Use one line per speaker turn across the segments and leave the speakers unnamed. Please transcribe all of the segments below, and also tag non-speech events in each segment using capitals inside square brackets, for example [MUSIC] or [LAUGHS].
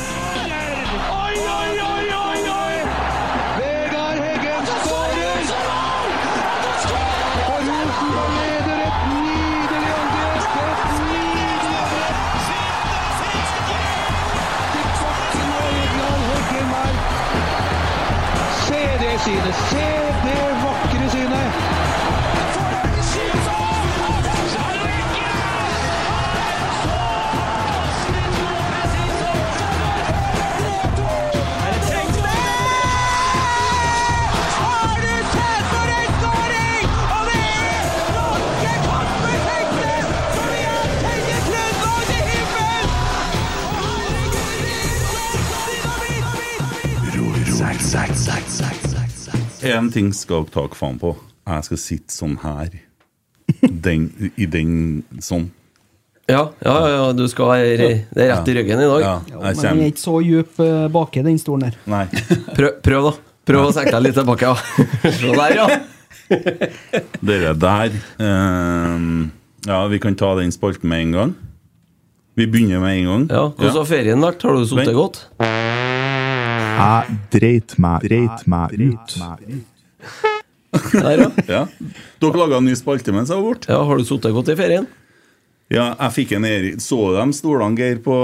Oi, oi, oi, oi, oi!
Vegard Heggen skårer! Og Rosenborg leder et nydelig angrep! Et nydelig angrep! Til korten og Vegard Heggen her. Se det synet! Se det vakre synet!
En ting skal dere ta dere faen på. Jeg skal sitte sånn her. Den, I den sånn.
Ja, ja, ja, du skal ha re det er rett i ryggen i dag.
Ja,
Men
jeg
den er
kommer
ikke så djup eh, baki, den stolen her.
Nei.
Prøv, prøv, da. Prøv å senke deg litt tilbake.
[LAUGHS]
Ja. Se der, ja.
Dere der eh, Ja, vi kan ta den spalten med en gang. Vi begynner med en gang.
ja. Hvordan har ferien vært? Har du sittet
Men-
godt?
Jeg dreit meg, dreit meg ut.
Der, ja.
Ja. Dere laga en ny spalte mens jeg var borte.
ja. Har du sittet godt i ferien?
Ja, jeg fikk en Erik. Så du de stolene, Geir, på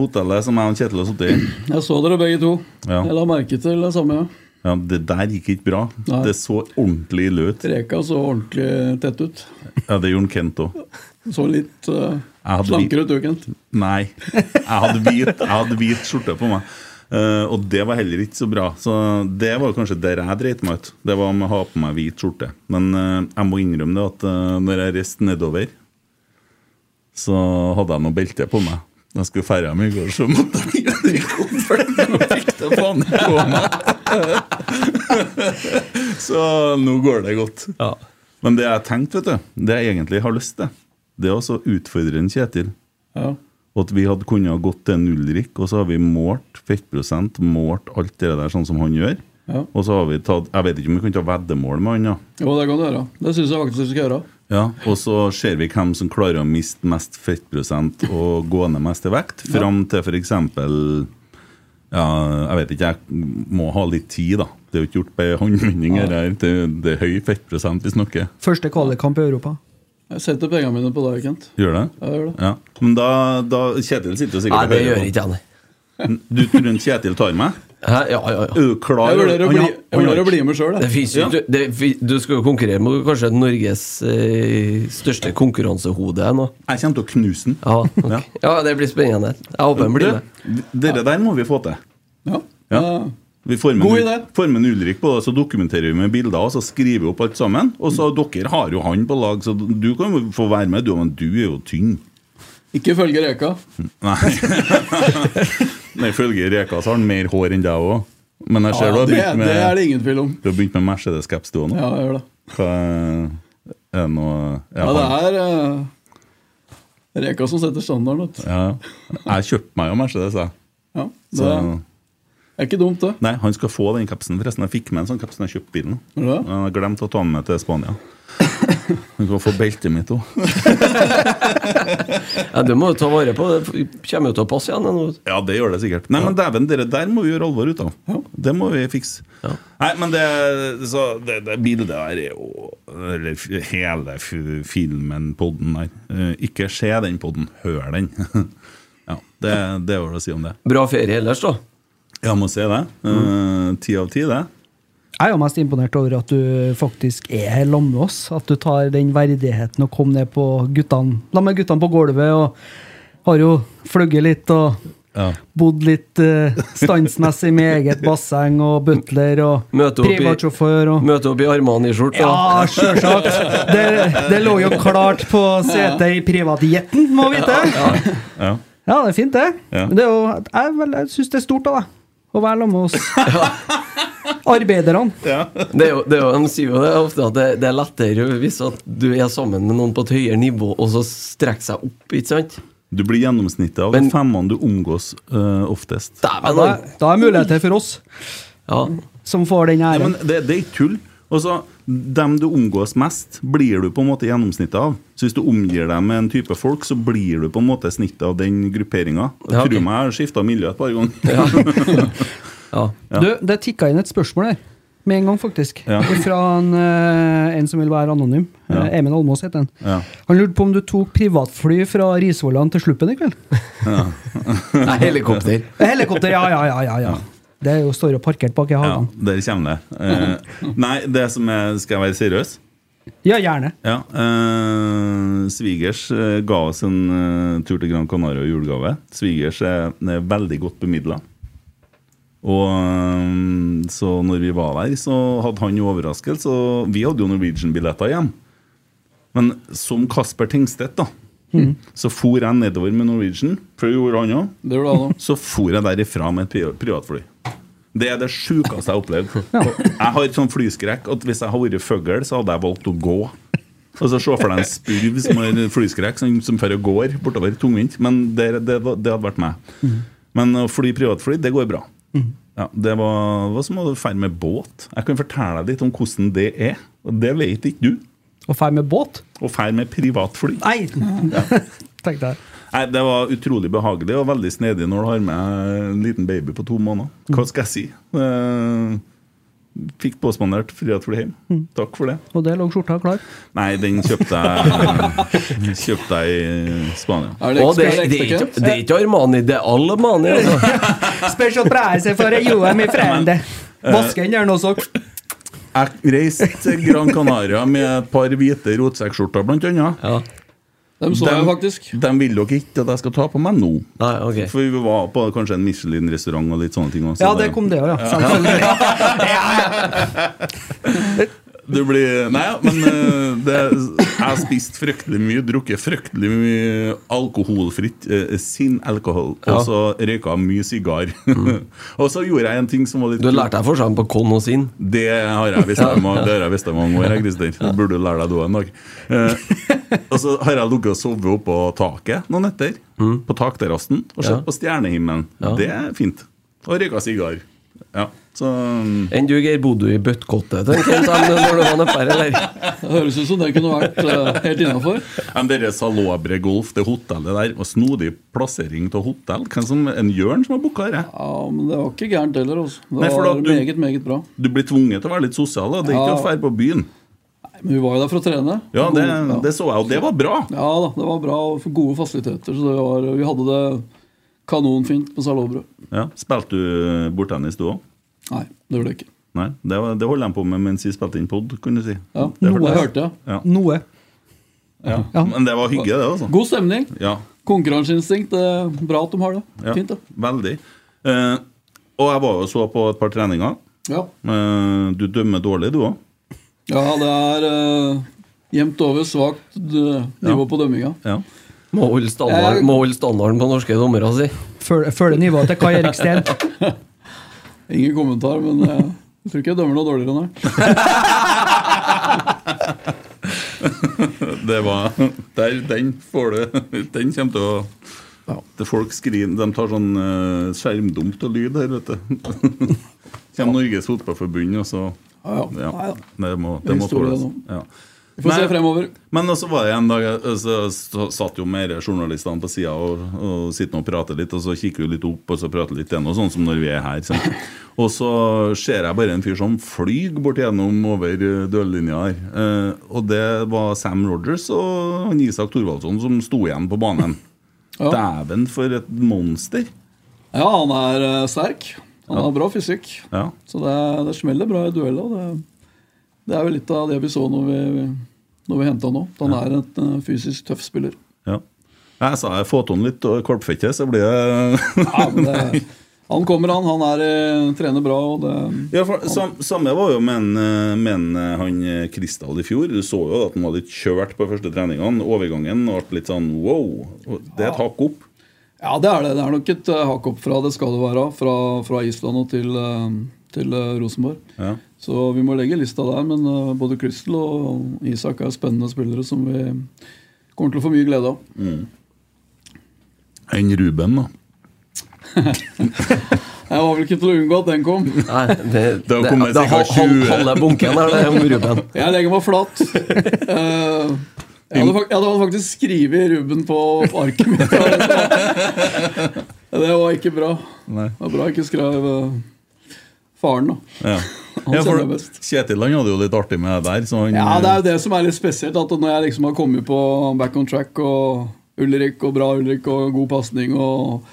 hotellet som jeg og Kjetil har sittet i?
Jeg så dere begge to.
Ja.
Jeg la merke til det samme. ja.
Ja, det der gikk ikke bra.
Nei.
Det så ordentlig ille ut.
Reka så ordentlig tett ut.
Ja, det gjorde Kent òg.
Så litt eh,
Jeg hadde
slankere ut, du, Kent.
Nei. Jeg hadde hvit, jeg hadde hvit skjorte på meg. Eh, og det var heller ikke så bra. Så det var kanskje der jeg dreit meg ut. Det var med å ha på meg hvit skjorte. Men eh, jeg må innrømme det at eh, når jeg reiste nedover, så hadde jeg noe belte på meg. Da jeg skulle ferde meg i går, så måtte jeg gjøre det i konferten, og fikk det faen ikke på meg. så nå går det godt.
Ja.
Men det jeg tenkte, vet du, det jeg egentlig har lyst til, det er også å utfordre en Kjetil.
Ja.
Og at vi hadde kunnet ha gått til en Ulrik, og så har vi målt fettprosent, målt alt det der sånn som han gjør.
Ja.
Og så har vi tatt Jeg vet ikke om vi kan ta veddemål med han, da.
Jo, det kan du gjøre. Det syns jeg faktisk du skal gjøre.
Ja, og så ser vi hvem som klarer å miste mest fettprosent og gå ned mest i vekt, fram til f.eks. Ja, jeg vet ikke, jeg må ha litt tid, da. Det er jo ikke gjort på håndvending, det her. Det, det er høy fettprosent vi snakker.
Første kvalikkamp i Europa.
Jeg setter pengene mine på deg, Kent.
Gjør det?
Ja, jeg gjør det.
Ja. Men da, da Kjetil sitter jo sikkert
Nei, det
hører
gjør
på.
ikke jeg, nei.
Du tror en Kjetil tar meg?
Hæ? Ja, ja, ja.
Er du klar?
Jeg vurderer å
Han
bli,
har-
jeg
han har
vurderer å
ikke-
bli med sjøl,
Det
jeg.
finnes jo
Ja.
ikke det, fin- Du skal jo konkurrere mot kanskje Norges eh, største konkurransehode nå.
Jeg kommer til å knuse den.
Ja, ok.
Ja.
ja, det blir spennende. Jeg håper han blir med.
Du, Dere der må vi få til.
Ja.
Ja.
Ja.
Vi får med,
God
en-
idé.
får med en Ulrik på det, så dokumenterer vi med bilder og så skriver vi opp alt sammen. Og så Dere har jo han på lag, så du kan jo få være med, du, men du er jo tynn.
Ikke følge reka.
Nei, Nei, Ifølge Reka så har han mer hår enn deg òg. Men jeg ser
Ja,
du har
det,
begynt
det er
med,
det ingen tvil om.
du har begynt med Mercedes-caps, du òg nå.
Ja, jeg gjør det.
Hva er det noe
Ja, det er eh, reka som setter standarden, vet du.
ja. Jeg kjøpte meg jo Mercedes, jeg.
Ja, det
Så-
er ikke dumt, det.
Nei, han skal få den kapsen forresten. Jeg fikk med en sånn kaps når jeg kjøpte bilen.
Gjorde du det?
Jeg har glemt å ta den med til Spania. Du kan få beltet mitt òg.
Ja, du må jo ta vare på det. for- Kommer jo til å passe igjen. nå.
Ja, det gjør det sikkert. Nei, men dæven, dere der må vi gjøre alvor ut av. Det må vi fikse.
Ja.
Nei, men det, så, det, det bildet der er jo Eller f- hele f- filmen, podden der. Eh, Ikke se den podden, hør den. [LAUGHS] Ja, det, det var det å si om det.
Bra ferie ellers, da.
Ja, må se det. Eh, Ti av ti, det.
Jeg er jo mest imponert over at du faktisk er her sammen med oss. At du tar den verdigheten og kom ned på guttene. La meg guttene på gulvet og har jo fløyet litt og
Ja.
bodd litt eh, standsmessig med eget basseng og butler og
Møte opp i-
privatsjåfør og
Møte opp i Armani-skjorte.
Ja, sjølsagt! Det, det lå jo klart på setet i privatjetten, må vite!
Ja.
Ja, det er fint, det.
Ja.
Men det er jo, jeg er vel- jeg syns det er stort av deg å være sammen med
[LAUGHS]
oss arbeiderne.
Det er jo, det er jo, de sier jo det ofte at det, det er lettere hvis at du er sammen med noen på et høyere nivå, og så strekker seg opp, ikke sant?
Du blir gjennomsnittet av
Men-
de femmene du omgås eh, oftest.
Dæven,
Da,
han!
da er muligheter for oss
Ja.
som får den
Ja,
æren.
men det, det er ikke tull. Og så, Dem du omgås mest, blir du på en måte gjennomsnittet av. Så hvis du omgir deg med en type folk, så blir du på en måte snittet av den grupperinga. Jeg
Ja, ok.
tror meg jeg har skifta miljø et par ganger. [LAUGHS]
Ja.
Du, det tikka inn et spørsmål der. Med en gang, faktisk.
Ja.
[LAUGHS] Fra en, eh, en som vil være anonym.
Ja.
Eh, Emil Almås heter han.
Ja.
Han lurte på om du tok privatfly fra Risvollan til Sluppen i kveld?
[LAUGHS] Nei, helikopter.
Helikopter, ja, ja, ja. ja, ja. Det er jo står og parkert bak i
Ja,
hagen.
der kommer det. Eh, nei, det som er Skal jeg være seriøs?
Ja, gjerne.
Ja. eh, svigers eh, ga oss en eh, tur til Gran Canaria i julegave. Svigers er, er veldig godt bemidla. Og eh, så når vi var der, så hadde han jo overraskelse. Og vi hadde jo Norwegian-billetter igjen. Men som Kasper Tingstedt, da, så for jeg nedover med Norwegian. For det gjorde han òg.
Det gjorde han òg.
Så for jeg derifra med et pri- privatfly. Det er det sjukeste jeg har opplevd. Jeg har et sånn flyskrekk at hvis jeg hadde vært fugl, så hadde jeg valgt å gå. Altså, Se for deg en spurv som har flyskrekk, som, som fører og går bortover tungvint. Men det, det, var- det hadde vært meg. Men å fly privatfly, det går bra. Ja, det var, var som å ferde med båt. Jeg kan fortelle deg litt om hvordan det er. Og det vet ikke du.
Og drar med båt?
Å ferde med privatfly.
Nei! Tenkte jeg.
Nei, Det var utrolig behagelig og veldig snedig når du har med en liten baby på to måneder. Hva skal jeg si? Eh, fikk påspandert frihet for det hjem. Takk for det.
Og der lå skjorta klar.
Nei, den kjøpte jeg Kjøpte jeg i Spania.
Er det
Og det, det,
ekstra, er det
er
ekstra
ikke,
kønt?
det er ikke Armani, det er Alemani. Altså.
Special price for Johan i Frende. Vaske den der nå, så.
Jeg reiste til Gran Canaria med et par hvite rotsekkskjorter, blant annet.
Ja.
Dem så jeg faktisk.
De vil dere ikke at jeg skal ta på meg nå.
Nei, ok.
For vi var på kanskje en Michelin-restaurant og litt sånne ting. også.
Ja, det kom det òg, ja. Selvfølgelig.
Du blir Nei, ja, men eh, det, jeg har spist fryktelig mye, drukket fryktelig mye alkoholfritt. eh, sin alkohol.
Ja. Mm.
Og så røyka jeg mye sigar. [LAUGHS] og så gjorde jeg en ting som var litt
Du har lært deg forskjellen på kon og sin.
Det har jeg visst om det har jeg visst i mange år. jeg, Christer. Det burde du lære deg du en dag. Eh, og så har jeg ligget og sovet oppå taket noen netter. På takterrassen. Og sett
Mm. Ja.
på stjernehimmelen.
Ja.
Det er fint. Og røyka sigar. Ja, så mm.
Enn du, Geir, bodde du i bøttkottet tenker jeg, sånn, når du var nedpå her, eller?
Det høres ut som det kunne vært eh, helt innafor.
Ja, Men dere Salobre Golf, det hotellet der, og snodig plassering av hotell. Hvem som, en Jørn som har booka dette?
Ja, men det var ikke gærent heller. Altså. Det
Nei, for
var
da- du-
meget, meget bra.
Du blir tvunget til å være litt sosial. da. Det er ikke
Ja.
å dra på byen.
Nei, Men vi var jo der for å trene.
Ja, det,
Gode-
det så jeg, og det var bra.
ja. ja da, det var bra og for gode fasiliteter. Så det var, vi hadde det kanonfint på Salobro.
Ja. Spilte du bordtennis, du òg?
Nei, det gjorde det ikke.
Nei, det, var, det holdt de på med mens vi spilte inn pod, kunne du si.
Ja,
Det
Noe
hørtes.
hørte jeg.
Noe.
Ja.
Ja.
Men det var hygge, det, altså.
God stemning.
Ja,
Konkurranseinstinkt. eh, Bra at de har det.
ja.
Fint, det.
Veldig. Eh, og jeg var jo og så på et par treninger.
Ja.
Eh, du dømmer dårlig, du òg.
ja, det er eh, jevnt over svakt eh, nivå på dømminga.
Ja.
Må holde standarden, må holde standarden på norske dommere, altså. si.
Føl- Følger nivået til Kai Erik Steen.
Ingen kommentar, men eh, jeg tror ikke jeg dømmer noe dårligere enn her.
Det var der, Den får du Den kommer til å Det folk skriver De tar sånn eh, skjermdump og lyd her, vet du. [LAUGHS] Kommer Norges Fotballforbund, og så
Ja, ja.
Ja.
Nei,
Det
da.
må, det må
Historie
tåles.
nå.
Ja.
Vi får
Nei.
se fremover.
Men også var det en dag jeg- så så satt jo mer journalistene på sida og, og sitter nå og prater litt, og så kikker vi litt opp og så prater litt igjen, og sånn som når vi er her. sant? Og så ser jeg bare en fyr som flyr bort gjennom over eh, dørlinja her. Eh, og det var Sam Rogers og han Isak Thorvaldsson som sto igjen på banen.
Ja.
Dæven, for et monster!
Ja, han er eh, sterk. Han har bra fysikk.
Ja.
Så det, det smeller bra i dueller. og Det, det er vel litt av det vi så når vi, når vi henta han nå. At Han er en eh, fysisk tøff spiller.
ja. Jeg sa jeg få til han litt og korpfette, så blir det
Ja, men det, han kommer, han. Han er, eh, trener bra. Og det,
Ja, for sam, Samme var jo med en, eh, med en, eh, han eh, Kristal i fjor. Du så jo at han var litt kjørt på første treningene. Overgangen ble litt sånn wow. Og Det er et hakk opp.
ja, det er det. Det er nok et eh, hakk opp fra det skal det være. Fra, fra Island og til, eh, til eh, Rosenborg.
Ja.
Så vi må legge lista der. Men eh, både Crystal og Isak er spennende spillere som vi kommer til å få mye glede av.
Enn Ruben, da.
Jeg var vel ikke til å unngå at den kom.
Nei, det,
Det har kommet
det er
sikkert
hal-
20.
hal- halve bunken her, det er om Ruben.
Jeg legger meg flat. Eh, jeg, hadde, fak- jeg hadde faktisk skrevet Ruben på arket mitt. Det var ikke bra.
Nei.
Det var bra jeg ikke skrev eh, faren, da.
[LAUGHS] Ja.
Han
Ja, for
kjenner jeg best.
Kjetil han hadde jo litt artig med det der. Så han,
Ja, Det er jo det som er litt spesielt, at når jeg liksom har kommet på back on track og Ulrik og bra Ulrik og god pasning og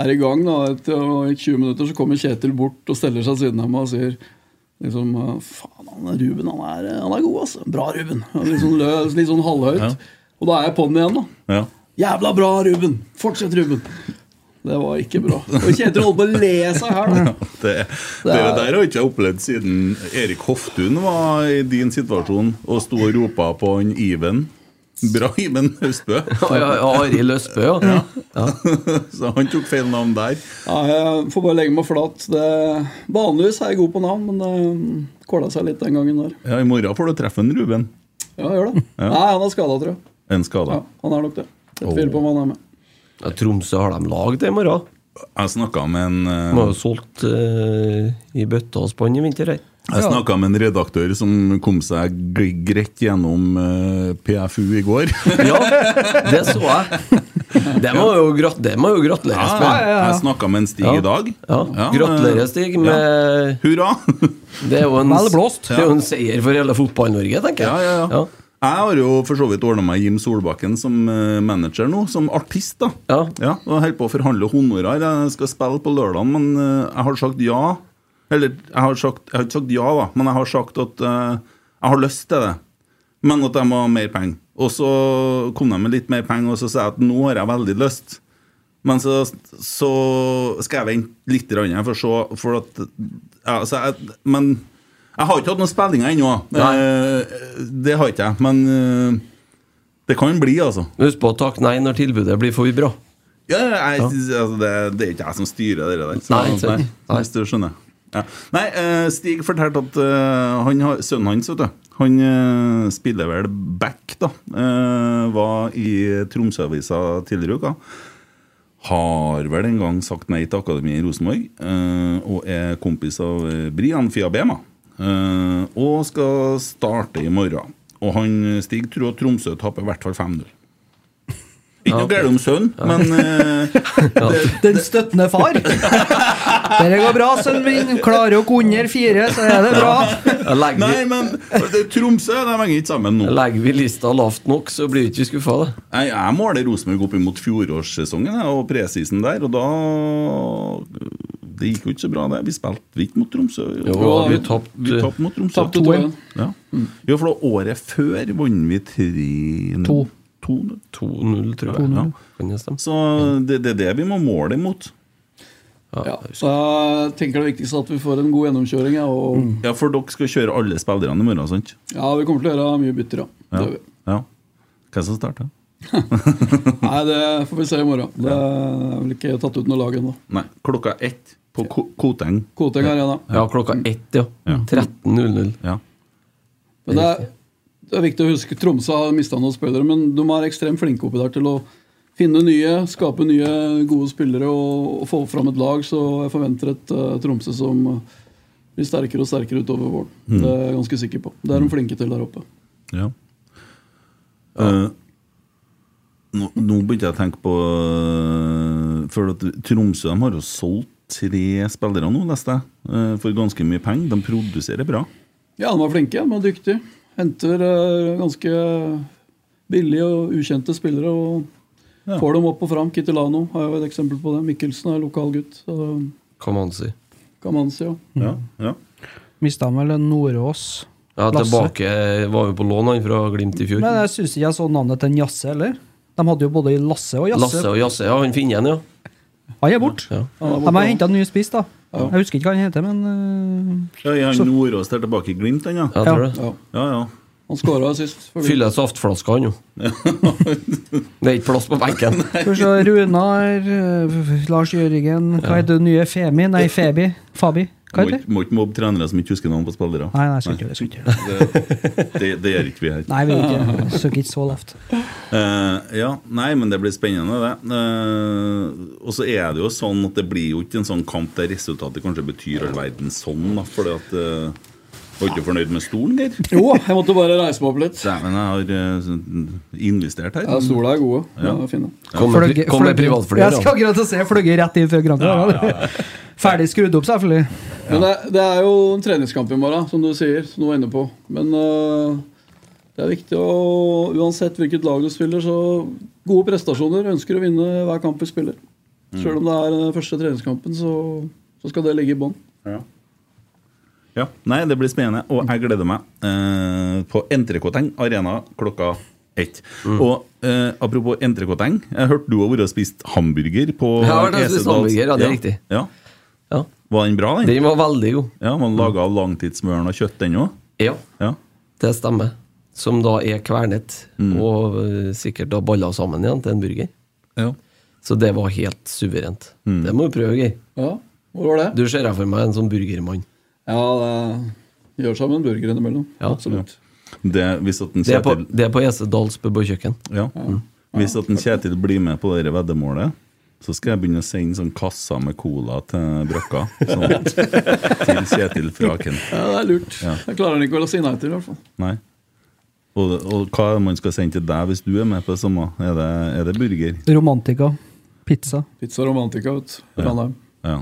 er i gang, da, etter å- i 20 minutter så kommer Kjetil bort og steller seg ved siden av meg og sier liksom eh, Faen, han Ruben, han er, han er god, altså. Bra, Ruben. Og Litt sånn, løs, litt sånn halvhøyt.
Ja.
Og da er jeg på den igjen, da.
ja. [LAUGHS]
Jævla bra, Ruben! Fortsett, Ruben! Det var ikke bra. Og Kjetil holdt på å le seg her, da.
Det, det der har ikke jeg opplevd siden Erik Hoftun var i din situasjon og sto og ropa på han Iven. Bra Iven Austbø.
Og Ari Løsbø, ja.
[LAUGHS] Så han tok feil navn der.
Ja, jeg får bare legge meg flat. Det, vanligvis er jeg god på navn, men det kåla seg litt den gangen der.
Ja, I morgen får du treffe en Ruben.
Ja, gjør det. Nei, han er skada, tror jeg.
En
Ja,
skada.
han er nok det. Jeg tviler på om han er med.
ja. Tromsø har de lag til i morgen.
Jeg snakka med en eh,
De har jo solgt eh, i bøtta og spann i vinter her.
Jeg snakka med en redaktør som kom seg gre- greit gjennom eh, PFU i [LAUGHS] går.
Ja, [LAUGHS] det så jeg. Det må jo, grat det må jo gratuleres
Ja,
med.
Jeg snakka med en Stig i dag.
Ja.
Ja,
Gratulerer, Stig, med
eh, Hurra!
[LAUGHS] Det er jo en,
Vel blåst.
Det er jo en seier for hele Fotball-Norge, tenker jeg.
Ja, ja, ja. Jeg har jo for så vidt ordna meg Jim Solbakken som eh, manager nå, som artist. da
Ja.
Og jeg holder på å forhandle honorar. Jeg skal spille på lørdag, men eh, jeg har sagt ja. Eller jeg har, sagt, jeg har ikke sagt ja, da, men jeg har sagt at eh, jeg har lyst til det. Men at jeg må ha mer penger. Og så kom de med litt mer penger, og så sa jeg at nå har jeg veldig lyst. Men så, så skal jeg vente litt grann her for å se for at, ja, så jeg, Men jeg har ikke hatt noen spillinger ennå.
Nei.
Eh, Det har ikke jeg. Men eh, det kan bli, altså.
Men Husk på å takke nei når tilbudet blir for bra.
Ja, jeg, Altså, det, det er ikke jeg som styrer det der. så-
Nei, ikke sant.
nei, hvis du skjønner. Ja. Nei, eh, Stig fortalte at eh, han, har- sønnen hans, vet du Han eh, spiller vel back, da. eh, var i Tromsø-avisa tidligere i uka. Har vel en gang sagt nei til akademiet i Rosenborg. eh, og er kompis av eh, Brian Fiabema. eh, og skal starte i morgen. Og han eh, Stig tror at Tromsø taper i hvert fall 5-0. Ikke noe galt om sønnen, men
[LAUGHS]
eh, [LAUGHS]
Den støttende [LAUGHS] far. Dette går bra, sønnen min. Klarer dere under fire, så er det bra.
Jeg legger,
Nei, men det- Tromsø de henger ikke sammen nå.
legger vi lista lavt nok, så blir vi ikke skuffa. da.
Jeg, jeg måler Rosenborg opp imot fjorårssesongen jeg, og presisen der, og da Det gikk jo ikke så bra, det. Vi spilte vi ikke mot Tromsø.
Jo,
Jo,
vi tapt, eh,
Vi tapte mot Tromsø.
Tapte 2-1.
Ja. Jo, for da året før vant vi 3
To.
2
2-0, tror jeg.
Ja.
Kan det stemme?
Så det, det er det vi må måle imot.
Ja, så jeg tenker det viktigste er at vi får en god gjennomkjøring. Ja, og
Ja, for dere skal kjøre alle spillerne i morgen, sant?
ja, vi kommer til å gjøre mye bytter, ja. Det
Ja.
gjør vi.
ja. Hvem som starter?
Nei, det får vi se i morgen. Det er vel ikke tatt ut noe lag ennå.
Nei, klokka ett på Ko- Koteng.
Koteng Arena.
Ja, klokka ett, ja.
Ja.
13.00.
Ja.
Men det er, det er viktig å huske Tromsø har mista noen spillere, men de er ekstremt flinke oppi der til å finne nye, skape nye gode spillere og, og få fram et lag. Så jeg forventer et eh, Tromsø som eh, blir sterkere og sterkere utover våren. Det er jeg ganske sikker på. Det er de flinke til der oppe.
Ja. Eh, nå, nå begynte jeg å tenke på eh, For at Tromsø de har jo solgt tre spillere nå, leste jeg, eh, for ganske mye penger. De produserer bra.
Ja, de er flinke, de er dyktige. Henter eh, ganske billige og ukjente spillere og
Ja.
får dem opp og fram. Kittilano har jo et eksempel på det. Mikkelsen er lokal gutt. så
Hva man si.
Kan man si, ja.
Mm.
Ja, ja.
Mista vel en Nordås.
Ja,
Lasse.
tilbake eh, var jo på lån han fra Glimt i fjor.
Men eh, jeg syns ikke jeg så navnet til en Jasse heller. De hadde jo både Lasse og Jasse.
Lasse og Jasse, ja, han finner igjen, ja.
Han er borte.
Ja.
De har henta en ny spiss, da. Jeg husker ikke hva han heter, men øh,
ja er han Nordås der tilbake i Glimt, han, ja?
Jeg tror det.
ja.
Ja, ja.
Han skåra sist. for Glimt.
Fyller saftflaska, han jo. Det er ikke plass på benken.
eh, Skal vi se eh, Runar, øh, Lars Jørgen Hva heter det nye Femi? Nei, Febi. Fabi. Hva
Må
heter
ikke- Må ikke mobbe trenere som ikke husker navn på spillere.
Nei, nei, jeg skal ikke gjøre det. jeg Skal ikke gjøre det.
Det, det gjør ikke vi her.
Nei, vi vil ikke. jeg Søker ikke så lavt.
Eh, ja, nei, men det blir spennende, det. Eh, og så er det jo sånn at det blir jo ikke en sånn kamp der resultatet kanskje betyr all verden sånn, da, fordi at eh, Var ikke fornøyd med stolen, Geir?
Jo, jeg måtte bare reise meg opp litt.
Dæven, jeg har eh, sånn investert her.
Ja, Sola er gode. Ja. fin, da.
Kom med,
Fløgge-
kom med
fløgge-
privatflyer,
Jeg
da.
skal akkurat til å si jeg fløgger rett inn fra Granca. [LAUGHS] Ferdig skrudd opp, selvfølgelig.
Men det, det er jo en treningskamp i morgen, som du sier. Som du var inne på. Men øh, det er viktig å Uansett hvilket lag du spiller, så gode prestasjoner. Ønsker å vinne hver kamp vi spiller. Selv om det er den første treningskampen, så, så skal det ligge i bånn.
Ja. ja. Nei, det blir spennende, og jeg gleder meg. Eh, på Entrecôteng Arena klokka ett.
Mm.
Og eh, apropos Entrecôteng, jeg hørte du har vært og spist hamburger på
Jeg har vært og spist
Esedals-
hamburger, ja, det er riktig.
Ja.
Ja.
Var den bra, den?
Den var veldig god.
Ja, Man laga av langtidsmøren og kjøtt, den òg?
Ja,
Ja.
det stemmer. Som da er kvernet, og eh, sikkert da balla sammen igjen til en burger.
Ja.
Så det var helt suverent. Det må du prøve, Geir.
Ja, hvor var det?
Du ser jeg for meg en sånn burgermann.
Ja, det gjør seg med en burger innimellom.
Ja.
Absolutt.
Det, hvis at en
Det er på,
Kjetil,
det er på Ese Dals pub og kjøkken.
ja. hvis at en Kjetil blir med på det veddemålet, så skal jeg begynne å sende sånn kasser med cola til brakka. Sånn,
[LAUGHS]
til Kjetil Fraken.
Ja, det er lurt. Jeg klarer han ikke å si nei til, i hvert fall.
Nei. Og, og hva er det man skal sende til deg hvis du er med på det samme? Er det, er det burger?
Romantika. Pizza.
Pizza romantica, vet du. Ranheim.
Ja.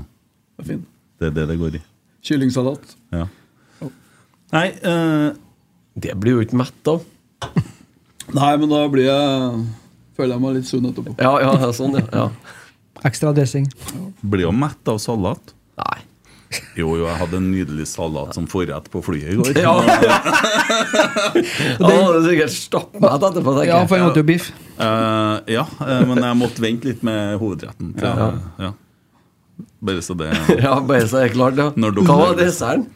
Det er fin.
Det er det det går i.
Kyllingsalat.
Ja. Nei, eh,
Det blir jo ikke mett av.
Nei, men da blir jeg Føler jeg meg litt sunn etterpå.
Ja, ja, ja, sånn, ja. ja.
Ekstra dressing.
blir jo mett av salat.
Nei.
Jo, jo, jeg hadde en nydelig salat som forrett på flyet i går.
[LAUGHS] Ja. Han hadde sikkert stappmett etterpå, tenker
Ja,
jeg.
for jeg måtte jo biff.
Eh, ja, eh, men jeg måtte vente litt med hovedretten. Til, ja. Bare så det
Ja, bare så er det klart, ja.
Når dere-
Hva var desserten?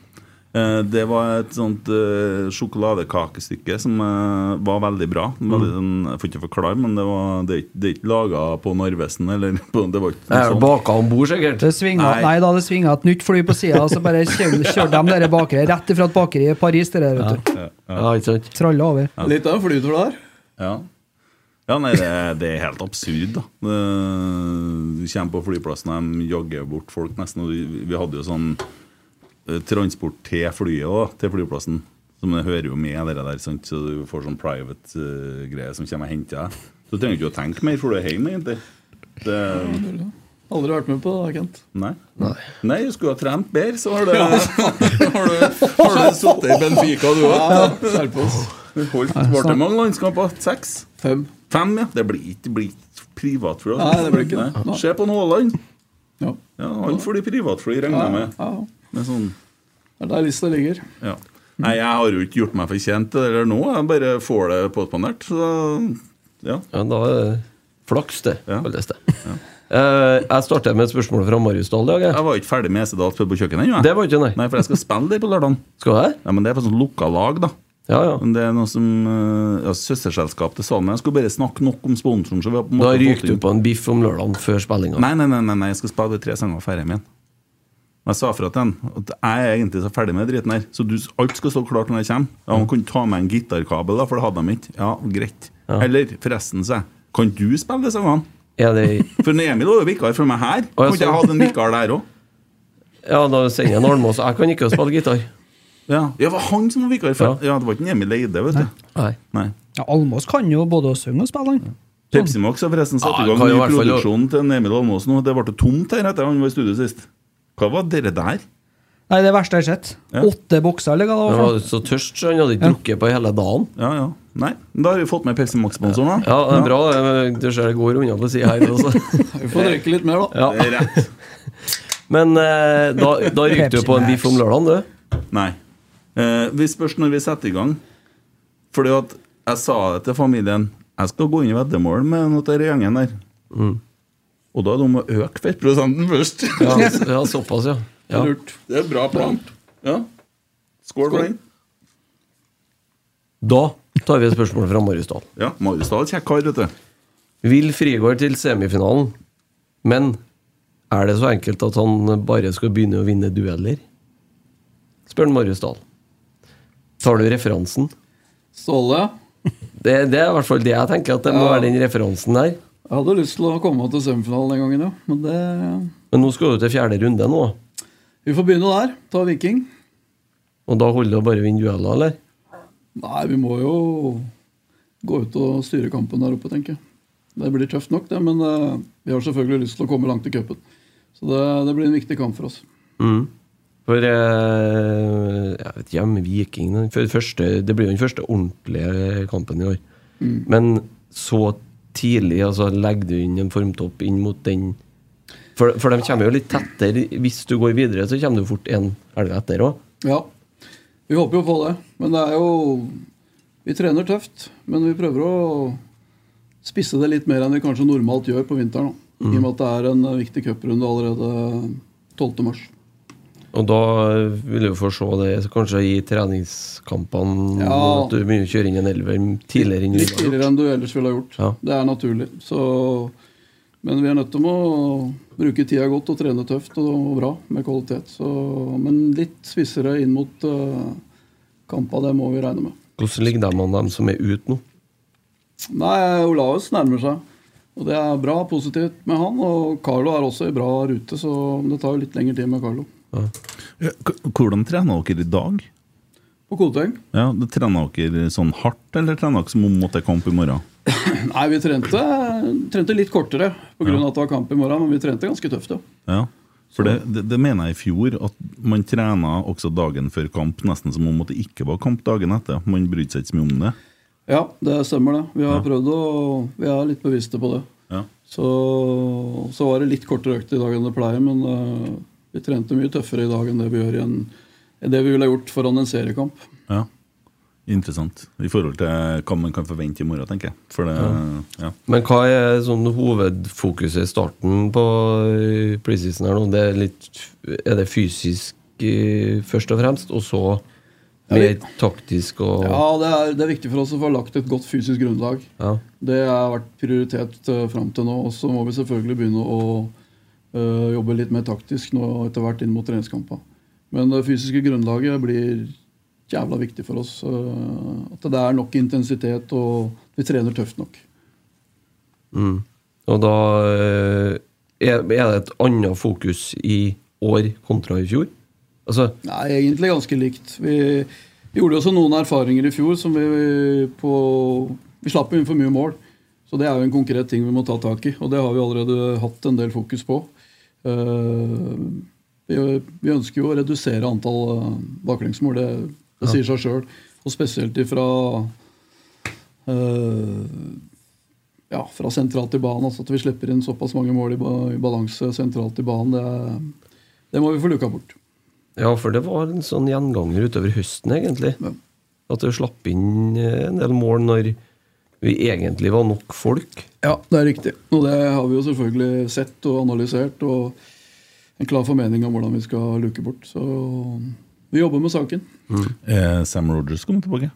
Eh, Det var et sånt eh, sjokoladekakestykke som eh, var veldig bra. Veldig, sånn- Jeg får ikke forklare, men det, var, det, er ikke- det er ikke laga på Narvesen. Eller, på, det var ikke noe
Jeg
sånt.
baka om bord, sikkert.
Det svinga,
Nei.
nei. da, det svinga et nytt fly på sida, så bare [LAUGHS] kjør- kjørte de dere bakere rett ifra et bakeri i Paris. Det der, vet du.
Ja, ikke sant?
Tralla over.
Litt av en flytur der.
Ja. ja, nei, det, det er helt absurd, da. Det- Du kommer på flyplassen, og de jogger bort folk nesten. Og vi, vi hadde jo sånn eh, transport til flyet òg, til flyplassen. Som det hører jo med, det der, sant? så du får sånn private eh, greier som kommer og henter deg. Så du trenger ikke å tenke mer, for du er hjemme, egentlig. Det,
Aldri vært med på det, Kent.
nei. Nei, du skulle ha trent bedre, så har du, har du, har du sittet i Benfica, du òg.
Skjerpe oss.
Ble det mange landskamper? Seks?
Fem.
Fem, ja. Det blir ikke det blir ikke privatfly. altså.
Nei, det blir ikke det.
Nei. Se på en Haaland.
Ja.
Ja, han får de privatfly, regner jeg med.
ja.
med sånn,
Det er der lista ligger.
ja. Nei, jeg har jo ikke gjort meg fortjent til det der nå. Jeg bare får det påspandert. Så ja.
Ja, da er det flaks, det.
Ja.
kalles det. Eh, jeg starter med et spørsmål fra Marius Dahl i dag. jeg.
Jeg var ikke ferdig med Esedal på kjøkkenet ennå. jeg.
Det var ikke, nei.
Nei, for jeg skal spille der på lørdag.
Skal jeg?
Ja, men det er på sånn lukka lag, da.
Ja, ja.
Men det er noe som eh, ja, Søsterselskap til Salmen. Jeg skulle bare snakke nok om sponsoren. Så vi har på en
Da
måte
ryker
fått
du
inn-
på en biff om lørdagen før spillinga.
Nei, nei, nei, nei, nei, jeg skal spille tre sanger og ferdig med den. Jeg sa fra til han at jeg er egentlig så ferdig med driten her, så du, alt skal stå klart når jeg kommer. Ja, han kunne ta med en gitarkabel, da, for det hadde de ikke. Ja, greit. Eller forresten, sa jeg, kan du spille de sangene?
Er det
For når Emil var jo vikar for meg her.
Å, jeg
Kunne ikke jeg
så-
hatt en vikar der
[LAUGHS]
òg?
Ja, da sender jeg en Almås. Jeg kan ikke spille gitar.
Ja. ja, det var han som var vikar for Ja, det var ikke en Emil Eide, vet du.
Nei.
Nei.
Ja, Almås kan jo både å synge og spille, han.
Pepsi Max har forresten satt
Ja,
i gang
kan jo i
ny
hvert fall-
produksjon til en Emil Almås nå. Det ble tomt her etter han var i studio sist. Hva var dere der?
Nei, det verste jeg har sett.
Ja.
Åtte bokser, eller hva det
Han
var. for noe?
var så tørst, så han hadde ikke drukket på hele dagen.
Ja, ja. Nei, da har vi fått med Pepsi Max-sponsoren, da.
Ja, det er bra. eh, Du ser det går unna på sida her altså. også.
Vi får drikke litt mer, da.
Ja.
Det er Eh, rett.
Men eh, da, da ryker du på en biff om lørdagen, du.
Nei. Eh, vi spørs når vi setter i gang. Fordi at jeg sa det til familien. Jeg skal gå inn i veddemål med noen av denne gjengen der. Mm. Og da er det om å øke fettprosenten først.
Ja, s- ja såpass, ja. ja.
Lurt.
[LAUGHS] det er bra plan. Ja. Skål for den.
Da tar vi et spørsmål fra Marius Dahl.
Ja, Marius Dahl, kjekk kar, vet du.
Vil Frigård til semifinalen, men er det så enkelt at han bare skal begynne å vinne dueller? spør han Marius Dahl. Tar du referansen?
Ståle,
Det, det er i hvert fall det jeg tenker, at det må
Ja.
være den referansen der.
jeg hadde lyst til å komme til semifinalen den gangen, ja. Men det
Men nå skal du til fjerde runde nå,
Vi får begynne der. Ta Viking.
og da holder det å bare å vinne dueller, eller?
Nei, vi må jo gå ut og styre kampen der oppe, tenker jeg. Det blir tøft nok, det, men eh, vi har selvfølgelig lyst til å komme langt i cupen. Så det, det blir en viktig kamp for oss.
Mm. For eh, jeg vet ikke, med Viking den fø- første, Det blir jo den første ordentlige kampen i år.
Mm.
Men så tidlig altså, legger du inn en formtopp inn mot den For, for de kommer jo litt tettere. Hvis du går videre, så kommer du fort en helg etter òg.
Ja, vi håper jo på det. Men det er jo Vi trener tøft, men vi prøver å spisse det litt mer enn vi kanskje normalt gjør på vinteren. da.
Mm.
I og med at det er en eh, viktig cuprunde allerede 12. mars.
Og da vil du få se det kanskje i treningskampene
Ja.
at du begynner å kjøre inn en elver tidligere enn du
Litt
har gjort.
tidligere enn du ellers ville ha gjort.
Ja.
Det er naturlig. Så, men vi er nødt til å bruke tida godt og trene tøft og bra med kvalitet. Så, men litt spissere inn mot uh, kampa, det må vi regne med.
Hvordan ligger de an, dem som er ute nå?
Nei, Olaus nærmer seg. Og det er bra, positivt med han. Og Carlo er også i bra rute, så det tar jo litt lengre tid med Carlo.
Ja, k- Hvordan trener dere i dag?
På Koteng? [CLEARS THROAT]
Ja, det Trener dere sånn hardt, eller trener dere som om at det er kamp i morgen?
Nei, vi trente, trente litt kortere pga. av at det var kamp i morgen, men vi trente ganske tøft, ja.
Ja, for det, det, det mener jeg i fjor, at man trener også dagen før kamp, nesten som om at det ikke var kamp dagen etter. Man brydde seg ikke så mye om det.
Ja, det stemmer, det. Vi har prøvd å Vi er litt bevisste på det.
Ja.
Så, så var det litt kortere økt i dag enn det pleier, men eh, vi trente mye tøffere i dag enn det vi gjør i en enn det vi ville ha gjort foran en seriekamp.
ja. Interessant. I forhold til hva man kan forvente i morgen, tenker jeg. For det, ja.
Men hva er sånn hovedfokuset i starten på eh, preseason her nå? Det er, litt, er det fysisk eh, først og fremst, og så mer taktisk og
Ja, det er, det er viktig for oss å få lagt et godt fysisk grunnlag.
Ja.
Det har vært prioritet eh, fram til nå. Og så må vi selvfølgelig begynne å eh, jobbe litt mer taktisk nå etter hvert inn mot treningskamper. Men det fysiske grunnlaget blir jævla viktig for oss. eh, at det er nok intensitet, og vi trener tøft nok.
Mm. Og da eh, er, er det et annet fokus i år kontra i fjor? Altså
Nei, egentlig ganske likt. Vi, vi gjorde jo også noen erfaringer i fjor som vi på Vi slapp jo inn for mye mål. Så det er jo en konkret ting vi må ta tak i, og det har vi allerede hatt en del fokus på. Eh, vi, vi ønsker jo å redusere antall eh, baklengsmål, det, det sier seg sjøl. Og spesielt ifra eh, ja, fra sentralt i banen. Altså at vi slipper inn såpass mange mål i, ba, i balanse sentralt i banen, det, det må vi få luka bort.
Ja, for det var en sånn gjenganger utover høsten, egentlig.
Ja.
At det slapp inn eh, en del mål når vi egentlig var nok folk.
Ja, det er riktig. Og det har vi jo selvfølgelig sett og analysert. Og en klar formening om hvordan vi skal luke bort. Så vi jobber med saken.
Eh, Sam Rogers kommer tilbake.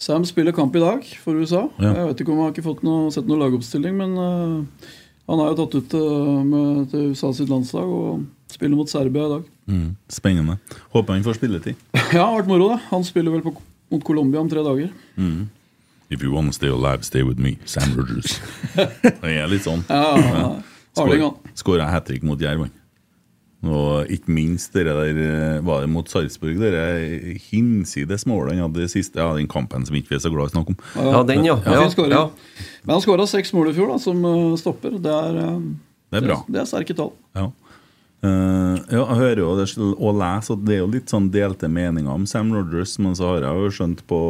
Sam spiller kamp i dag for USA.
Ja.
Jeg vet ikke om han har ikke fått noe, sett noen lagoppstilling, men øh, han er jo tatt ut øh, med, til USA sitt landslag og spiller mot Serbia i dag. [LAUGHS]
Mm. Spennende. Håper han får spilletid.
Ja, det har vært moro, da. Han spiller vel på, mot Colombia om tre dager.
If you wanna stay alive, stay with me, Sam Rogers. Jeg er litt sånn.
Ja, Arling, han.
Skåra hat trick mot Jerv. han. Og ikke minst det der eh, var det mot Sarpsborg, det der eh, hinsides målet han hadde sist. Ja, den kampen som ikke vi er så glad i å snakke om.
Ja, den, ja.
Ja, fin
ja,
scoring.
ja.
Men han skåra seks mål i fjor, da, som øh, stopper. Det er, øh,
Det er bra.
det er sterke tall.
Ja. Eh, ja, jeg hører jo det, sl- og leser at det er jo litt sånn delte meninger om Sam Rogers, men så har jeg jo skjønt på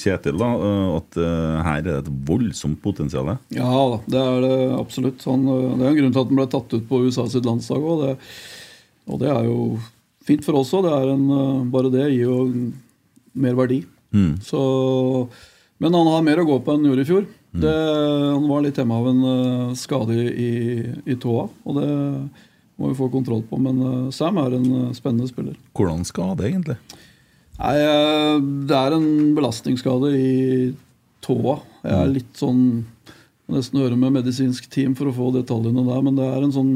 Kjetil da, eh, at eh, her er det et voldsomt potensial. ja.
Ja da, det er det absolutt. Han, øh, det er jo en grunn til at han ble tatt ut på USA sitt landslag òg. Det, og det er jo fint for oss òg. eh, Bare det gir jo mer verdi.
Mm.
Så, men han har mer å gå på enn han gjorde i fjor. Det, han var litt hjemme av en øh, skade i, i tåa, og det må vi få kontroll på. Men øh, Sam er en øh, spennende spiller.
Hvordan skal det egentlig?
Nei, eh, det er en belastningsskade i tåa. Jeg er litt sånn må Nesten høre med medisinsk team for å få detaljene der, men det er en sånn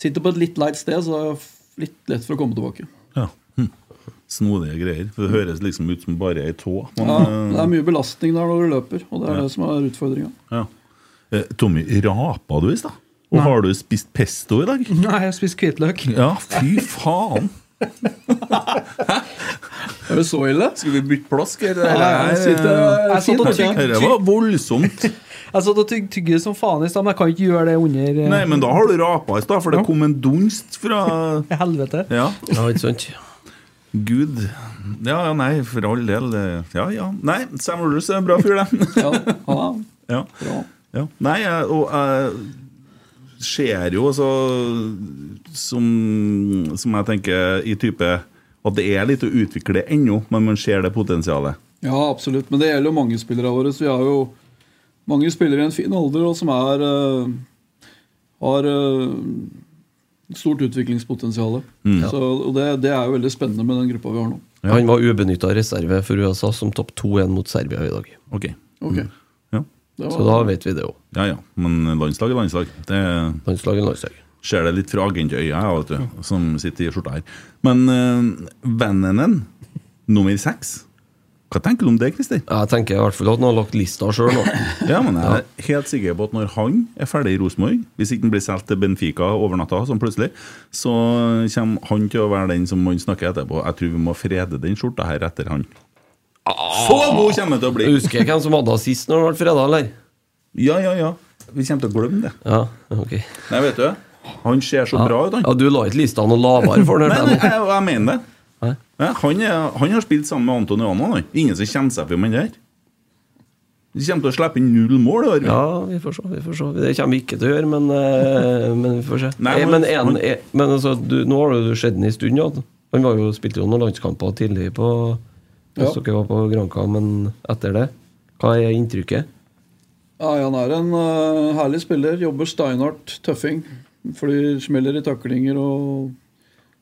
Sitter på et litt leit sted, så det er f- litt lett for å komme tilbake.
Ja. Hm. snodige greier. For det høres liksom ut som bare ei tå. Men,
Ja, det
eh,
er mye belastning der når du løper, og det er det som er utfordringa.
ja. Eh, Tommy, rapa du i stad? Og
Nei.
har du spist pesto i dag?
[LAUGHS]
Mhm.
Nei, jeg spiste hvitløk.
Ja, fy faen!
Er det så ille?
Skal vi bytte plass, eller?
Nei, jeg sitter- jeg sitter og tygger.
Dette var voldsomt.
Jeg satt og tyg, tygde som faen i stad, men jeg kan ikke gjøre det under eh,
Nei, men da har du rapa i stad, for det kom en dunst fra
helvete.
Ja,
Ja, ikke sant?
Gud. Ja, ja, nei, for all del. det- Ja, ja. Nei, Sam Rulers er en bra fyr, det.
Ja, ja,
Ja.
bra.
Ja. Nei, jeg, og jeg ser jo altså som, som jeg tenker i type at det er litt å utvikle ennå, men man ser det potensialet.
Ja, absolutt. Men det gjelder jo mange spillere våre. Så vi har jo mange spillere i en fin alder og som er eh, har eh, stort utviklingspotensial.
Mm.
Så, og det, det er jo veldig spennende med den gruppa vi har nå.
Han var ubenytta reserve for USA, som topp 2-1 mot Serbia i dag.
Ok.
Ok,
Ja,
det
Mm. Så
var,
da vet vi det òg.
ja. ja. Men landslag er landslag. Det
Landslag er landslag.
ser det litt fra agentøya, jeg, vet du, som sitter i skjorta her. Men uh, Vennenen, nummer seks. Hva tenker du om det, Christer?
Jeg tenker i hvert fall at han har lagt lista sjøl nå.
Ja, men jeg er helt sikker på at når han er ferdig i Rosenborg, hvis ikke han blir solgt til Benfica over natta, sånn plutselig, så kommer han til å være den som man snakker etterpå. Jeg tror vi må frede den skjorta her etter han. Så god kommer han til å bli!
Husker jeg hvem som hadde assist når det ble fredag, eller?
Ja, ja, ja. Vi kommer til å glemme det.
Ja, ok.
Nei, vet du, han ser så bra ut,
Ja,
han.
Du la ikke lista noe lavere for den?
Nei,
der
nei,
nå.
jeg, jeg mener det.
Nei.
Ja, han, er, han har spilt sammen med Anton Johanna, han. Ingen som kjenner seg igjen med han der. De kommer til å slippe inn null mål. Arvid.
Ja, vi får se. vi får se Det kommer vi ikke til å gjøre, men, eh, men vi får se.
Nei,
Eh,
men-
men en, eh, men altså, du, nå har du sett den en stund, ja. Han var jo, spilte jo noen landskamper tidlig på Hvis
Ja.
dere var på Granca, men etter det Hva er inntrykket?
ja, han er en eh, herlig spiller. Jobber steinhardt, tøffing. Flyr, smeller i taklinger og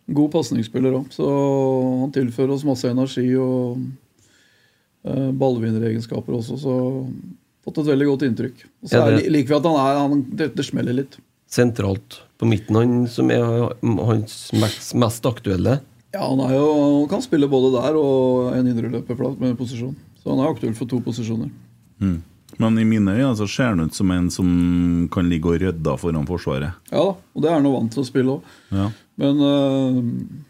god pasningsspiller òg. Så han tilfører oss masse energi og uh, ballvinneregenskaper også, så fått et veldig godt inntrykk. Og så
Ja, det-
er- liker vi at han er han, det, det smeller litt.
Sentralt på midten, han som er hans mest, mest aktuelle.
Ja, han er jo, han kan spille både der og en indreløperplass med posisjon. Så han er aktuell for to posisjoner.
Mm. Men i mine øyne så ser han ut som en som kan ligge og rydde foran Forsvaret.
Ja da, og det er han jo vant til å spille òg.
Ja,
Men eh,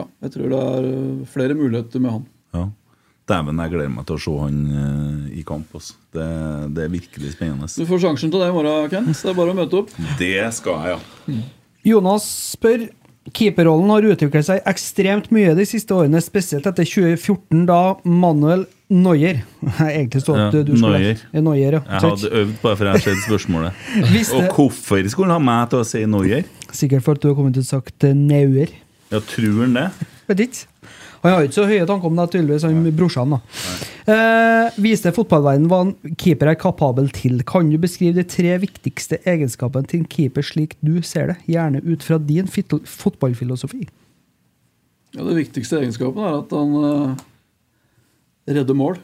ja, jeg tror det er eh, flere muligheter med han.
ja. Dæven, jeg gleder meg til å se han eh, i kamp. Også. Det, det er virkelig spennende.
Du får sjansen til det i morgen, Ken. Så det er bare å møte opp.
Det skal jeg, ja.
Jonas spør Keeperrollen har utviklet seg ekstremt mye de siste årene, spesielt etter 2014, da Manuel Neuer [LAUGHS] Egentlig står det at
Ja,
du skulle
Neuer.
Ja, Neuer, ja.
Jeg hadde øvd bare for jeg har sett spørsmålet.
Hvis
Og
det-
hvorfor skulle han ha meg til å si Noyer?
Sikkert for at du har kommet til å sagt eh, Neuer.
Ja, tror han det?
Vet ikke. Han har jo ikke så høye tanker om deg, tydeligvis, han brorsan. da. Eh, viste fotballverdenen hva en keeper er kapabel til. Kan du beskrive de tre viktigste egenskapene til en keeper slik du ser det? Gjerne ut fra din fit fotballfilosofi.
Ja, det viktigste egenskapen er at han eh, redder mål.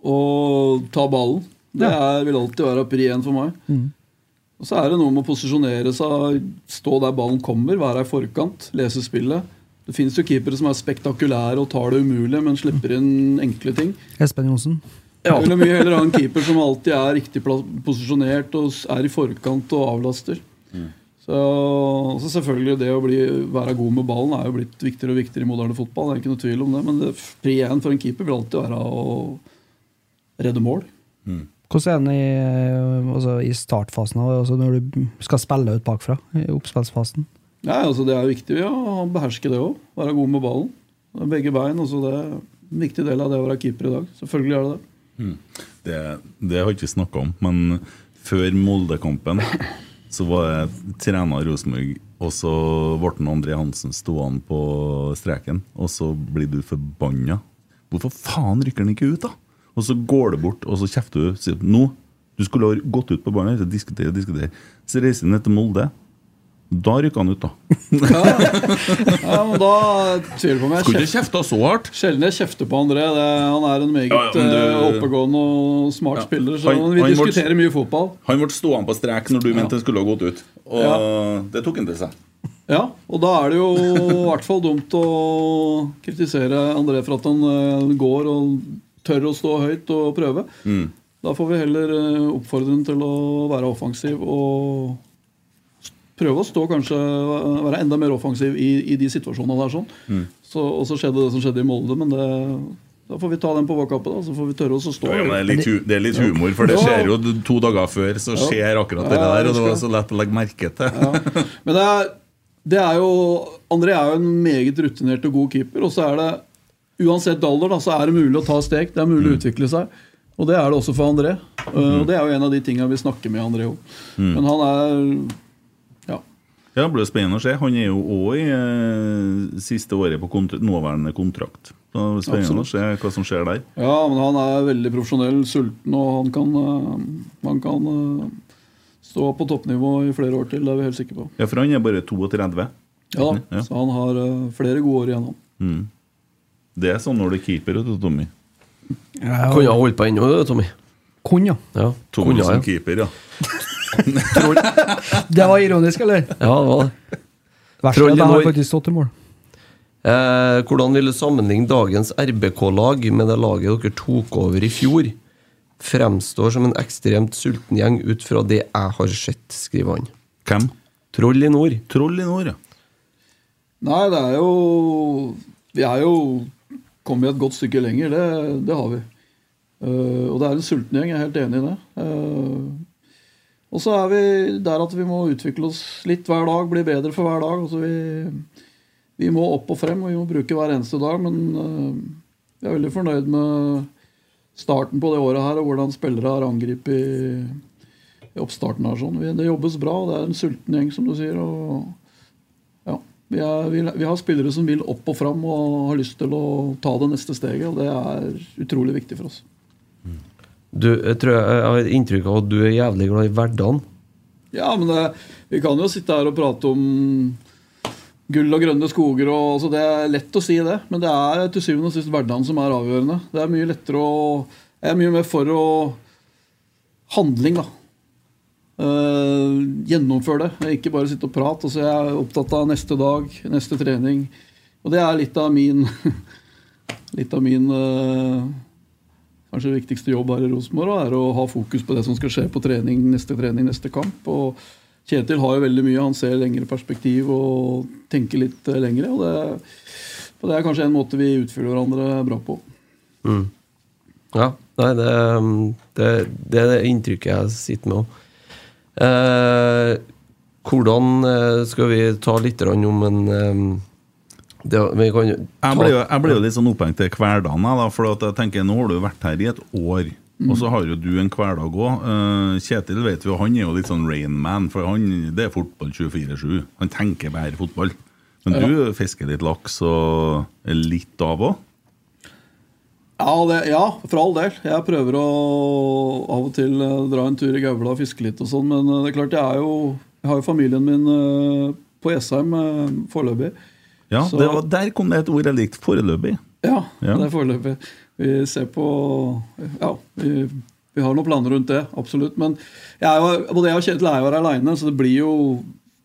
Og tar ballen. Det er, vil alltid være pri én for meg. Og så er det noe med å posisjonere seg, stå der ballen kommer, være i forkant, lese spillet. Det fins jo keepere som er spektakulære og tar det umulige, men slipper inn enkle ting.
Espen Johnsen.
Jeg vil jo mye heller ha en keeper som alltid er riktig pla- posisjonert og s- er i forkant og avlaster. Så, så selvfølgelig det å bli, være god med ballen er jo blitt viktigere og viktigere i moderne fotball. Det er ikke noe tvil om det, Men det, pri én for en keeper vil alltid være å redde mål.
Hvordan er han i, eh, altså, i startfasen, av, altså når du skal spille ut bakfra? I oppspillsfasen?
Nei, altså Det er viktig ja, å beherske det òg. Være god med ballen. Begge bein. Altså det er en viktig del av det å være keeper i dag. Selvfølgelig er det det.
Det, det har ikke vi snakka om, men før Molde-kampen så var jeg trener i Rosenborg, og så ble André Hansen stående på streken, og så blir du forbanna. Hvorfor faen rykker han ikke ut, da? Og så går du bort, og så kjefter du. Sier, nå, du skulle ha gått ut på banen og diskutere, diskutere. Så reiser han ned til Molde. Da rykker han ut, da.
Ja, men Da tviler jeg på om jeg
Skulle ikke kjefta så hardt!
Sjelden jeg kjefter på André. Det, han er en meget
Ja, ja, men du-
eh, oppegående og smart
Ja.
spiller. Så
Han-
vi
han var-
diskuterer mye fotball.
Han ble stående på strek når du mente han skulle ha gått ut. Og det tok han til seg.
Ja, og da er det jo i hvert fall dumt å kritisere André for at han eh, går og tør å stå høyt og prøve.
Mm.
Da får vi heller eh, oppfordre ham til å være offensiv og s- prøve å stå kanskje eh, være enda mer offensiv i, i de situasjonene der. sånn.
Mm.
Så, og så skjedde det som skjedde i Molde, men det, da får vi ta den på vårkappet. da, Så får vi tørre oss å stå.
Ja, men det, er
høyt.
litt, hu- det er litt humor, for det skjer jo to dager før. Så skjer akkurat det der, og det var så lett å legge merke til.
Ja. Men det er, det er jo André er jo en meget rutinert og god keeper. Og så er det, uansett alder, da, så er det mulig å ta steg. Det er mulig å utvikle seg. Og det er det også for André. Eh, Og det er jo en av de tinga vi snakker med André om. Men han er Ja.
[LAUGHS] Ja, det blir jo spennende å se. Han er jo òg i eh, siste året på kontra nåværende kontrakt. Så det blir spennende å se hva som skjer der.
ja, men han er veldig profesjonell, sulten, og han kan, eh, han kan eh, stå på toppnivå i flere år til. Det er vi helt sikre på.
Ja, for han er bare 32.
Ja,
Mm, Ja.
da, Så han har eh, flere gode år igjen. han.
Det er sånn når du er keeper, vet du, Tommy.
Kunne ha holdt på ennå, det, Tommy.
Kun, ja.
Ja,
Tommy
kunne ha,
som
ja.
keeper, ja.
Det var ironisk, eller?
ja det var det.
Verst er
Troll
at
i
jeg
nord.
har faktisk stått i mål.
Eh, hvordan vil du sammenligne dagens RBK-lag med det laget dere tok over i fjor? Fremstår som en ekstremt sulten gjeng ut fra det jeg har sett, skriver han.
Hvem?
Troll i nord.
Troll i nord, ja.
Nei, det er jo Vi er jo kommet et godt stykke lenger. Det, det har vi. Eh, og det er en sulten gjeng. Jeg er helt enig i det. Eh, og så er vi der at vi må utvikle oss litt hver dag, bli bedre for hver dag. Altså vi, vi må opp og frem, og vi må bruke hver eneste dag. Men eh, jeg er veldig fornøyd med starten på det året her, og hvordan spillere har angrepet i, i oppstarten. her. Sånn. Vi, det jobbes bra, og det er en sulten gjeng, som du sier. og ja. Vi, er, vi, vi har spillere som vil opp og fram og har lyst til å ta det neste steget. og Det er utrolig viktig for oss.
Du, jeg, tror jeg, jeg har inntrykk av at du er jævlig glad i hverdagen.
Ja, men det, Vi kan jo sitte her og prate om gull og grønne skoger. Og, altså det er lett å si det, men det er til syvende og sist hverdagen som er avgjørende. Det er mye lettere å, Jeg er mye mer for å handling, da. Eh, gjennomføre det, ikke bare sitte og prate. Altså, jeg er opptatt av neste dag, neste trening. Og det er litt av min [LAUGHS] Litt av min eh, kanskje viktigste jobb her i Rosenborg er å ha fokus på det som skal skje på trening, neste trening, neste kamp. Og Kjetil har jo veldig mye. Han ser lengre perspektiv og tenker litt eh, lengre. Og det, og det er kanskje en måte vi utfyller hverandre bra på.
Ja, nei, det, um, det, det er det inntrykket jeg sitter med òg. Eh, hvordan eh, Skal vi ta litt grann om en eh, det, Vi kan jo ta
Jeg ble, jo, jeg ble jo litt sånn opphengt til hverdagen, jeg, da, for at jeg tenker, nå har du jo vært her i et år. Og så har jo du en hverdag òg. Kjetil vet vi jo, han er jo litt sånn Rainman, for han, det er fotball 24-7. Han tenker bare fotball. Men du fisker litt laks og er litt av òg?
Ja, det, ja, for all del. Jeg prøver å av og til eh, dra en tur i Gaula og fiske litt og sånn, men eh, det er klart, jeg, er jo, jeg har jo familien min eh, på Jessheim eh, foreløpig.
Ja,
Så-
det var, der kom det et ord jeg likte foreløpig.
Ja,
Ja.
det er foreløpig. Vi ser på Ja, vi, vi har noen planer rundt det, absolutt. Men jeg er jo, både jeg og Kjetil er jo her aleine, så det blir jo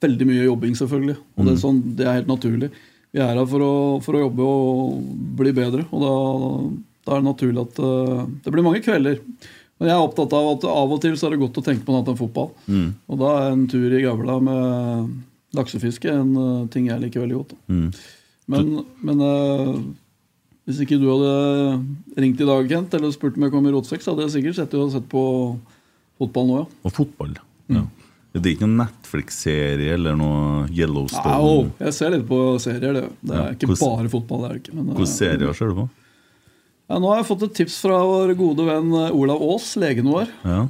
veldig mye jobbing, selvfølgelig. Og det, er sånn, det er helt naturlig. Vi er her for å, for å jobbe og bli bedre, og da, da er det naturlig at eh, Det blir mange kvelder. Men jeg er opptatt av at av og til så er det godt å tenke på noe annet enn fotball. Og da er en tur i gavla med laksefiske en eh, ting jeg liker veldig godt.
Mm.
Da. Men, men eh, hvis ikke du hadde ringt i dag, Kent, eller spurt om jeg kom i rotsekk, så hadde jeg sikkert sett, sett på fotball nå, ja.
Og fotball.
Mm.
Ja. Det er ikke noen Netflix-serie eller noe Yellowstone?
Au, jeg ser litt på serier, det. Det er
Ja,
ikke
hvordan-
bare fotball. det er det ikke. Men, eh,
Hvilke serier ser du på?
ja, nå har jeg fått et tips fra vår gode venn eh, Olav Aas, legen vår.
Ja.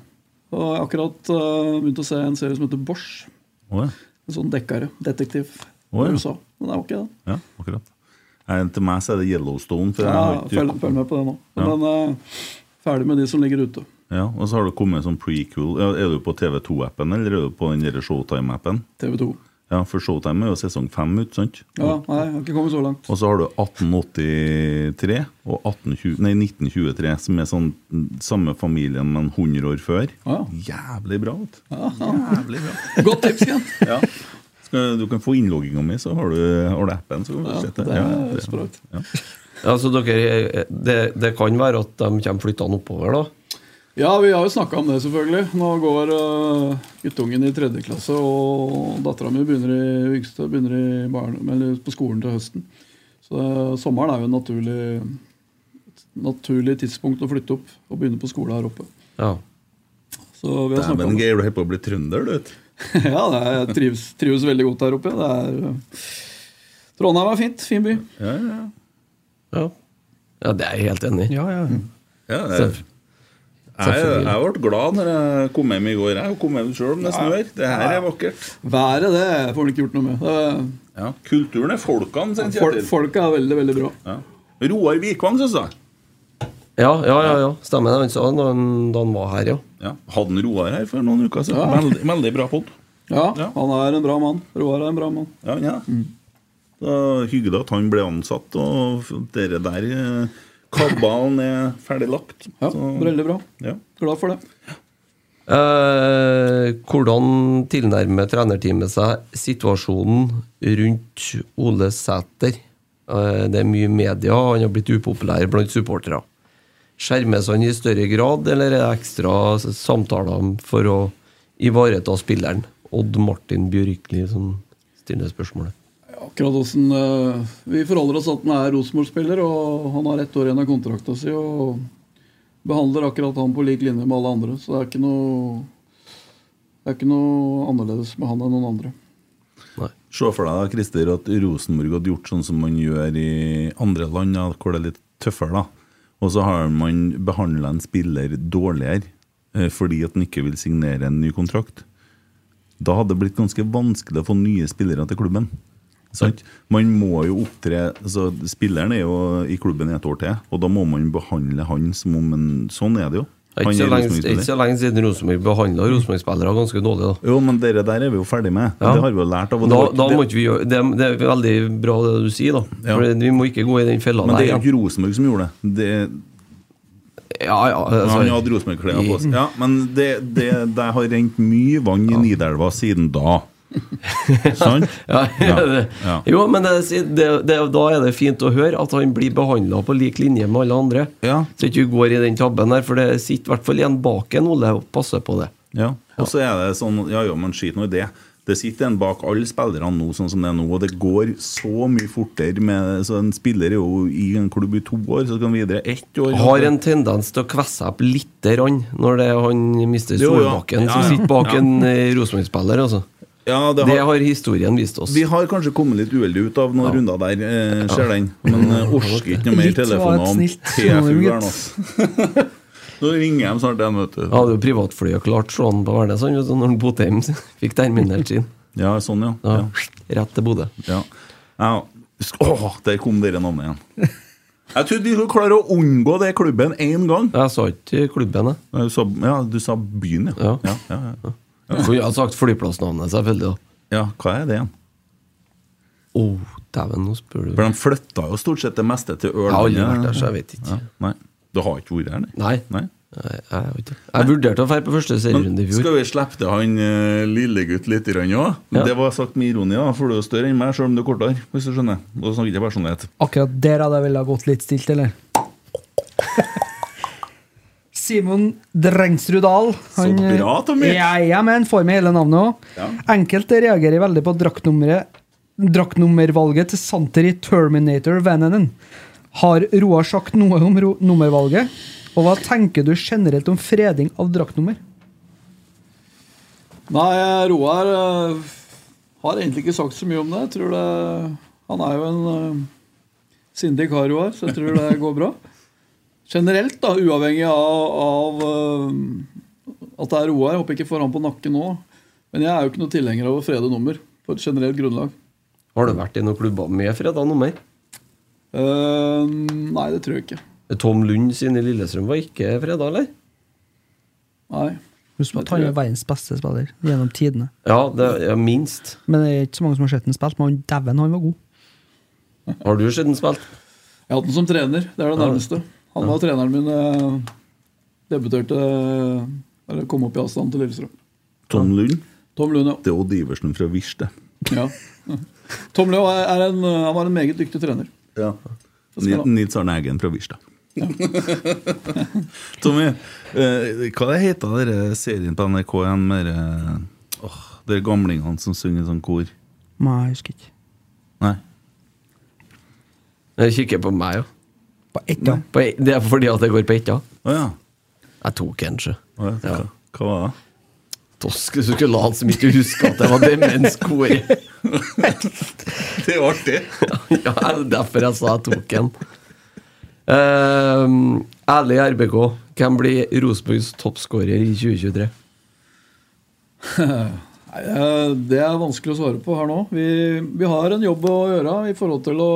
Og jeg har akkurat eh, begynt å se en serie som heter Bosch.
Å, ja.
En sånn dekkere. Detektiv.
Å, ja.
i USA. Den er ok, den.
Ja, akkurat. Nei, til meg så er det Yellowstone. For jeg
Ja,
har ikke-
følg, følg med på det nå.
Ja.
Men eh, ferdig med de som ligger ute.
Ja, Og så har det kommet sånn prequel. Ja, Er du på TV2-appen, eller er du på den der Showtime-appen?
TV 2.
Ja, for Showtime er jo sesong fem, ut, sant?
Ja, nei, jeg har ikke kommet så langt.
Og så har du 1883 og 1820, nei, 1923, som er sånn samme familien, men 100 år før.
Ja.
Jævlig bra, vet du. Jævlig bra.
Godt tips, Kent!
Ja. Skal- Du kan få innlogginga mi, så har du, har du appen. Så kan du
Ja,
sette.
det er
Ja, ja, det-
sprøtt.
ja.
Altså, dere, det, det kan være at de kommer flyttende oppover, da.
Ja, vi har jo snakka om det, selvfølgelig. Nå går øh, guttungen i tredje klasse, og dattera mi begynner i yngste begynner i barne, eller på skolen til høsten. Så øh, sommeren er jo et naturlig, et naturlig tidspunkt å flytte opp og begynne på skole her oppe.
Ja.
Så vi har snakket
Dæven,
om det.
Geir, du holder på å bli trønder, du. vet.
ja, det [LAUGHS] er, jeg trives, trives veldig godt her oppe. Det er, øh, Trondheim er fint. Fin by.
Ja, ja, ja.
ja. ja det er jeg helt enig i.
Ja, ja.
Ja, det er- jeg, jeg, jeg ble glad når jeg kom hjem i går. Jeg kom hjem sjøl om det snør. Det her er vakkert.
Været det får en ikke gjort noe med. Det
Ja. Kulturen er folkene sin,
er- Fol
Kjetil.
Folket er veldig, veldig bra.
Ja. Roar Vikvang, syns jeg.
Ja, ja, ja, ja. stemmer det. Han sa det da han- da han var her, ja.
Ja. Hadde en Roar her for noen uker siden. Veldig, veldig bra pod.
Ja,
Ja.
han er en bra mann. Roar er en bra mann.
Ja, ja. Det er hyggelig at han ble ansatt, og dere der eh, Kabalen er ferdig lagt.
Ja,
Så-
Veldig bra.
Ja.
Glad for det.
Eh, hvordan tilnærmer trenerteamet seg situasjonen rundt Ole Sæter? Eh, det er mye media, og han har blitt upopulær blant supportere. Skjermes han i større grad, eller er det ekstra s- samtaler for å ivareta spilleren? Odd Martin Bjørkli som stiller spørsmålet.
Akkurat hvordan eh, Vi forholder oss til at han er Rosenborg-spiller, og han har ett år igjen av kontrakta si. Og behandler akkurat han på lik linje med alle andre. Så det er ikke noe det er ikke noe annerledes med han enn noen andre.
Se for deg da, Christer, at Rosenborg hadde gjort sånn som man gjør i andre land, da, hvor det er litt tøffere. da. Og så har man behandla en spiller dårligere eh, fordi at han ikke vil signere en ny kontrakt. Da hadde det blitt ganske vanskelig å få nye spillere til klubben. Sant? Man må jo opptre altså, Spilleren er jo i klubben i et år til, og da må man behandle han som om en Sånn er det jo.
Det er
Han
ikke så
er liksom
lenge,
Rosenborg-spiller.
ikke så lenge siden Rosenborg behandla Rosenborg-spillere ganske dårlig, da.
Jo, men dere der er vi jo ferdig med.
Ja.
Det har vi jo lært av. og
Da,
det var-
da
det-
må ikke vi gjøre, det, er- det er veldig bra det du sier, da.
Ja.
For vi må ikke gå i den fella
Men det er jo
ja.
ikke Rosenborg som gjorde det. det
Ja, ja. altså-
han hadde Rosenborg-klær på seg. Ja, men det, det, det har rent mye vann i Nidelva siden da.
[LAUGHS]
Sant?
Ja, [LAUGHS]
Ja,
det-
ja.
Jo, men det, det, det, da er det fint å høre at han blir behandla på lik linje med alle andre.
Ja.
Så ikke du går i den tabben der, for det sitter i hvert fall en bak en Ole og passer på det.
Ja. Og så er det sånn Ja, ja, men skit nå i det. Det sitter en bak alle spillerne nå, sånn som det er nå, og det går så mye fortere med Så en spiller er jo i en klubb i to år, så kan han videre ett år
Har en tendens til å kvesse opp lite grann når det er han mister
Jo, ja.
Solbakken
Ja,
som
ja.
sitter bak
Ja.
en eh, Rosenborg-spiller, altså.
Ja, det
Det
har,
har historien vist oss.
vi har kanskje kommet litt uheldig ut av noen runder der, eh, ser den. Men eh, orker ikke noe mer
Litt var et
telefoner om
snilt
TFU-eren,
smågutt.
altså. [LAUGHS] Nå ringer de snart igjen, vet du.
Ja, Hadde jo privatflyet klart slå han på Værnes han, vet du, når han Botheim [LAUGHS] fikk terminert sin.
Ja, sånn, ja.
Da,
ja.
Rett til Bodø.
ja. ja. Sk- Åh, der kom dere navnet igjen. Jeg trodde vi skulle klare å unngå det klubben én gang.
Jeg sa ikke klubben, jeg.
Du sa, ja, du sa byen, ja.
Ja.
Ja, ja, ja.
For jeg har sagt flyplassnavnet, selvfølgelig. da
ja hva er det igjen?
Å, dæven, nå spør du.
For de flytta jo stort sett det meste til
Jeg har
Ørland.
aldri vært der, så jeg vet ikke.
Ja, nei. Du har ikke vært her, nei?
Nei.
nei.
Nei, Jeg, har ikke. jeg vurderte å dra på første
Men
serierunde i fjor.
skal vi slippe til han eh, lillegutt litt òg?
Ja.
Det var sagt med ironi, da, for du er jo større enn meg, sjøl om du er kortere. Hvis du skjønner. Da snakker jeg ikke personlighet.
Akkurat der hadde jeg vel ha gått litt stilt,
[LAUGHS]
eller? Simon Drengsrud Dahl.
Så bra, Tommy.
Ja, ja, men får med hele navnet òg.
Ja.
Enkelte reagerer veldig på draktnummeret Draktnummervalget til Santer i Terminator Vananen. Har Roar sagt noe om ro nummervalget? Og hva tenker du generelt om freding av draktnummer?
Nei, Roar øh, har egentlig ikke sagt så mye om det. Jeg tror det Han er jo en øh, sindig kar, Roar, så jeg tror det går bra. Generelt, da, uavhengig av, av øh, at det er Roar. Jeg håper ikke jeg får han på nakken nå. Men jeg er jo ikke noe tilhenger av å frede nummer på et generelt grunnlag.
Har du vært i noen klubber med freda nummer?
Eh, nei, det tror jeg ikke.
Tom Lund sin i Lillestrøm var ikke freda, eller?
Nei.
Husk på at han er verdens beste spiller gjennom tidene.
Ja, det ja, minst.
Men det er ikke så mange som har sett han spilt, men dæven, han var god.
Har du sett den spilt?
Jeg har hatt den som trener. Det er det nærmeste. Han var treneren min eh, debuterte Eller kom opp i avstand til Lillestrøm.
Tom Lund.
Tom Lund, ja.
Det er Odd Iversen fra Wish, det.
Ja. Tom Leo er er en, han var en meget dyktig trener.
Ja.
skal
Ni-
da-
Nils Arne Eggen fra Birstad. [LAUGHS] Tommy, eh, hva det heter det dere serien på NRK igjen med dere åh, dere gamlingene som synger sånn kor?
Nei, jeg husker ikke.
Nei?
Jeg kikker på meg, jo.
På ett gang.
På e- Det er fordi at det går på ett, ja.
Å ja.
Jeg tok kanskje.
Å, ja. Hva, hva var det?
Tosk, du skulle late som ikke du husker at jeg var demenskoret.
Det er jo artig!
[LAUGHS] ja, det er derfor jeg sa jeg tok en. Uh, ærlig RBK, hvem blir Rosenborgs toppskårer i 2023?
Nei, eh, Det er vanskelig å svare på her nå. Vi, vi har en jobb å gjøre i forhold til å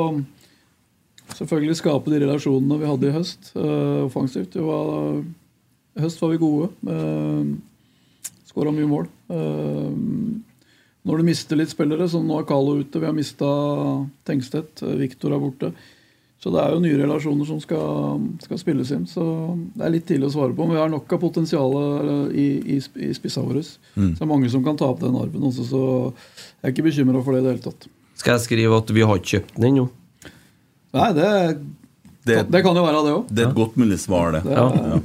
selvfølgelig skape de relasjonene vi hadde i høst, eh, offensivt. Det var, I høst var vi gode. Uh, Skåra mye mål. Eh, når du mister litt spillere, som nå er Carlo ute, vi har mista Tengstedt, eh, Viktor er borte. Så det er jo nye relasjoner som skal, skal spilles inn. Så det er litt tidlig å svare på. Men vi har nok av potensial eh, i, i, sp- i spissa våre.
Mm.
Så det er mange som kan ta opp den arven også, så jeg er ikke bekymra for det i det hele tatt.
Skal jeg skrive at vi har ikke kjøpt den ennå?
Nei, det,
Det,
det kan jo være det òg.
det er et godt mulig svar, det.
Ja.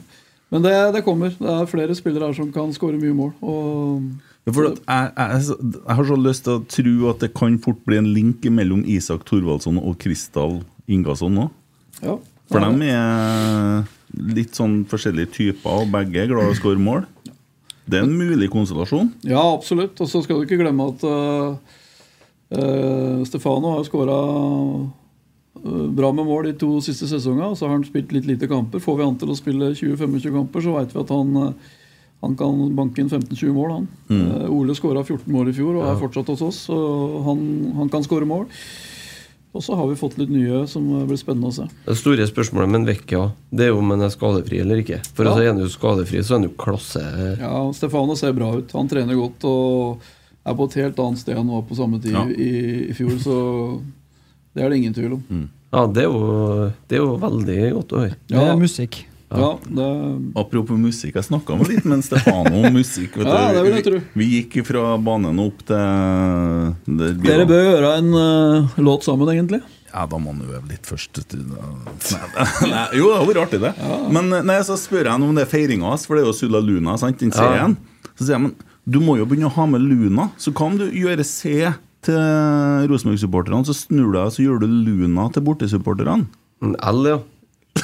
Men det, det kommer. Det er flere spillere her som kan skåre mye mål. Og
Ja, for at jeg, jeg, jeg har så lyst til å tro at det kan fort bli en link mellom Isak Thorvaldsson og Kristal Ingasson nå.
ja.
For dem er litt sånn forskjellige typer, og begge er glad i å skåre mål. Det er en mulig konstellasjon.
Ja, absolutt. Og så skal du ikke glemme at eh, eh, Stefano har skåra bra med mål de to siste sesongene. og Så har han spilt litt lite kamper. Får vi han til å spille 20-25 kamper, så veit vi at han, eh, han kan banke inn 15-20 mål. Han. Eh, Ole skåra 14 mål i fjor og er fortsatt hos oss. Og han, han kan skåre mål. Og så har vi fått litt nye som eh, blir spennende å se.
Det store spørsmålet med en Vecchia det er jo om han er skadefri eller ikke. For
Ja.
altså, er han jo skadefri, så er han jo klasse
Ja, Stefano ser bra ut. Han trener godt og er på et helt annet sted enn han var på samme tid
Ja.
i, i fjor, så det er det ingen tvil om.
Ja, det er jo, det er jo veldig godt å høre.
Det
Ja.
er musikk.
Ja, det,
Apropos musikk, jeg snakka med litt med Stefano om musikk. Vet
Ja,
du.
det vil jeg
Vi-
tro.
Vi gikk fra banen og opp til der
dere
bilene-
bør gjøre en eh, låt sammen, egentlig.
Ja, da må han øve litt først. vet du. Nei, [LAUGHS] nei, jo, det hadde vært artig, det. Men eh, nei, så spør jeg han om det er feiringa hans, for det er jo Sulla Luna, sant, den serien. Så sier jeg, men du må jo begynne å ha med Luna. Så hva om du gjør C til Rosenborg-supporterne, så snur du deg og så gjør du Luna til bortesupporterne? [LAUGHS]
En L, ja.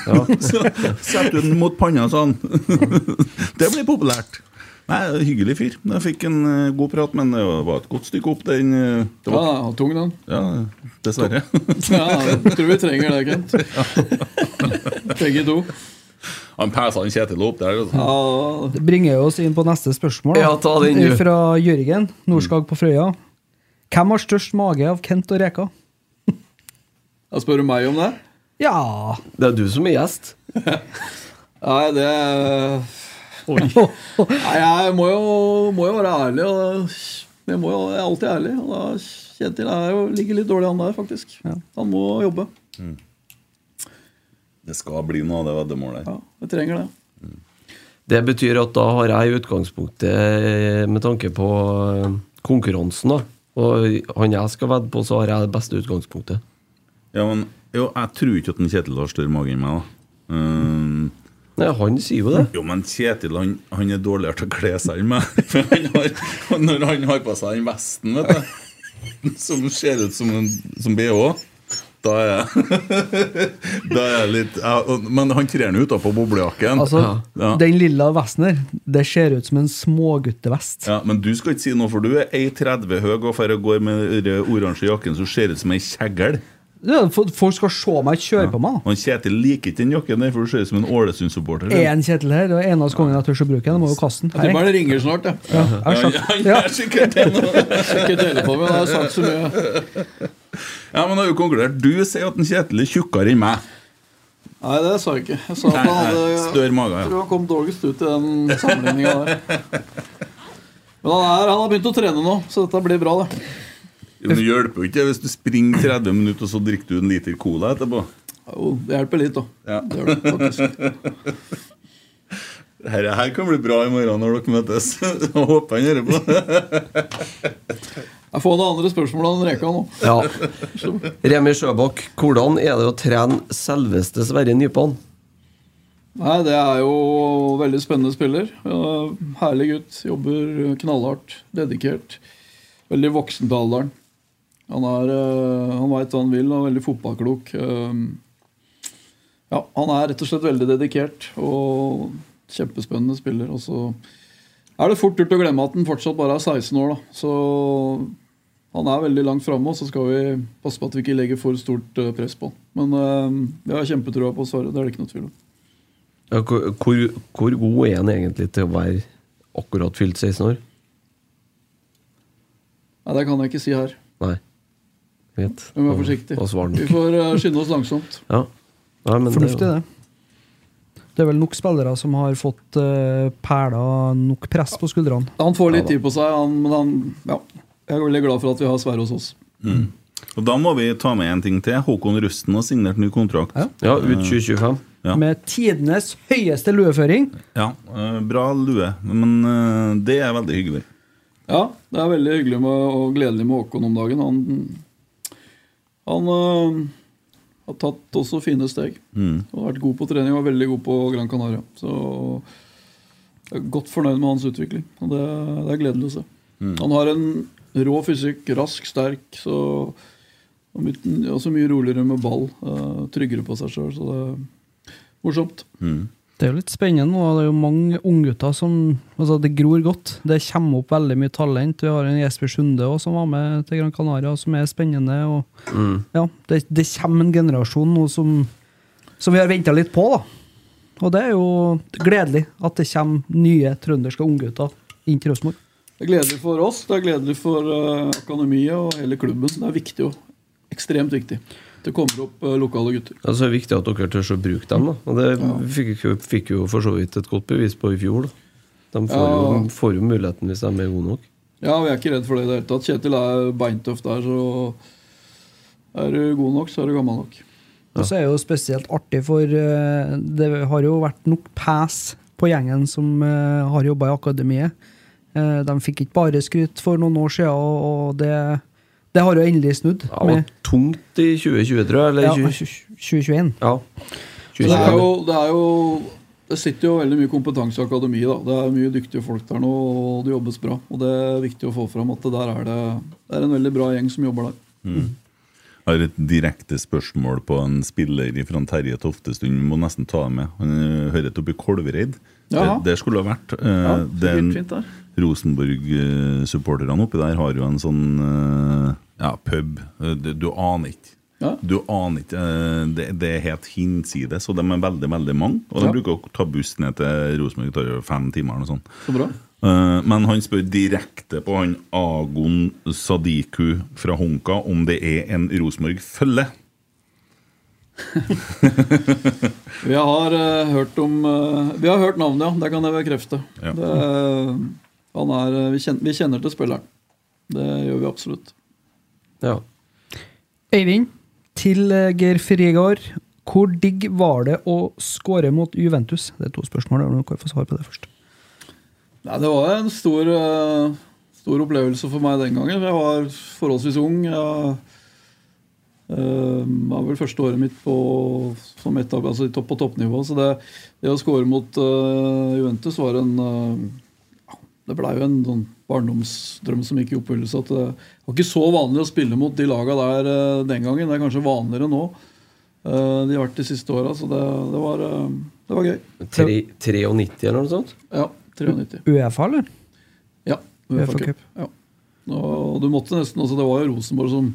ja.
Så setter du den mot panna sånn. [LAUGHS] Det blir populært. Nei, hyggelig fyr. Jeg fikk en eh, god prat, men det var et godt stykke opp den eh, det
Ja,
var,
tung den.
ja, dessverre. [LAUGHS]
Ja, jeg tror vi trenger det, [LAUGHS] Kent. Begge to.
Han pæsa han Kjetil opp der. altså.
Ja,
Det bringer oss inn på neste spørsmål. da. Eh,
Ja, ta den, du. Mm.
Fra Jørgen Norskag på Frøya. Hvem har størst mage av Kent og Reka?
jeg spør du meg om det?
Ja
Det er du som er gjest.
Nei, det [LAUGHS] Nei, jeg må jo, må jo være ærlig. Og da- jeg, må jo, jeg er alltid ærlig. Og da Kjetil er jo, ligger litt dårlig an der, faktisk. Han må jobbe.
Det skal bli noe av det veddemålet.
Ja, jeg trenger det.
Det betyr at da har jeg i utgangspunktet, eh, med tanke på eh, konkurransen, da og han jeg skal vedde på, så har jeg det beste utgangspunktet.
Ja, men jo, jeg tror ikke at en Kjetil har større mage enn meg, da. Um,
Nei, han sier jo det.
jo, men Kjetil han, han er dårligere til å kle seg enn meg. [LAUGHS] For han har, når han har på seg den vesten, vet du, [LAUGHS] som ser ut som, en, som BH, da er jeg, [LAUGHS] da er jeg litt ja, og- Men han trer nå utapå boblejakken.
Altså,
Ja.
den lilla vesten der, det ser ut som en småguttevest.
ja, men du skal ikke si noe, for du er 1,30 høy og for å gå med den oransje jakken som ser ut som ei kjegle.
Ja, fo- folk skal se meg kjøre på meg.
Og han Kjetil liker ikke den jakken der, for du ser ut som en Ålesund-supporter.
Én Kjetil her, og en av oss kongen jeg tør å bruke den. Jeg må jo kaste den.
Jeg
Hei.
tipper det ringer snart, jeg.
Ja, jeg har sagt- ja.
er sikkert det nå.
Ikke telefonen, jeg har sagt så mye.
Ja, men da har vi konkludert. Du sier at en Kjetil er tjukkere enn meg.
Nei, det sa jeg ikke. Jeg sa at han
Nei,
hadde
nei, større mage, ja.
Jeg tror han kom dårligst ut i den sammenligninga der. Men han, er, han har begynt å trene nå, så dette blir bra, det.
Men det hjelper jo ikke hvis du springer 30 minutter, og så drikker du en liter cola etterpå.
Jo, det hjelper litt, da.
Ja.
Det gjør det, faktisk.
Dette her kan bli bra i morgen når dere møtes. [LAUGHS] Jeg håper han hører på.
Jeg får det andre spørsmålet enn Reka nå.
Ja. [LAUGHS] Remi Sjøbakk, hvordan er det å trene selveste Sverre Nypan?
Nei, det er jo veldig spennende spiller. Eh, Herlig gutt. Jobber knallhardt, dedikert. Veldig voksen til alderen. Han, er, eh, han veit hva han vil og er veldig fotballklok. Eh, Ja, han er rett og slett veldig dedikert og kjempespennende spiller. Og så er det fort gjort å glemme at han fortsatt bare er 16 år, da. Så han er veldig langt framme, og så skal vi passe på at vi ikke legger for stort eh, press på han. Men eh, jeg har kjempetrua på Sverre, det er det ikke noe tvil om.
Ja, Hvor, hvor hvor god er han egentlig til å være akkurat fylt 16 år?
Nei, Det kan jeg ikke si her.
Nei. Greit.
Vi må være forsiktige.
Da svarer
Vi
han.
får eh, skynde oss langsomt.
Ja. Nei, men
Fornuftig,
det.
det. Det er vel nok spillere som har fått uh, perler nok press på skuldrene.
Han får litt tid på seg, han, men han ja. Jeg er veldig glad for at vi har Sverre hos oss.
Og Da må vi ta med en ting til. Håkon Rusten har signert ny kontrakt.
Ja.
Ja, ut 2025.
Ja.
Med tidenes høyeste lueføring.
Ja, eh, Bra lue, men eh, det er veldig hyggelig.
Ja, det er veldig hyggelig med, og gledelig med Håkon om dagen. Han, han eh, har tatt også fine steg.
Mm.
Har vært god på trening og er veldig god på Gran Canaria. Så jeg er godt fornøyd med hans utvikling. Og det, det er gledelig å se. Han har en rå fysikk, rask, sterk så, og, my, og så mye roligere med ball. eh, tryggere på seg sjøl, så det er morsomt.
mm.
Det er jo litt spennende nå. Det er jo mange unggutter som altså Det gror godt. Det kommer opp veldig mye talent. Vi har en Jesper Sunde også, som var med til Gran Canaria, som er spennende. Og, ja, det, det kommer en generasjon nå som, som vi har venta litt på, da. Og det er jo gledelig at det kommer nye trønderske unggutter inn til Rosenborg.
Det er gledelig for oss, det er gledelig for eh, akademiet og hele klubben. Det er viktig og ekstremt viktig. Det kommer opp eh, lokale gutter.
Ja, så er Altså, det viktig at dere tør å bruke dem. da Og Det fikk, jo- fikk jo for så vidt et godt bevis på i fjor. da De får,
Ja.
jo, får jo muligheten hvis de er gode nok.
Ja, vi er ikke redd for det i det hele tatt. Kjetil er beintøff der, så er du god nok, så er du gammel nok.
Og så er det jo spesielt artig, for eh, det har jo vært nok pes på gjengen som eh, har jobba i akademiet. Eh, De fikk ikke bare skryt for noen år siden, og og det, det har jo endelig snudd.
Ja, det var
Med
tungt i 2020, tror jeg. Eller
ja,
20,
2021.
ja.
Så det,
2020.
er jo, det er jo Det sitter jo veldig mye kompetanse i akademiet. da. Det er mye dyktige folk der nå, og det jobbes bra. Og det er viktig å få fram at det der er det, det er en veldig bra gjeng som jobber der.
Jeg har et direkte spørsmål på en spiller fra Terje Toftestund. Vi må nesten ta ham med. Han eh, hører til oppe i Kolvereid.
Jaha.
Det, det skulle ha vært. eh,
Ja, så
den-
fint der.
Rosenborg-supporterne oppi der har jo en sånn eh, ja, pub. Eh, Du, du aner ikke.
Ja.
Du aner ikke. eh, Det, det er helt hinsides, og de er veldig veldig mange. Og de
Ja.
bruker å ta buss ned til Rosenborg, det tar jo fem timer eller noe sånt.
Så bra.
Eh, Men han spør direkte på han Agon Sadiku fra Honka om det er en Rosenborg-følge.
Vi har eh, hørt om eh, Vi har hørt navnet, ja. Det kan jeg bekrefte.
Ja.
Det, eh, han er, eh, vi, kjenner, vi kjenner til spilleren. Det gjør vi absolutt.
Ja.
Øyvind, til eh, Geir Frigard. Hvor digg var det å skåre mot Juventus? Det er to spørsmål. der, men Du kan få svar på det først.
Nei, det var en stor, eh, stor opplevelse for meg den gangen. Jeg var forholdsvis ung. Jeg eh, var vel første året mitt på, som etab- altså i topp, på toppnivå. Så det, det å score mot eh, Juventus var en eh, ja, Det blei jo en sånn barndomsdrøm som gikk i oppfyllelse. At eh, det var ikke så vanlig å spille mot de laga der eh, den gangen. Det er kanskje vanligere nå. Eh, de har vært de siste åra, så det, det, var, eh, det var gøy.
Tre- 93 eller noe sånt?
Ja, 93.
Uefa, eller?
Ja,
UEFA
UEFA Cup.
Cup.
Ja. Og du måtte nesten også, Det var jo Rosenborg som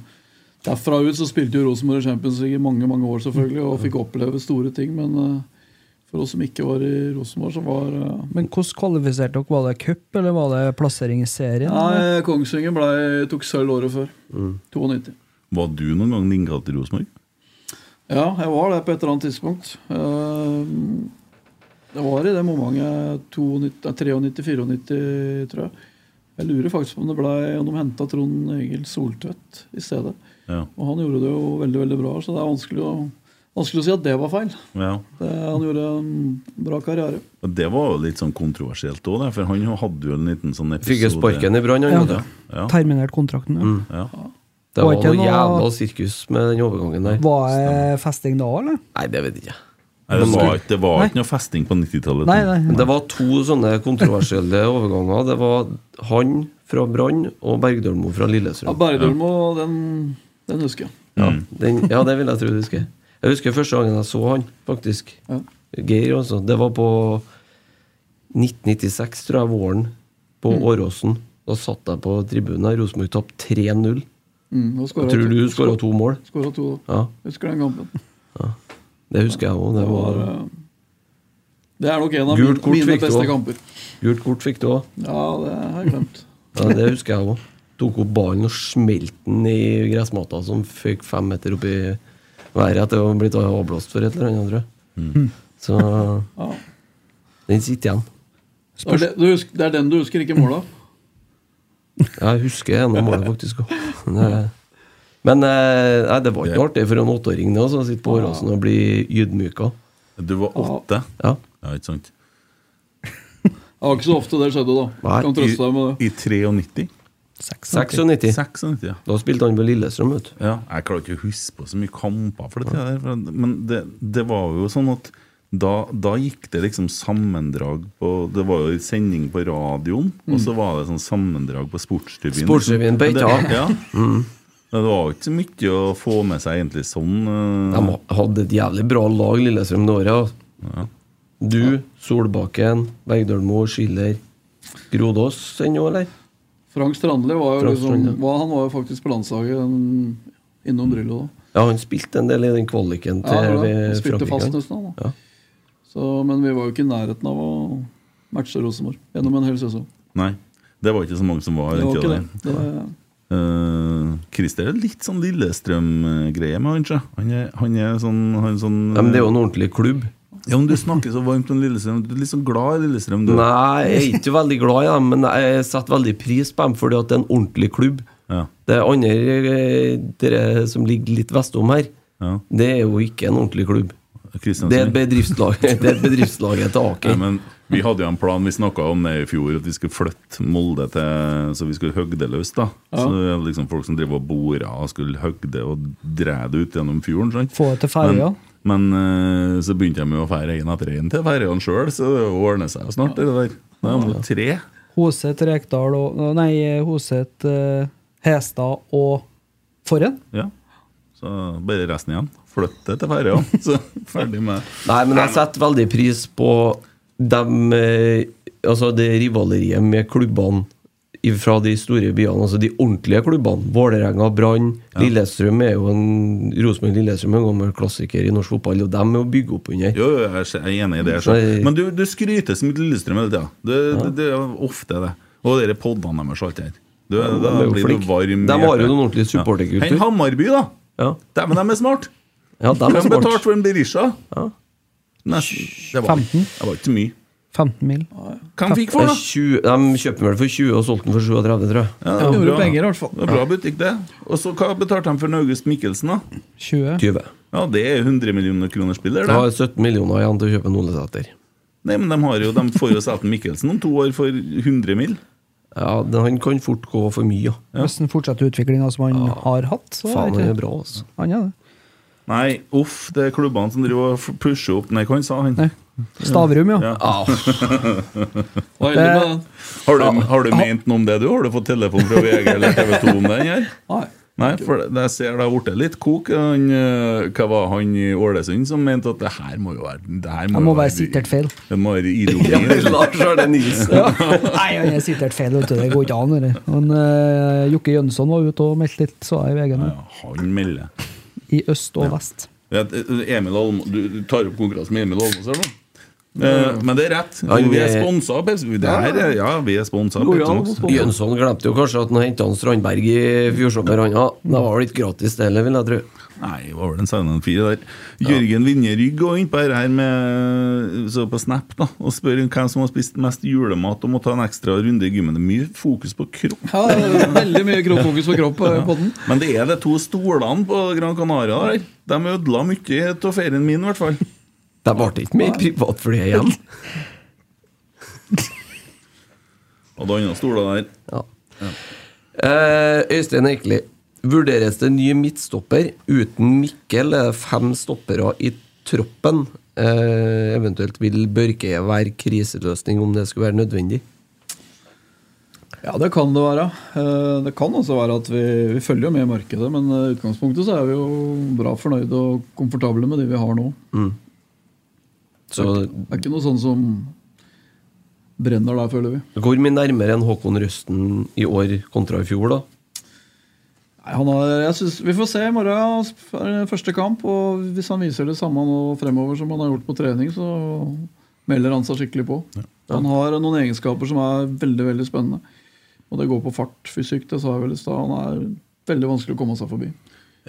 Derfra ut så spilte jo Rosenborg i Champions League i mange mange år selvfølgelig, og fikk oppleve store ting. Men eh, for oss som ikke var i Rosenborg, så var eh,
Men hvordan kvalifiserte dere? Var det cup, eller var det plassering i serien? eller?
Nei, eh, Kongsvinger ble, tok sølv året før. 92.
Var du noen gang innkalt til Rosenborg?
Ja, jeg var det på et eller annet tidspunkt. Eh, Det var i det momentet 93-94, tror jeg. Jeg lurer faktisk på om det ble, om de henta Trond Egil Soltvedt i stedet.
Ja.
Og han gjorde det jo veldig veldig bra, så det er vanskelig å Vanskelig å si at det var feil.
Ja.
Det, han gjorde en bra karriere.
Og det var jo litt sånn kontroversielt òg, for han hadde jo en liten sånn episode
Fikk jo sparken i brann,
Ja.
han. vet du.
Ja.
Terminert kontrakten. Ja.
Ja.
Det
Var
var
ikke
noe
noe-
jævla sirkus med den overgangen der.
Var det festing da, eller?
Nei, det vet jeg ikke.
Nei, det var, ikke- det var ikke noe festing på
Nei,
90-tallet.
nei.
Men det var to sånne kontroversielle overganger. Det var han fra Brann og Bergdølmo fra
Ja,
Lillestrøm.
Bergdølmo, den, den husker jeg.
Ja, den, ja det vil jeg tro du husker. Jeg husker første gangen jeg så han, faktisk.
Ja.
Geir, altså. Det var på 1996, tror jeg, våren, på Åråsen. Da satt jeg på tribunen der. Rosenborg tapte 3-0.
Mm, og skåret
Tror du
to-
du skåra to mål?
skåret to, da.
Ja,
Husker den kampen.
det husker jeg òg. Det
Det, var,
var
eh, det er nok en av
Gult
mine,
kort
mine
fikk du
beste
også.
kamper.
Gult kort fikk du òg.
Ja, det har jeg glemt.
Ja, det husker jeg òg. Tok opp ballen og smelte den i gressmata som føk fem meter opp i været etter å ha blitt avblåst for et eller annet, tror jeg. Så
Ja.
den sitter igjen.
Det, er det, du husker, det er den du husker, ikke måla?
Jeg husker ene målet, faktisk. også. Det- Men eh, nei, det var ikke noe artig for en åtteåring det også, å sitte på Åråsen og bli ydmyka.
Du var åtte.
Ja.
Ja, ikke sant?
Det var ikke så ofte det skjedde, da.
Nei,
kan trøste deg med det.
I, i 93?
96.
96, ja.
Da spilte han på Lillestrøm, vet du.
Ja, jeg klarer ikke å huske på så mye kamper for det der, for- men det, det var jo sånn at da, da gikk det liksom sammendrag på Det var jo sending på radioen, og så var det sånn sammendrag på Sportsrevyen.
Mm.
liksom.
Sportsrevyen på Mm.
Det-
Eita.
Ja. Men Det var jo ikke så mye å få med seg egentlig sånn. eh,
Mm.
De hadde et jævlig bra lag, Lillestrøm, det året. altså. Du, Solbakken, Bergdølmo, Schiller Grodås ennå, eller?
Frank Strandli var jo
Frank
liksom,
Strandli.
var, han var jo faktisk på landslaget den, innom Drillo da.
Ja, han spilte en del i den kvaliken
Ja,
til
det var det.
eh,
han spilte
Frankrike.
fast nesten, han, da.
Ja.
Så, men vi var jo ikke i nærheten av å matche Rosenborg gjennom en hel sesong.
Nei. Det var ikke så mange som var.
Det var
ikke
ikke det.
det.
det
Eh, Christer er litt sånn Lillestrøm-greie med han, sjø. Han er, han er sånn, han er sånn
Ja, men det er jo en ordentlig klubb.
Ja, men Du snakker så varmt om Lillestrøm. Du er litt sånn glad i Lillestrøm. Du.
Nei, jeg er ikke veldig glad i dem, men jeg setter veldig pris på dem fordi at det er en ordentlig klubb.
Ja.
Det andre eh, dere som ligger litt vestom her,
Ja. Sånn
det er jo ikke en ordentlig klubb.
Kristiansund.
Det er bedriftslaget, [LAUGHS] det er bedriftslaget til
Nei,
Aker.
men vi hadde jo en plan, vi snakka om det i fjor, at vi skulle flytte Molde til Så vi skulle høgde løs, da. Så det er liksom folk som driver og borer og skulle høgde og dra det ut gjennom fjorden. sant?
Få det til ferja.
Men, men, eh, så begynte de jo å fære en etter en til ferjene sjøl, så det ordner seg jo snart, det der. Nå er de jo tre.
Hoset, Rekdal og Nei, Hoset, eh, Hestad og Forhen.
Ja. Så bare resten igjen. Flytt det til ferja, [LAUGHS] så ferdig med
Nei, men jeg setter veldig pris på dem, eh, altså det rivaleriet med klubbene i- fra de store byene, altså de ordentlige klubbene. Vålerenga, Brann, Lillestrøm er jo en Rosenborg-Lillestrøm er en gammel klassiker i norsk fotball, og dem er å bygge opp under.
Jo, jo, jeg er jeg er enig i det. jeg skjønner. Men du, du skryter som et Lillestrøm hele tida. Det, det, det er ofte det. Og de podene deres og alt det her. Du, da
de er jo
blir du
flink.
varm. i
De har jo
hjertet.
en ordentlig supporterkultur.
Ja. Hei, Hammarby, da!
Ja,
Dæven, de er
[LAUGHS]
smart!
ja dem er
De betalte
smart.
for en Berisha. Nesten. Det var,
15.
det var ikke så mye.
15 mil.
Hva de fikk
Det
for
er
da?
20, de kjøpte vel for 20 og solgte den for 37, tror jeg.
Ja,
gjorde
bra.
penger, i hvert fall.
Det var bra butikk, det. Og så hva betalte de for en August Mikkelsen, da?
20.
20.
Ja, det er 100 millioner kroner spiller,
Jeg
det.
har 17 millioner igjen til å kjøpe en Olesæter.
Nei, men de, har jo, de får jo Sæten Mikkelsen om to år for 100 mill.
Ja, den- han kan fort gå for mye. ja.
Hvis han fortsetter utviklinga som han har hatt, så
Faen,
er
han er
det
bra,
[LAUGHS]
altså.
han er det.
Nei, uff, det er klubbene som driver og f- pusher opp Nei, hva han sa han?
Nei. Stavrum, ja.
Ja.
[LAUGHS]
Ah,
var heldig med den.
Har du, har du ment noe om det, du? Har du fått telefon fra VG eller TV 2 om den her?
Nei.
Nei, for det, jeg ser det har blitt litt kok. Han, eh, hva var han i Ålesund som mente at det her må jo være Det her
Det
må, jo
må være sikkert feil.
Det må være
[LAUGHS]
ironi.
Lars Arne Nilsen. Ja.
Nei, han er sikkert feil, vet du. Det går ikke an. Det. Men eh, Jokke Jønsson var ute og meldte litt, så jeg i VG nå.
Ja, han melder. eh,
I øst og vest.
Vet, eh, Emil Almås Du du tar opp konkurransen med Emil Almås, eller? Eh, men det er rett.
Ja,
vi
vi-
er sponsa av Pepsi. Det her er, ja, vi er sponsa av
Går jo
Pepsi
an å
Max.
få sponset.
Jønsson glemte jo kanskje at han henta Strandberg i fjor sommer. han, Ja, det var litt gratis, det heller, vil jeg tro.
Nei, det var vel en Saunan 4 der. Jørgen Vinje Rygg går inn på her, her med, så på Snap da, og spør hvem som har spist mest julemat og må ta en ekstra runde i gymmen. Det er mye fokus på kropp.
Ja, det er veldig mye kro- fokus på kropp eh, på den.
Men det er de to stolene på Gran Canaria der. De ødela mye av ferien min, i hvert fall.
Det ble ikke mer privatfly igjen.
Og det andre stoler der.
Ja. Eh, Øystein Eikeli. Vurderes det ny midtstopper? Uten Mikkel er det fem stoppere i troppen. Eh, eventuelt vil Børke være kriseløsning om det skulle være nødvendig.
Ja, det kan det være. Eh, Det kan også være at vi, vi følger jo med i markedet, men eh, i utgangspunktet så er vi jo bra fornøyde og komfortable med de vi har nå.
Så
Det er ikke noe sånn som brenner der, føler vi.
hvor mye nærmere enn Håkon Røsten i år kontra i fjor, da?
Nei, han har, jeg synes, vi får se i morgen. er det Første kamp. Og hvis han viser det samme nå fremover som han har gjort på trening, så melder han seg skikkelig på. Han har noen egenskaper som er veldig veldig spennende. Og det går på fart, fysikk. Det sa jeg vel i stad. Han er veldig vanskelig å komme seg forbi.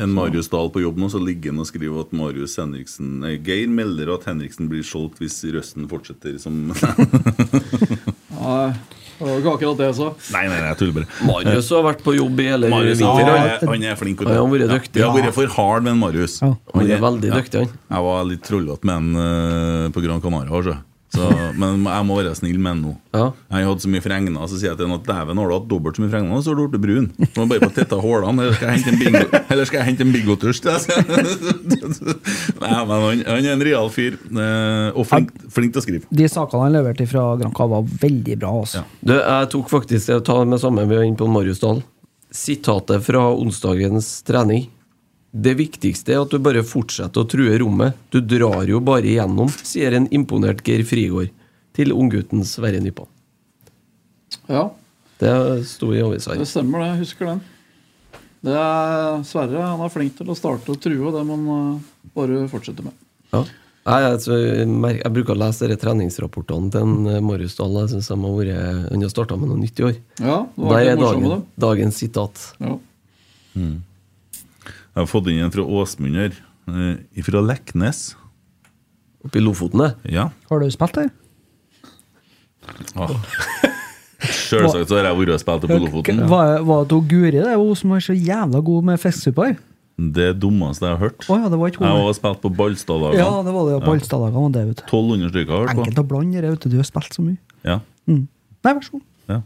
En Marius Dahl på jobb nå, så ligger han og skriver at Marius Henriksen nei, Geir melder at Henriksen blir solgt hvis Røsten fortsetter som [LAUGHS] Nei,
Nei, det var ikke akkurat det jeg sa.
nei, nei, jeg tuller bare.
Marius har vært på jobb i hele
Marius
vinter.
han
han.
er, han er flink. og
Han har vært
Ja,
dyktig.
Vi har vært for hard med en Marius.
Ja.
Han er veldig dyktig, han.
Jeg var litt trollete med en eh, på Gran Canaria. altså. Så, [LAUGHS] men jeg må være snill med en nå.
Ja.
Jeg hadde så mye fregner, så sier jeg til han at dæven, har du hatt dobbelt så mye fregner, så har du blitt brun. Du må bare få tetta hålene, eller skal jeg hente en bingo- [LAUGHS] eller skal jeg hente en bigotusj til deg? [LAUGHS] Nei, men han, han er en real fyr, eh, og flink, flink til å skrive.
De sakene han leverte fra Granca, var veldig bra. altså.
Du, jeg tok faktisk Jeg tar med samme vi var inne på Marius Dahl. Sitatet fra onsdagens trening. Det viktigste er at du bare fortsetter å true rommet. Du drar jo bare igjennom, sier en imponert Geir Frigård til unggutten Sverre Nypan.
Ja,
Det sto i avisa
det
her.
stemmer det. Jeg husker den. Det er Sverre han er flink til å starte og true, og det må han eh, bare fortsette med.
Ja. Nei, altså, Jeg, mer- jeg bruker å lese disse treningsrapportene til en, eh, Marius Dahl. Jeg synes de har vært, Han har starta med noe nytt i år.
Ja, det var
Der er
litt morsomt med
dagen,
dem.
dagens sitat.
Ja.
Jeg har fått inn en fra Åsmund her, eh, fra Leknes.
Oppe i Lofoten, det.
Ja.
Har du spilt der?
[LAUGHS] Ah. Selvsagt så har jeg vært og spilt på Lofoten.
Var, var det hun Guri det? Hun som er så jævla god med fiskesuppa her?
Det dummeste jeg har hørt.
Å ja, det var ikke
Jeg har
hun.
også spilt på Ballstadlagene.
Ja, det var det på Alstadagene. og det, vet du.
1200 stykker har jeg hørt på.
Enkelt å blande det, vet du. Du har spilt så mye.
Ja,
Mm. Nei, vær så god.
ja,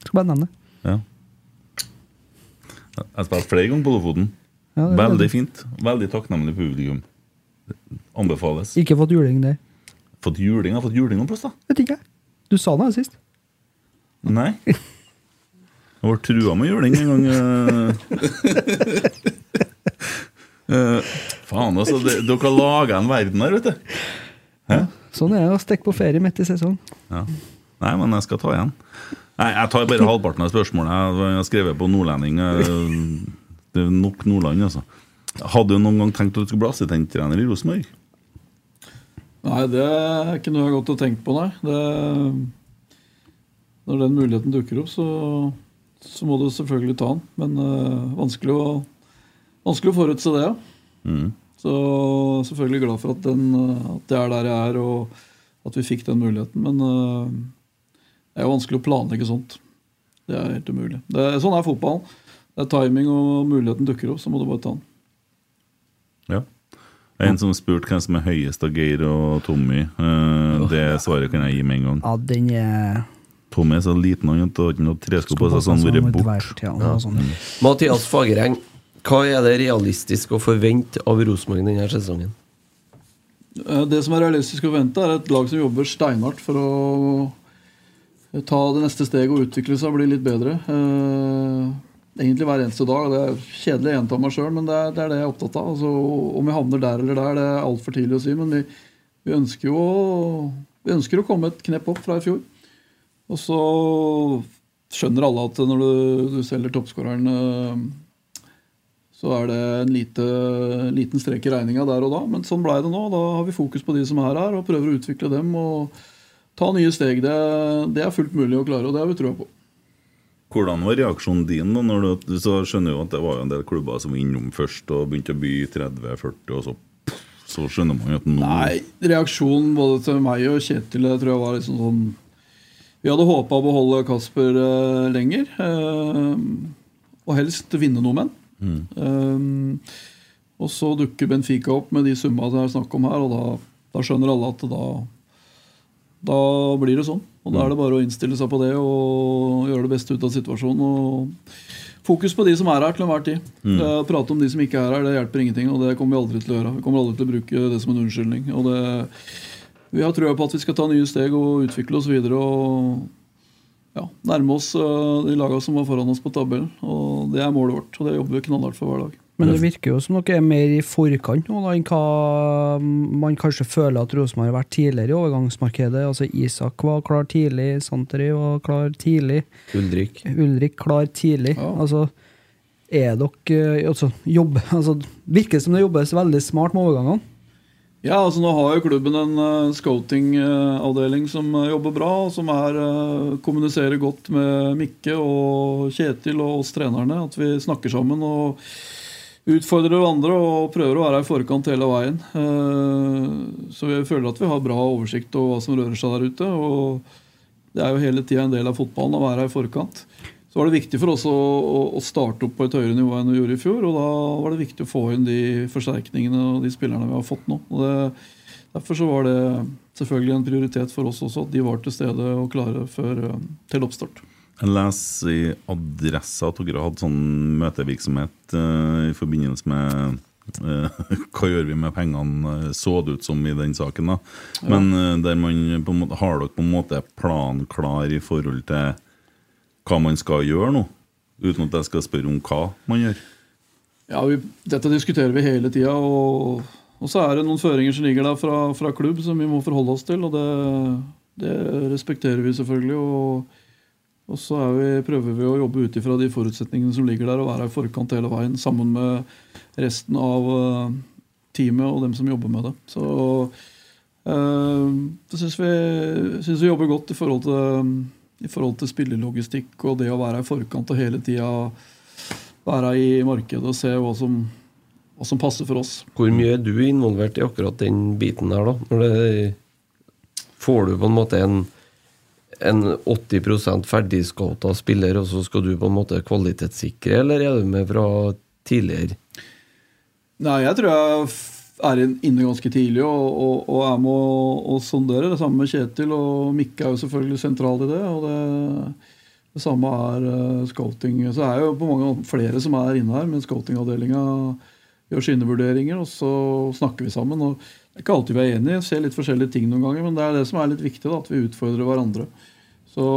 Skal bare nevne det.
ja. Jeg har spilt flere ganger på Lofoten.
Ja, det er
Veldig fint. Veldig takknemlig publikum. Anbefales.
Ikke fått juling der.
Fått juling? Jeg har fått juling noen plass, da?
Vet ikke jeg. Du sa det her sist.
Nei.
[LAUGHS]
Jeg ble trua med juling en gang.
[LAUGHS]
eh. Eh, faen, altså. Det, dere har laga en verden her, vet du.
Sånn er det å stikke på ferie midt i sesong.
Ja. Nei, men jeg skal ta igjen. Nei, Jeg tar bare halvparten av spørsmålet. Jeg- Jeg har skrevet på nordlending. eh, Det er nok Nordland, altså. Hadde du noen gang tenkt at du skulle bli assistenttrener i Rosenborg?
Nei, det er ikke noe jeg har gått og tenkt på, nei. Det, når den muligheten dukker opp, så, så må du selvfølgelig ta den. Men eh, vanskelig, å, vanskelig å forutse det, ja.
Mm.
Så selvfølgelig glad for at, den, eh, at jeg er der jeg er, og at vi fikk den muligheten. Men eh, det er jo vanskelig å planlegge sånt. Det er helt umulig. Det, er- sånn er fotballen. Det er timing, og muligheten dukker opp, så må du bare ta den.
Ja. Det er en som spurte hvem som er høyest av Geir og Tommy. Eh, Det svaret kan jeg gi med en gang.
Ja, den er
Tommy er så liten han at han har ikke noe tresko på seg, så han har vært borte.
Dvert, ja, sånn. noe sånt.
Mathias Fagereng, hva er det realistisk å forvente av Rosenborg denne sesongen?
Eh, Det som er realistisk å vente, er et lag som jobber steinhardt for å ta det neste steget og utvikle seg og bli litt bedre. Eh, Egentlig hver eneste dag. og Det er kjedelig å gjenta meg sjøl, men det er, det er det jeg er opptatt av. Altså, om vi havner der eller der, det er altfor tidlig å si, men vi, vi ønsker jo å, vi ønsker å komme et knepp opp fra i fjor. Og så skjønner alle at når du, du selger toppskåreren eh, så er det en lite, liten strek i regninga der og da. Men sånn blei det nå. Da har vi fokus på de som er her, og prøver å utvikle dem. og Ta nye steg. Det, det er fullt mulig å klare, og det har vi trua på.
Hvordan var reaksjonen din? da? Når du, så skjønner jeg jo at det var jo en del klubber som var innom først og begynte å by 30-40, og så Så skjønner man jo at nå
Nei, reaksjonen både til meg og Kjetil jeg tror jeg var liksom sånn Vi hadde håpa å beholde Kasper eh, lenger. eh, og helst vinne noe med han. Eh, og så dukker Benfica opp med de summa det er snakk om her, og da, da skjønner alle at da, da blir det sånn. Og Da er det bare å innstille seg på det og gjøre det beste ut av situasjonen. og Fokus på de som er her til enhver tid. Eh, Å prate om de som ikke er her, det hjelper ingenting. Og det kommer vi aldri til å gjøre. Vi kommer aldri til å bruke det som en unnskyldning. Og det, vi har trua på at vi skal ta nye steg og utvikle oss videre og ja, nærme oss eh, de laga som var foran oss på tabellen. Og det er målet vårt, og det jobber vi knallhardt for hver dag.
Men det virker jo som dere er mer i forkant nå da, enn hva man kanskje føler at Rosenborg har vært tidligere i overgangsmarkedet. Altså Isak var klar tidlig, Santeri var klar tidlig,
Ulrik.
Ulrik klar tidlig.
Ja.
Altså, er dere altså, jobb, [LAUGHS] altså, Virker som det jobbes veldig smart med overgangene. [LAUGHS]
Ja, altså Nå har jo klubben en uh, scouting-avdeling som eh, jobber bra, og som er, eh, kommuniserer godt med Mikke og Kjetil og oss trenerne. At vi snakker sammen og utfordrer hverandre og prøver å være i forkant hele veien. Eh, Så vi føler at vi har bra oversikt over hva som rører seg der ute. og Det er jo hele tida en del av fotballen å være i forkant. Så var det viktig for oss å, å, å starte opp på et høyere nivå enn vi gjorde i fjor. Og da var det viktig å få inn de forsterkningene og de spillerne vi har fått nå. Og det, derfor så var det selvfølgelig en prioritet for oss også at de var til stede og klare før, eh, til oppstart.
Jeg leser i Adressa at dere har hatt sånn møtevirksomhet eh, i forbindelse med eh, [LAUGHS] Hva gjør vi med pengene, eh, så det ut som i den saken. da. Men eh, der man på en måte, har dere på en måte planen klar i forhold til hva man skal gjøre nå? Uten at jeg skal spørre om hva man gjør.
Ja, vi, Dette diskuterer vi hele tida. Og, og så er det noen føringer som ligger der fra, fra klubb som vi må forholde oss til. Og det, det respekterer vi selvfølgelig. Og, og så er vi, prøver vi å jobbe ut ifra de forutsetningene som ligger der, og være i forkant hele veien sammen med resten av eh, teamet og dem som jobber med det. Så eh, det syns vi, synes vi jobber godt i forhold til i forhold til spillelogistikk og det å være i forkant og hele tida være i markedet og se hva som, hva som passer for oss.
Hvor mye er du involvert i akkurat den biten her, da? Når det, får du på en måte en, en 80 ferdigscouta spiller, og så skal du på en måte kvalitetssikre, eller er du med fra tidligere?
Nei, jeg tror jeg f- er inn- inne ganske tidlig og, og, og er med å og sondere. Det samme med Kjetil, og Mikke er jo selvfølgelig sentral i det. Og det, det samme er eh, scouting. Så det er jo på mange måter flere som er inne her, men scoutingavdelinga gjør sine vurderinger, og så snakker vi sammen. og det er ikke alltid vi er enige, ser litt forskjellige ting noen ganger, men det er det som er litt viktig, da, at vi utfordrer hverandre. Så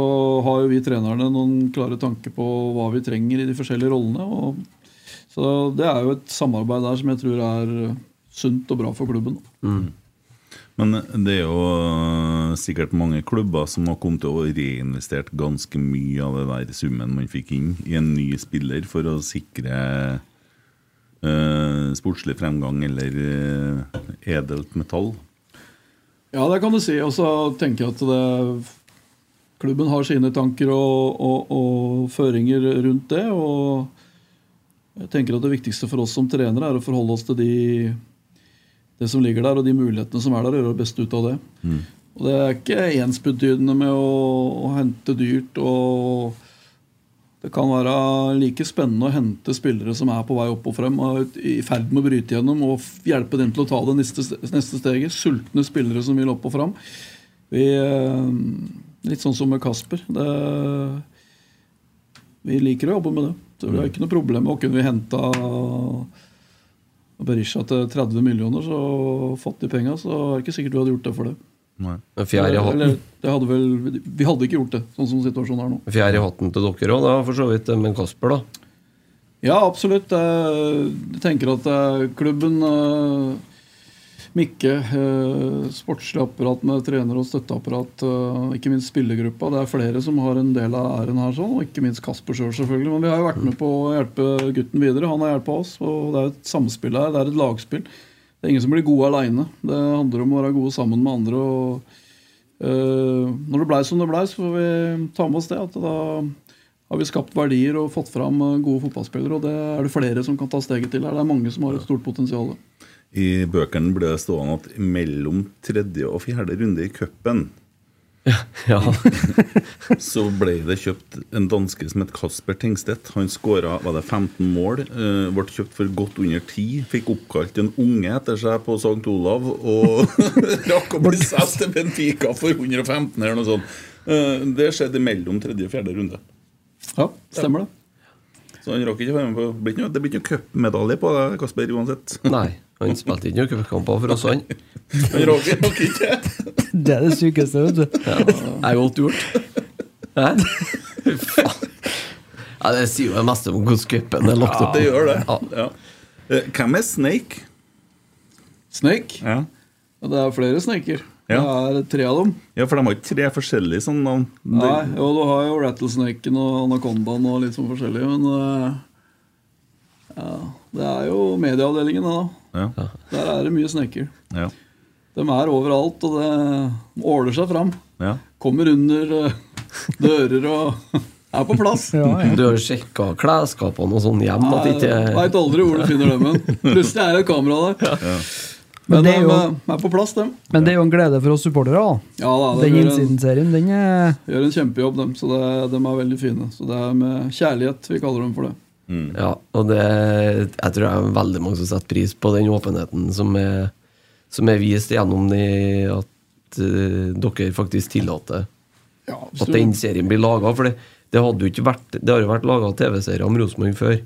har jo vi trenerne noen klare tanker på hva vi trenger i de forskjellige rollene. og så det er jo et samarbeid der som jeg tror er sunt og bra for klubben.
Men det er jo eh, sikkert mange klubber som har kommet til å reinvestert ganske mye av det der summen man fikk inn, i en ny spiller for å sikre eh, sportslig fremgang eller eh, edelt metall.
Ja, det kan du si. Og så tenker jeg at det, klubben har sine tanker og, og, og føringer rundt det. Og jeg tenker at det viktigste for oss som trenere er å forholde oss til de, det som ligger der, og de mulighetene som er der, og gjøre det beste ut av det. Og det er ikke ensbetydende med å, å hente dyrt og Det kan være like spennende å hente spillere som er på vei opp og frem, og i ferd med å bryte gjennom, og f- hjelpe dem til å ta det neste, neste steget. Sultne spillere som vil opp og frem. Vi, eh, litt sånn som med Kasper. Det, vi liker å jobbe med det. Så
Mm.
vi har ikke noe problem med å kunne vi henta Berisha til 30 millioner, så fått de penga, så er det ikke sikkert du hadde gjort det for det.
Nei.
Fjær i hatten.
Eller, det hadde vel, vi hadde ikke gjort det, sånn som situasjonen er nå.
Fjær i hatten til dere òg, da, for så vidt. Men Kasper, da?
Ja, absolutt. Eh, Jeg tenker at eh, klubben eh, Mikke, eh, sportslig apparat med trener og støtteapparat, eh, ikke minst spillergruppa. Det er flere som har en del av æren her, sånn, og ikke minst Kasper sjøl, selv, selvfølgelig. Men vi har jo vært med på å hjelpe gutten videre. Han har hjulpet oss, og det er jo et samspill her. Det er et lagspill. Det er ingen som blir gode aleine. Det handler om å være gode sammen med andre. og Eh, når det blei som det blei, så får vi ta med oss det. At da har vi skapt verdier og fått fram eh, gode fotballspillere. Og det er det flere som kan ta steget til her. Det er mange som har et stort potensial.
I bøkene ble det stående at mellom tredje og fjerde runde i cupen
Ja.
så ble det kjøpt en danske som het Kasper Tengstedt. Han skåra 15 mål. eh, ble kjøpt for godt under 10. Fikk oppkalt en unge etter seg på St. Olav. Og [LAUGHS] rakk å bli solgt til Benfica for 115 eller noe sånt. Eh, det skjedde mellom tredje og fjerde runde.
Ja, stemmer det.
Så han rakk ikke å være med på Det blir ikke noe- det blir ikke noe cupmedalje på deg, Kasper, uansett.
Nei, han spilte ikke noen cupkamper for oss, han.
Han rakk det nok ikke.
Det er det sykeste, vet du.
Det er godt gjort. Hæ? Faen. [LAUGHS] Ja, det sier jo det meste om hvordan cupen er lagt
Ja,
opp.
det gjør det.
Ja.
Ja. Eh, Hvem er Snake?
Snake.
Ja.
Ja, Det er flere sneker.
Ja.
Det er tre av dem.
for de har ikke tre forskjellige sånne navn.
Nei,
Det-
jo, du har jo rattlesnaken og anakondaen og litt sånn forskjellig, men eh, ja, det er jo medieavdelingen, da.
Ja.
Der er det mye sneker.
Ja.
De er overalt, og det de åler seg fram.
Ja.
Kommer under eh, dører og [LAUGHS] er på plass.
Ja, ja.
Du har sjekka klesskapene og sånn hjem at
Jeg
ikke
Veit aldri hvor du finner dem hen. Plutselig er det et kamera der.
Men
Men
det er
de
jo-
eh, er på plass, dem.
Men det er jo en glede for oss supportere. da.
Ja da, de
Den
gjør en,
innsidenserien, den er
gjør en kjempejobb, dem. Så det, de er veldig fine. Så det er med kjærlighet vi kaller dem for det.
Ja, og det Jeg tror det er veldig mange som setter pris på den åpenheten som er, som er vist gjennom de at eh, dere faktisk tillater
Ja,
at den serien blir laga. For det, det, hadde jo ikke vært, det har jo vært laga TV-serier om Rosenborg før.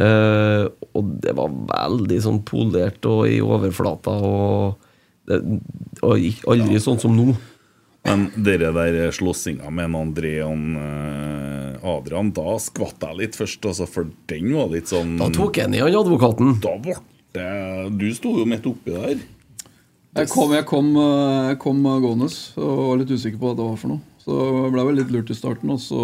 Eh, og det var veldig sånn polert og i overflata og, det, og ikke- aldri sånn som nå.
Men dere der slåssinga med en André og en, eh, Adrian, da skvatt jeg litt først, altså, for den var litt sånn
Da tok jeg ned han advokaten.
Da ble det Du sto jo midt oppi der.
Jeg kom, jeg kom, eh, jeg kom eh, gående og var litt usikker på hva det var for noe. Så jeg ble vel litt lurt i starten, og så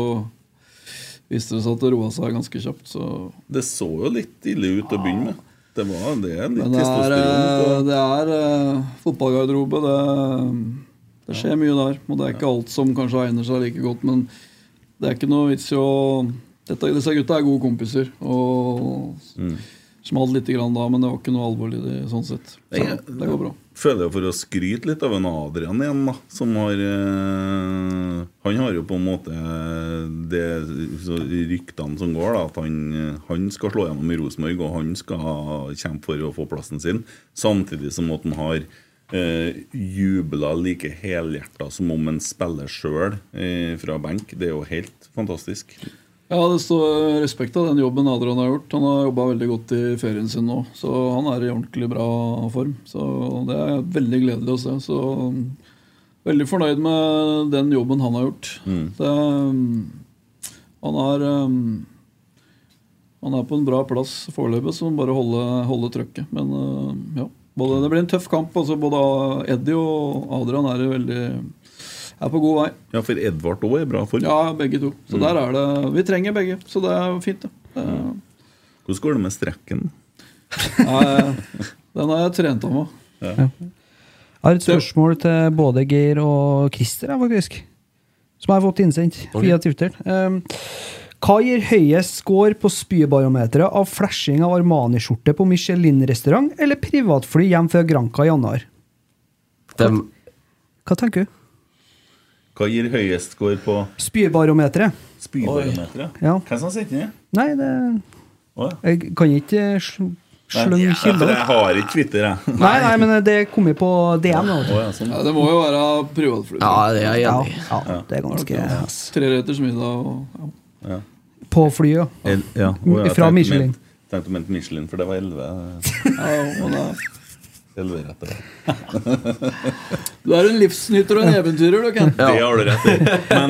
viste det seg at det roa seg ganske kjapt. Så.
Det så jo litt ille ut å begynne med. Det var det er litt
Men det er, eh,
testosteron. på-
det er eh, fotballgarderobe. Det, det skjer mye der. Og det er ikke alt som kanskje egner seg like godt, men det er ikke noe vits i å dette, Disse gutta er gode kompiser. Og
Mm.
smalt lite grann da, men det var ikke noe alvorlig i det, sånn sett. Så
Jeg-
det går bra.
Føler jeg for å skryte litt av en Adrian igjen, da. Som har eh, Han har jo på en måte det så ryktene som går, da. At han, han skal slå gjennom i Rosenborg, og han skal kjempe for å få plassen sin. Samtidig som at han har eh, jubla like helhjerta som om han spiller sjøl eh, fra benk. Det er jo helt fantastisk.
Ja, det står respekt av den jobben Adrian har gjort. Han har jobba veldig godt i ferien sin nå, så han er i ordentlig bra form. Så det er veldig gledelig å se. Så um, veldig fornøyd med den jobben han har gjort. Det, um, han er um, han er på en bra plass foreløpig, så må han bare holde, holde trøkket. Men uh, ja, både, det blir en tøff kamp. Altså, både Eddie og Adrian er, i veldig, er på god vei.
Ja, for Edvard òg er i bra form.
Ja, begge to.
Mm.
Så der er det Vi trenger begge, så det er fint, det. det. er-
Hvordan går det med strekken?
Nei,
[LAUGHS]
Den har jeg trent av meg.
Jeg har et spørsmål til både Geir og Christer, jeg, faktisk. Som jeg har fått innsendt via Twitter. Um, hva gir høyest score på spybarometeret av flashing av Armani-skjorte på Michelin-restaurant eller privatfly hjem fra Granca i januar?
Dem,
Hva tenker du?
Hva gir høyest score på
Spybarometeret?
spybarometeret?
Ja.
Hvem som sitter inni?
Nei, det
Å, ja.
Jeg kan ikke eh, sl slønge
Ja, for
kilder.
jeg har ikke Twitter, jeg.
Nei, nei, men det kom jo på DM. da, vet du.
Å, ja, sånn.
Ja, det må jo være privatfly.
ja, det er jeg
Ja,
enig i.
ja, det er ganske ass.
Treretters middag og ja.
På flyet, ja.
El, [LAUGHS] ja. Å, ja,
Fra
tenkte
Michelin.
ment- Tenkte du mente Michelin, for det var 11,
Ja, men det er-
11 rett der.
Du er en livsnyter og en
[LAUGHS]
eventyrer, du, Ken.
Det har du rett i. Men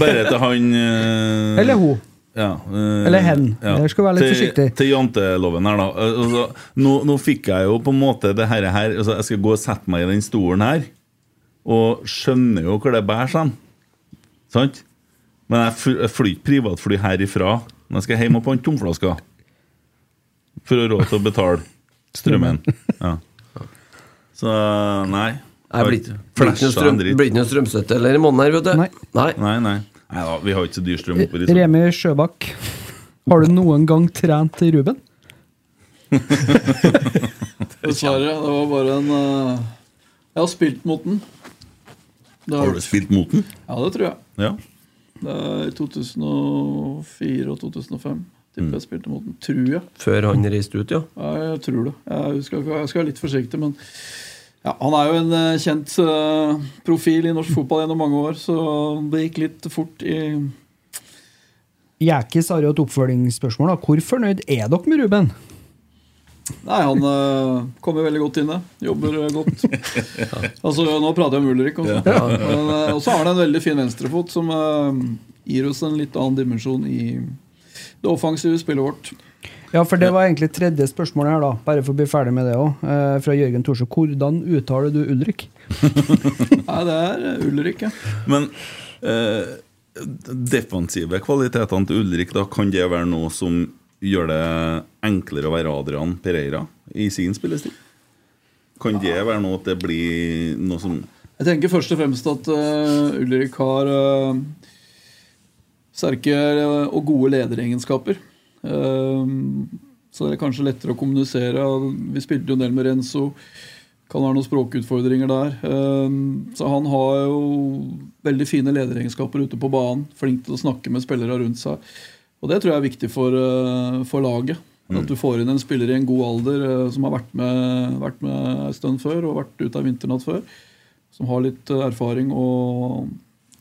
bare til han eh,
Eller hun.
Ja, eh,
Eller hen. Der skal du være litt
til,
forsiktig.
Til janteloven her, da. Eh, Altså, nå, nå fikk jeg jo på en måte det her, her altså, Jeg skal gå og sette meg i den stolen her, og skjønner jo hvor det bærer seg. Sant? Men jeg fly- jeg flyr ikke privatfly herifra. Men jeg skal hjem og pante tomflasker. For å ha råd til å betale strømmen. Ja. Så nei.
Nei, blir- blir ikke
Flasha
noe strøm-
en dritt.
blir ikke noe strømstøtte eller i måneden her, vet du.
Nei.
Nei.
Nei, nei. nei da, vi har ikke så dyr strøm oppi liksom.
Remi Sjøbakk, har du noen gang trent Ruben?
Dessverre. Det var bare en eh, Jeg har spilt mot den. Det
Har du spilt mot den?
Ja, det tror jeg.
Ja.
Det er i 2004 og
Mm.
2005. Tipper jeg spilte mot den. Tror jeg.
Før han reiste ut, ja.
Ja, jeg tror det. Jeg, husker, ikke- jeg skal være litt forsiktig, men ja, han er jo en eh, kjent eh, profil i norsk fotball gjennom mange år, så det gikk litt fort i
Jekis har jo et oppfølgingsspørsmål. da. Hvor fornøyd er dere med Ruben?
Nei, han eh, kommer veldig godt inn, det. Jobber eh, godt. Altså, Nå prater jeg om Ulrik også. Men eh, også har han en veldig fin venstrefot som eh, gir oss en litt annen dimensjon i det offensive spillet vårt.
Ja, for Det var egentlig tredje spørsmålet her, da. Bare for å bli ferdig med det òg. Eh, fra Jørgen Thorsø. Hvordan uttaler du Ulrik?
Nei, det er eh, Ulrik, ja.
Men eh, defensive kvalitetene til Ulrik, da kan det være noe som gjør det enklere å være Adrian Pereira i sin spillestil? Kan det være noe at det blir noe som
Jeg tenker først og fremst at eh, Ulrik har eh, sterke eh, og gode lederegenskaper. Eh, så det er kanskje lettere å kommunisere. Vi spilte jo en del med Renzo. Kan være noen språkutfordringer der. Eh, så han har jo veldig fine lederegenskaper ute på banen. Flink til å snakke med spillere rundt seg. Og det tror jeg er viktig for, eh, for laget. At du får inn en spiller i en god alder eh, som har vært med, vært med en stund før og vært ute av vinternatt før som har litt eh, erfaring og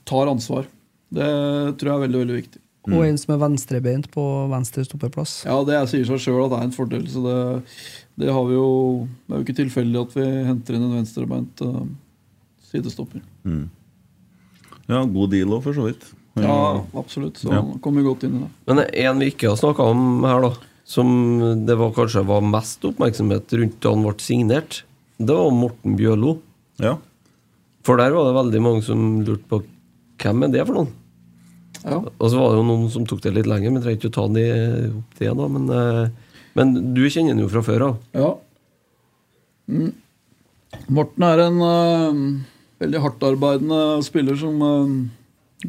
tar ansvar. Det tror jeg er veldig veldig viktig.
Og en som er venstrebeint på venstre stoppeplass.
Ja, Det sier seg sjøl at det er en fordel. så Det, det, har vi jo, det er jo ikke tilfeldig at vi henter inn en venstrebeint eh, sidestopper.
Ja, god deal òg, for så vidt.
Ja, absolutt. Så
Ja.
han kommer godt inn i det.
Men en vi ikke har snakka om her, da, som det var kanskje var mest oppmerksomhet rundt da han ble signert, det var Morten Bjørlo.
Ja.
For der var det veldig mange som lurte på hvem er det for noen?
Ja.
Og så var det jo noen som tok det litt lenger, men trenger ikke å ta det opp det, da. Men, eh, men du kjenner den jo fra før av.
Ja. Mm. Morten er en eh, veldig hardtarbeidende spiller som eh,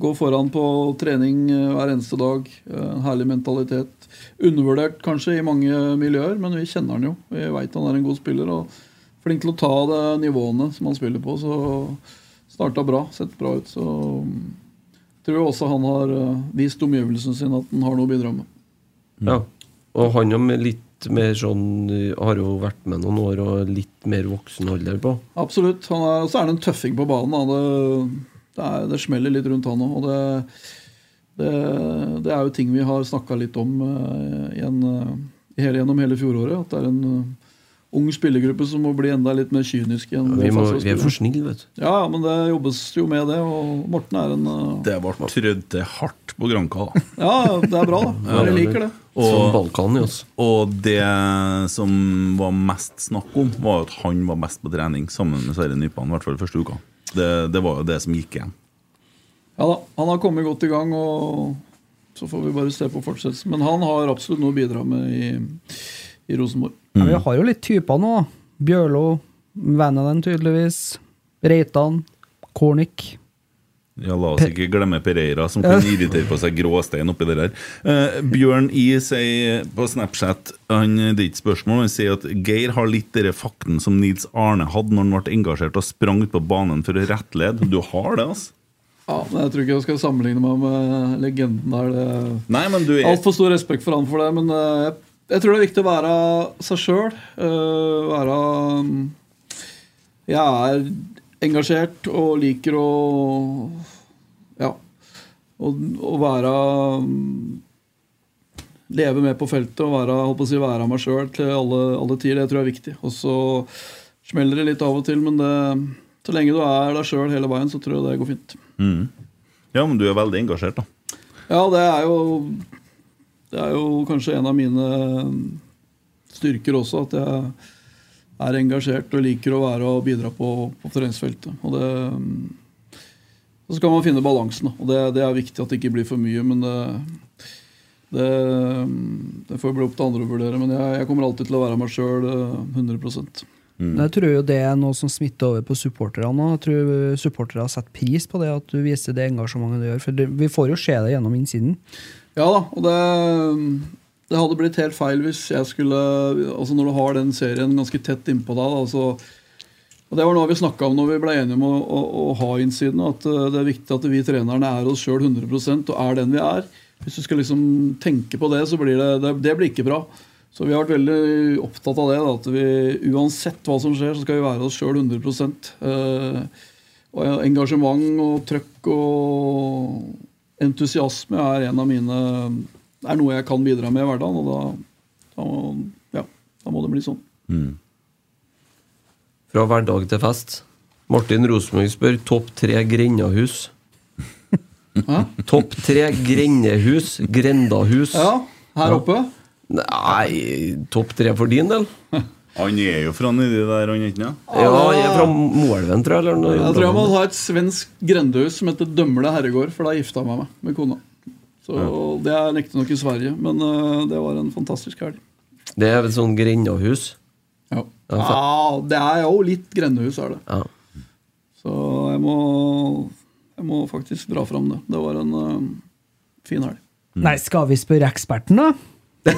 går foran på trening eh, hver eneste dag. Eh, En herlig mentalitet. Undervurdert kanskje i mange miljøer, men vi kjenner han jo. Vi veit han er en god spiller og flink til å ta det nivåene som han spiller på. Så starta bra, sett bra ut. Så mm, tror jeg også han har eh, vist omgivelsen sin at han har noe å bidra med.
Ja. Og han har med litt mer sånn Har jo vært med noen år og litt mer voksen alder på.
Absolutt. Han er, og så er han en tøffing på banen. da. Det, det, er, det smeller litt rundt han òg. Og det, det, det er jo ting vi har snakka litt om eh, i en, eh, hele, gjennom hele fjoråret. At det er en eh, ung spillergruppe som må bli enda litt mer kynisk. Enn
Vi, må,
offensive
vi er for
spillere.
snille, vet du.
ja, ja, men det jobbes jo med det, og Morten er en eh,
Det ble trødd til hardt på Granka. da.
[LAUGHS] Ja, det er bra, da. Dere liker det.
Som Balkan altså. i oss.
[LAUGHS] Og det som var mest snakk om, var at han var mest på trening sammen med Sverre Nypan. I hvert fall første uka. Det, det var jo det som gikk igjen.
Ja da, han har kommet godt i gang, og så får vi bare se på fortsettelsen. Men han har absolutt noe å bidra med i, i Rosenborg.
Ja, Vi har jo litt typer nå. da. Bjørlo, Vananen tydeligvis. Reitan. Kornik.
Ja, La oss ikke glemme Pereira, som kan irritere på seg gråstein oppi det der. Eh, Bjørn I sier på Snapchat han, Det er ikke spørsmål, han sier at Geir har litt den fakten som Nils Arne hadde når han ble engasjert og sprang ut på banen for å rettlede. Du har det, altså?
Ja, men Jeg tror ikke jeg skal sammenligne meg med legenden der. Det
Nei, men du
er
er
altfor stor respekt for han for det, men eh, jeg, jeg tror det er viktig å være seg sjøl. Være mm, Jeg er engasjert og liker å Ja. Å å være mm, Leve med på feltet og være, holdt på å si, være meg sjøl til alle, alle tider. Det tror jeg er viktig. Og så smeller det litt av og til, men det, så lenge du er deg sjøl hele veien, så tror
Mm.
jeg det går fint.
Ja, men du er veldig engasjert, da.
Ja, det er jo Det er jo kanskje en av mine eh, styrker også, at jeg er engasjert og liker å være og bidra på, på treningsfeltet. Og det og Så kan man finne balansen, da. og det, det er viktig at det ikke blir for mye. Men det, det, mm, det får bli opp til andre å vurdere. Men jeg, jeg kommer alltid til å være meg eh, sjøl 100
Men Jeg tror jo det er noe som smitter over på supporterne. nå. Jeg tror supportere setter pris på det at du viser det engasjementet du gjør. For det, vi får jo se det gjennom innsiden.
Ja da, og det, mm, det hadde blitt helt feil hvis jeg skulle Altså Når du har den serien ganske tett innpå deg da, altså, Og Det var noe vi snakka om når vi ble enige om å, å, å ha innsiden. At eh, det er viktig at vi trenerne er oss sjøl 100 og er den vi er. Hvis du skal liksom tenke på det, så blir det, det, det blir ikke bra. Så vi har vært veldig opptatt av det. Da, at vi uansett hva som skjer, så skal vi være oss sjøl 100 eh, og ja, engasjement og trøkk og entusiasme er en av mine er noe jeg kan bidra med i hverdagen, og da, da, må- ja, da må det bli sånn.
Fra hverdag til fest. Martin Rosenborg spør topp tre grendahus.
Hæ?
Topp tre grendehus. Grendahus.
Ja, her oppe.
Nei, topp tre for din del?
Han er jo fra nedi der, han ikke sant?
Ja, jeg er fra Moelven, tror jeg. Eller noe.
Jeg tror jeg må ha et svensk grendehus som heter Dømle herregård, for da gifta jeg meg med- med kona. Så Det er riktignok i Sverige, men eh, det var en fantastisk helg.
Det er sånn et sånt grendahus.
Ja.
Ja, fa-
det er jo litt grendehus, er det.
Ja.
Så jeg må, jeg må faktisk dra fram det. Det var en eh, fin helg.
Nei, skal vi spørre eksperten, da? [LAUGHS]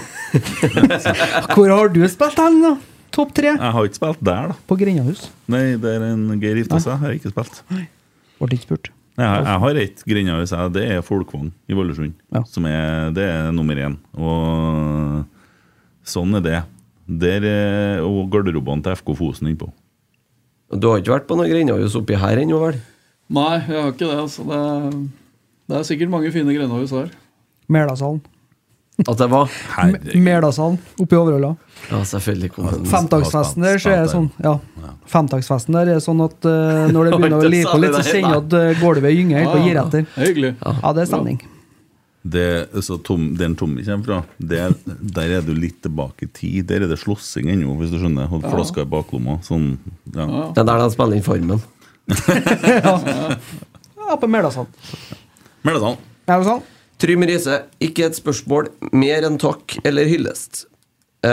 Hvor har du spilt hen, da? Topp tre?
Jeg har ikke spilt der, da.
På Grindahus.
Nei, der en Geir gifta seg, har jeg ikke spilt.
Ble ikke spurt.
Jeg, har- jeg har ett grendehus, jeg. Det er Folkvang i Vålesund.
Ja.
Som er, det er nummer én. Og sånn er det. Der er og garderobene til FK Fosen innpå.
Du har ikke vært på noe grendahus oppi her ennå, vel?
Nei, jeg har ikke det. Altså. Det, er, det er sikkert mange fine grendehus her.
Merdalshallen.
At jeg var?
M- Merdalshallen oppe i Overhalla.
Ja, selvfølgelig kom den.
Femtagsfesten der så er det sånn
Spent
ja. Femtagsfesten der er det sånn at eh, når det begynner å
Det sa
lipe
vi
litt, så
der,
kjenner du at eh, gulvet gynger helt og gir etter.
Det er hyggelig.
Ja, det er stemning.
Det, så tom, den Tommy kommer fra, det, der er du litt tilbake i tid. Der er det slåssing ennå, hvis du skjønner. Og flasker i baklomma. Sånn, ja.
Det er der de spiller inn Farmen.
Ja, på Merdalshallen.
Men det er sånn.
Merdalshallen.
Trym Riise, ikke et spørsmål, mer enn takk eller hyllest. Eh,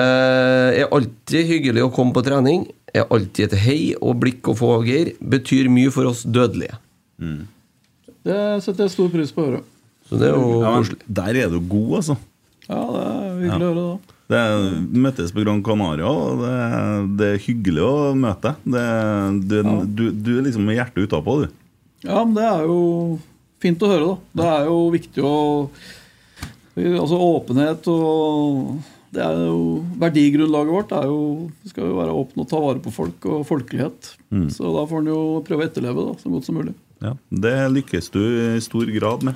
er alltid hyggelig å komme på trening. Er alltid et hei og blikk å få av Geir. Betyr mye for oss dødelige.
Det setter jeg stor pris på å høre.
Så det er jo
Ja,
koselig.
men, der er du god, altså.
Ja, det er hyggelig å høre, da.
Det er, møttes på Gran Canaria, og det, er- det er hyggelig å møte deg. Det- Du, er- du, du er liksom med hjertet utapå, du.
Ja, men det er jo fint å høre, da. Det er jo viktig å Altså åpenhet og Det er jo Verdigrunnlaget vårt er jo Vi skal jo være åpne og ta vare på folk og folkelighet. Så da får en jo prøve å etterleve da, så godt som mulig.
Ja, det lykkes du i stor grad med.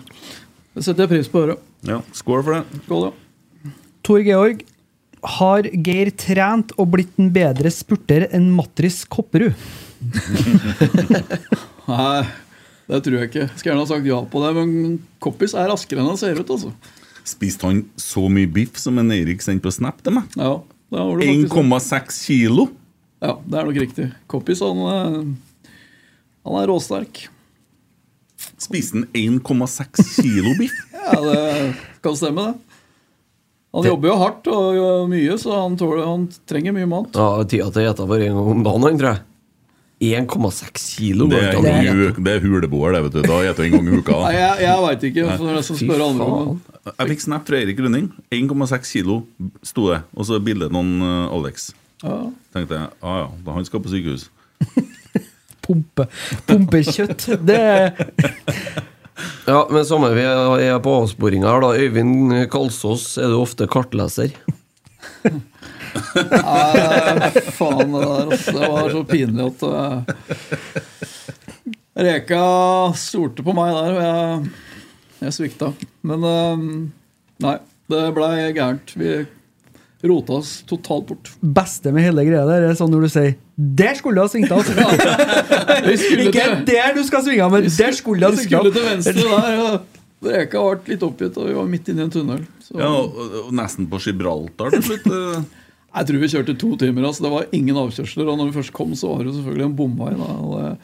Det setter jeg pris på å høre.
Ja, Skål for det.
Skål, ja.
Tor Georg, har Geir trent og blitt en bedre spurter enn Matris Kopperud?
Nei, det tror jeg ikke. Skulle gjerne ha sagt ja på det, men Koppis er raskere enn han ser ut, altså.
Spiste han så mye biff som en Eirik sendte på Snap til meg?
Ja, det var det faktisk.
1,6 kilo!
Ja, det er nok riktig. Koppis, han er, han er råsterk.
Spiste han 1,6 kilo
[LAUGHS]
biff?
Ja, det kan stemme, det. Han jobber jo hardt og gjør mye, så han, tåler, han trenger mye mat.
Ja, tida til å gjette bare en gang om dagen, han, tror jeg. 1,6 kilo.
Det
går
er,
ikke an å gjette.
det er huleboer, det, vet du. Da spiser du en gang i uka.
Nei, jeg, jeg veit ikke. Så det er jeg som
Fy
spør andre om
faen.
det.
Jeg fikk snap fra Eirik Rønning. 1,6 kilo sto det. Og så bildet noen eh, Alex.
Ja.
Tenkte jeg, ah, ja, da han skal på sykehus.
Pumpe. Pumpekjøtt. Det er
Ja, men samme vi er på avsporinga her, da. Øyvind Kalsås, er du ofte kartleser?
Nei, faen, det der, altså. Det var så pinlig at eh, Reka stolte på meg der, og jeg, jeg svikta. Men eh, nei, det blei gærent. Vi rota oss totalt bort.
beste med hele greia der, er sånn når du sier 'Der skulle du ha svingt
[LAUGHS]
av'.
Vi skulle
Ikke
til,
der du skal svinge av, men der skulle du ha
vi
svingt
skulle
av.
til venstre der. og Reka ble litt oppgitt, og vi var midt inne i en tunnel. Så
Ja, og, og nesten på Gibraltar til slutt. eh.
Jeg tror vi kjørte to timer. Altså. Det var ingen avkjørsler. Og når vi først kom, så var det jo selvfølgelig en bomvei. Da. Og det-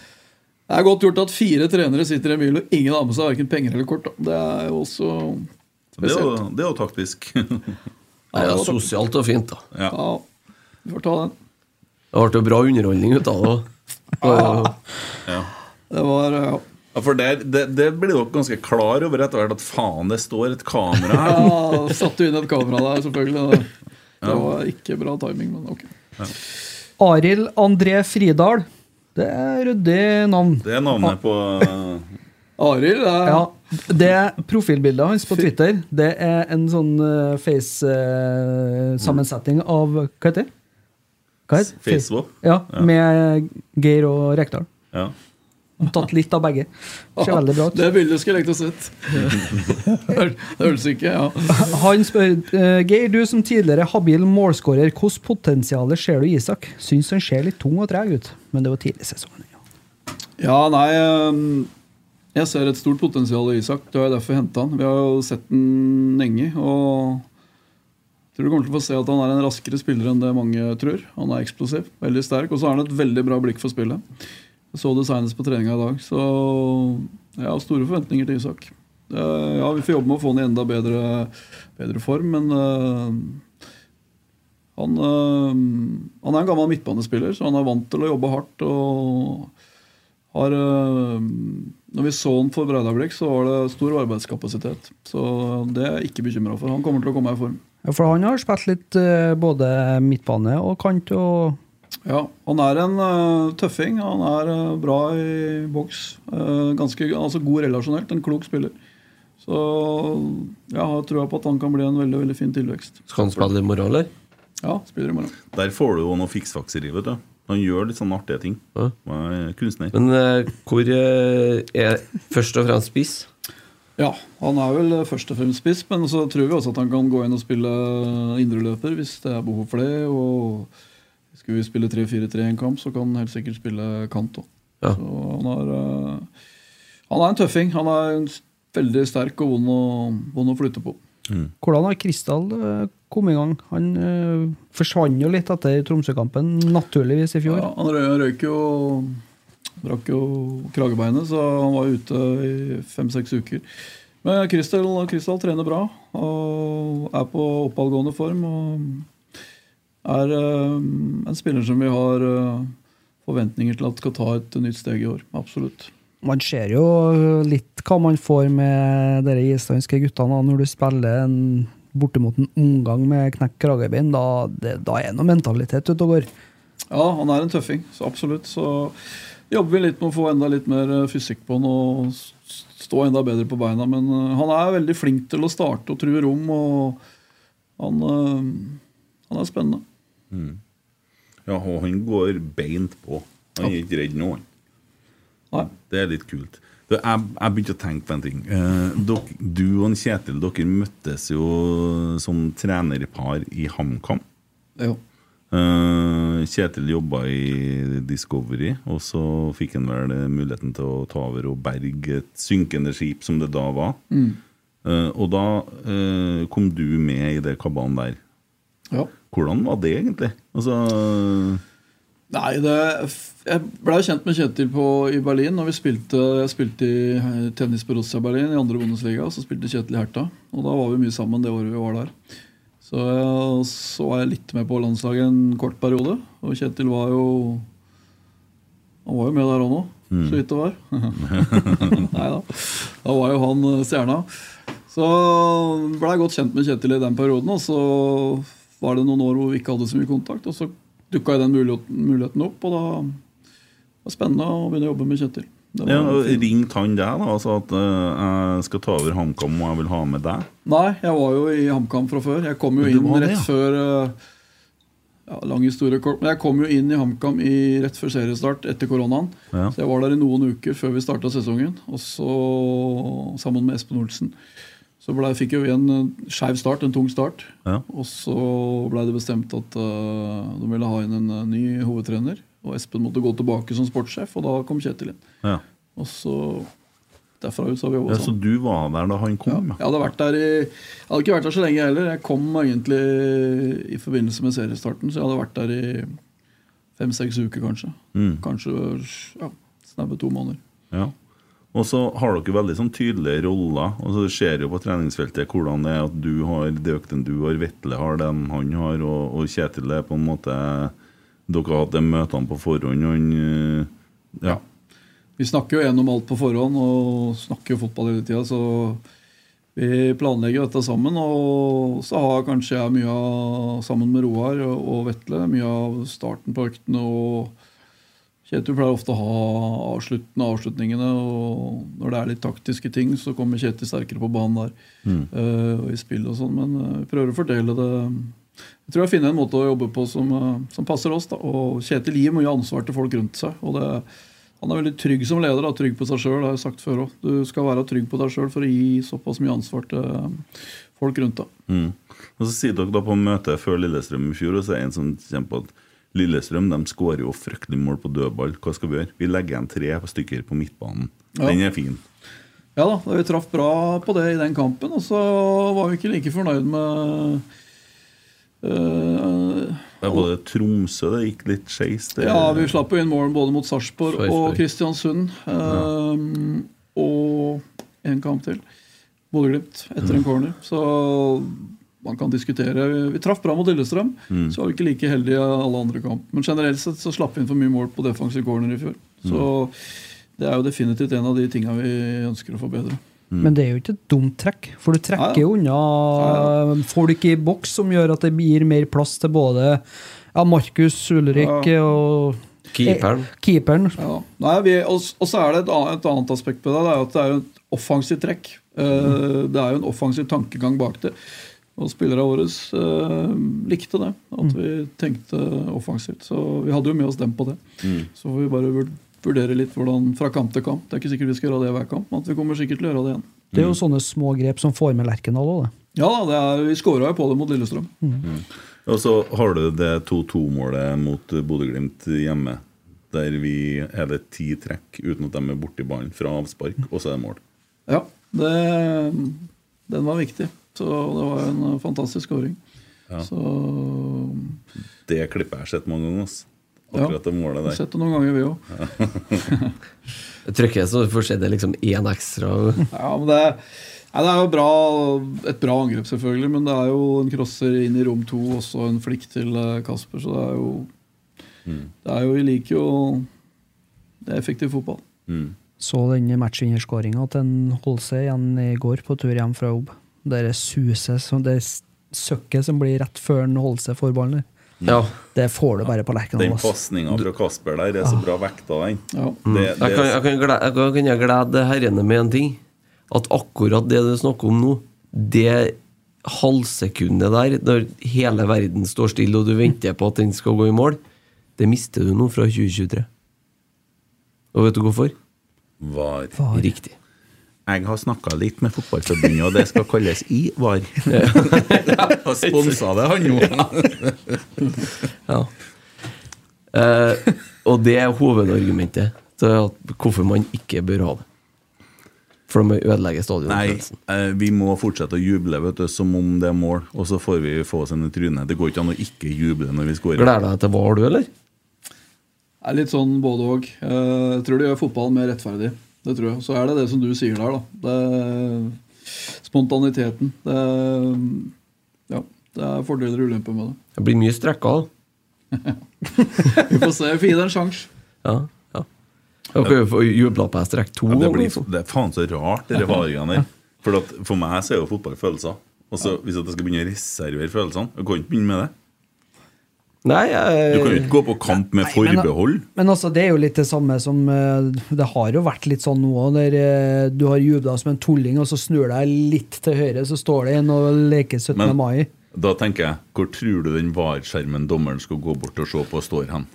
Det er godt gjort at fire trenere sitter i en bil, og ingen har med seg verken penger eller kort. Da. Det er jo også
Det er jo,
spesielt.
det er jo taktisk. [LAUGHS]
Det er
Ja, da-
sosialt og fint, da.
Ja, vi får ta den.
Det ble jo bra underholdning ut av det eh, òg.
Det var ja.
Ja, for der, det, det blir dere ganske klar over etter hvert, at faen, det står et kamera her.
Ja, da satte vi inn et kamera der, selvfølgelig. Det, det var ikke bra timing, men ok.
Arild André Fridal. Det er ryddig navn.
Det er navnet på eh,
Arild er
Ja, det Profilbildet hans på Twitter Det er en sånn eh, face-sammensetning av Hva heter det? Hva heter det?
Facebook.
Ja, med Geir og Rekdal.
Ja.
Tatt litt av begge. Ser veldig bra ut.
[LAUGHS] Det bildet skulle jeg likt å sett. [LAUGHS] Det hørtes ikke ja.
[LAUGHS] Han spør eh, Geir, du som tidligere habil målskårer, hvordan potensial ser du i Isak? Syns han ser litt tung og treg ut, men det var tidlig i sesongen. Ja.
ja, nei ehm, Jeg ser et stort potensial i Isak. Det var jeg derfor henta han. Vi har jo sett den lenge. og jeg tror du kommer til å få se at han er en raskere spiller enn det mange tror. Han er eksplosiv, veldig sterk, og så har han et veldig bra blikk for spillet. Jeg så det senest på treninga i dag, så jeg har store forventninger til Isak. Eh, Ja, vi får jobbe med å få han i enda bedre, bedre form, men eh, han, eh, han er en gammel midtbanespiller, så han er vant til å jobbe hardt. og har, eh, når vi så han for Breidablikk, så var det stor arbeidskapasitet. Så det er jeg ikke bekymra for. Han kommer til å komme i form.
Ja, For han har spilt litt eh, både midtbane og kant og
Ja, han er en eh, tøffing. Han er eh, bra i boks. eh, ganske altså god relasjonelt. En klok spiller. Så jeg har trua på at han kan bli en veldig veldig fin tilvekst.
Skal han spille i morgen, eller?
Ja, spiller i morgen.
Der får du jo noe fiksfakseri, vet du. Han gjør litt sånne artige ting.
Ja.
Han er kunstner.
Men eh, hvor eh, er først og fremst spiss?
Ja, Han er vel eh, først og fremst spiss, men så tror vi også at han kan gå inn og spille indreløper hvis det er behov for det. Og skulle vi spille 3-4-3 i en kamp, så kan han helt sikkert spille kant òg.
Ja.
Så han er, eh, han er en tøffing. Han er en s- veldig sterk og vond å, vond å flytte på.
Hvordan har Kristal eh, kommet i gang? Han eh, forsvant jo litt etter Tromsø-kampen, naturligvis, i fjor.
Ja, han rø røyk jo Brakk jo kragebeinet, så han var ute i fem-seks uker. Men Crystal, Crystal trener bra og er på oppadgående form. Og er eh, en spiller som vi har eh, forventninger til at skal ta et nytt steg i år. Absolutt.
Man ser jo eh, litt hva man får med de islandske guttene da, når du spiller en, bortimot en omgang med knekk kragebein. Da, det, da er det noe mentalitet ute og går.
Ja, han er en tøffing, så absolutt. Så jobber vi litt med å få enda litt mer eh, fysikk på han og s- stå enda bedre på beina. Men eh, han er veldig flink til å starte og true rom, og han, eh, han er spennende.
Ja, og han går beint på. Han er ikke redd nå, han.
Nei.
Det er litt kult. Du, jeg, jeg begynte å tenke på en ting. Eh, dok, du og en Kjetil dere møttes jo som trenerpar i HamKam.
Jo.
Eh, Kjetil jobba i Discovery, og så fikk han vel eh, muligheten til å ta over og berge et synkende skip, som det da var.
Mm.
Eh, og da eh, kom du med i det kabalen der.
Ja.
Hvordan var det, egentlig? Altså,
Nei, det, jeg ble kjent med Kjetil på, i Berlin. Når vi spilte, jeg spilte i eh, tennis på Borussia Berlin i andre Bundesliga. Så spilte Kjetil i Herta. Og da var vi mye sammen det året vi var der. Så, jeg, så var jeg litt med på landslaget en kort periode. Og Kjetil var jo Han var jo med der òg nå, så vidt det var. [LAUGHS] Nei da. Da var jo han eh, stjerna. Så ble jeg godt kjent med Kjetil i den perioden, og så var det noen år hvor vi ikke hadde så mye kontakt, og så dukka den muligheten, muligheten opp, og da var det spennende å begynne å jobbe med Kjetil. Det var
ja,
fint.
ringte han deg da og sa at eh, jeg skal ta over HamKam og jeg vil ha med deg?
Nei, jeg var jo i HamKam fra før. Jeg kom jo
Du
inn
var det,
rett
ja.
før eh, ja, Lang historie kort, men jeg kom jo inn i HamKam i- rett før seriestart etter koronaen.
Ja.
Så jeg var der i noen uker før vi starta sesongen, og så sammen med Espen Olsen. Så ble, fikk jo vi en eh, skeiv start, en tung start.
Ja.
Og så ble det bestemt at eh, de ville ha inn en eh, ny hovedtrener. Og Espen måtte gå tilbake som sportssjef, og da kom Kjetil inn.
Ja.
Og så derfra ut så har
Ja,
vi jobba
så
sammen.
du var der da han kom?
Jeg hadde, vært der i, jeg hadde ikke vært der så lenge heller. Jeg kom egentlig i forbindelse med seriestarten, så jeg hadde vært der i fem-seks uker, kanskje. Kanskje ja, snaue to måneder.
Ja. Og så har dere veldig sånn tydelige roller. og så ser jo på treningsfeltet hvordan det er at du har Døkten du har, Vetle har den han har, og, og Kjetil er på en måte Dere har hatt de møtene på forhånd. og Han, øh, ja.
Vi snakker jo gjennom alt på forhånd og snakker jo fotball hele tida, så vi planlegger dette sammen. Og så har kanskje jeg mye av, sammen med Roar og og Vetle, mye av starten på øktene. Og Kjetil pleier ofte å ha avsluttende avslutningene. Og når det er litt taktiske ting, så kommer Kjetil sterkere på banen der. eh, og i spill og sånn, men eh, vi prøver å fordele det. Jeg tror jeg finner en måte å jobbe på som, eh, som passer oss. da, og Kjetil gir mye ansvar til folk rundt seg. og det han er veldig trygg som leder. Da. Trygg på seg sjøl, har jeg sagt før òg. Du skal være trygg på deg sjøl for å gi såpass mye ansvar til eh, folk rundt deg.
Mm. Og så sier dere da på møtet før Lillestrøm i fjor, og så er det en som kommer på at Lillestrøm de skårer jo fryktelig mål på dødball. Hva skal vi gjøre? Vi legger igjen tre stykker på midtbanen.
Ja.
Den er fin.
Ja da, vi traff bra på det i den kampen, og så var vi ikke like fornøyd med eh,
Det er både Tromsø det gikk litt skeis. det-
Ja, vi slapp jo inn mål både mot Sarpsborg
Sarpsborg.
og Kristiansund. ehm, Og en kamp til. Bodø-Glimt etter en corner. Så man kan diskutere. Vi- Vi traff bra mot Lillestrøm, så var vi ikke like heldige i alle andre kamp. Men generelt sett så slapp vi inn for mye mål på defensive corner i fjor. Så det er jo definitivt en av de tinga vi ønsker å forbedre.
Men det er jo ikke et dumt trekk, for du
Mm. Ja,
trekker
ja.
jo unna folk i boks, som gjør at det gir mer plass til både ja, Markus, Ulrik og
Keeperen.
Eh, keeperen.
Ja. Nei, vi, og, og så er det et annet, et annet aspekt på det. Det er jo at det er jo et offensivt trekk. Eh,
Mm.
det er jo en offensiv tankegang bak det. Og spillerne våre eh, likte det.
Mm.
At vi tenkte offensivt. Så vi hadde jo med oss dem på det.
Mm.
Så får vi bare vur- vurdere litt hvordan fra kamp til kamp. Det er ikke sikkert vi skal gjøre det hver kamp, men at vi kommer sikkert til å gjøre det igjen.
Det er jo sånne små grep som får med Lerkendal òg, det.
Ja da, det er, vi skåra jo på det mot Lillestrøm.
Mm. Og så har du det 2-2-målet mot Bodø-Glimt hjemme. Der vi er det ti trekk uten at de er borti ballen fra avspark, og så er det mål.
Ja, det, den var viktig. Så det var en eh, fantastisk skåring.
Ja.
Så
Det klippet jeg har sett mange ganger. ass. Akkurat det målet
Vi har
der.
sett det noen ganger, vi òg.
Jeg trykker så får se det liksom én ekstra.
Ja, men det, nei, det er jo bra, et bra angrep, selvfølgelig, men det er jo en crosser inn i rom to, og så en flikk til eh, Kasper, så det er jo Det er jo, Vi liker jo det er effektiv fotball.
Mm.
Så den matchvinnerskåringa til en Holse igjen i går på tur hjem fra jobb. Det der suset, som- det søkket som blir rett før en Holse får ballen der.
Ja.
Det får du bare på
Den
Lerkendal. altså. ass.
pasninga fra Kasper der er så bra vekta, den.
Ja.
Det,
Ah. Mm. Jeg kan, jeg kan, glede, jeg kan- kan jeg glede herrene med en ting. At akkurat det du snakker om nå, det halvsekundet der, når hele verden står stille og du venter på at den skal gå i mål, det mister du nå fra 2023. Og vet du hvorfor?
var
Var.
Riktig.
Jeg har snakka litt med Fotballforbundet, og det skal kalles
[LAUGHS]
i-var. [LAUGHS] Sponsa det, han nå.
Ja. Eh, og det er hovedargumentet til at hvorfor man ikke bør ha det. For de ødelegger
Nei,
stadionopplevelsen.
eh, vi må fortsette å juble vet du, som om det er mål, og så får vi få oss en i trynet. Det går ikke an å ikke juble når vi scorer.
Gleder deg til VAR, du, eller?
Det er litt sånn både òg. Jeg tror det gjør fotballen mer rettferdig. Det tror jeg. Så er det det som du sier der, da. Det, spontaniteten. Det, ja, det er fordeler og ulemper med det.
Det blir mye strekker. da.
Vi får se. Vi får gi det en sjanse.
Ja, ja. Dere får jubla på jeg strekk to.
Ja, det,
ganger,
blir,
liksom.
det er faen så rart, det varingene der. For, at, for meg så er jo fotball følelser. Og så Hvis at jeg skal begynne å reservere følelsene Jeg kan ikke begynne med det.
Nei, eh, jeg,
Du kan jo ikke gå på kamp med
men da-
forbehold.
Men altså, det er jo litt det samme som eh, Det har jo vært litt sånn nå òg, der eh, du har jubla som en tulling, og så snur deg litt til høyre, så står det en og leker 17.
Men-
mai.
Da tenker jeg, hvor tror du den VAR-skjermen dommeren skal gå bort og se på, står hen?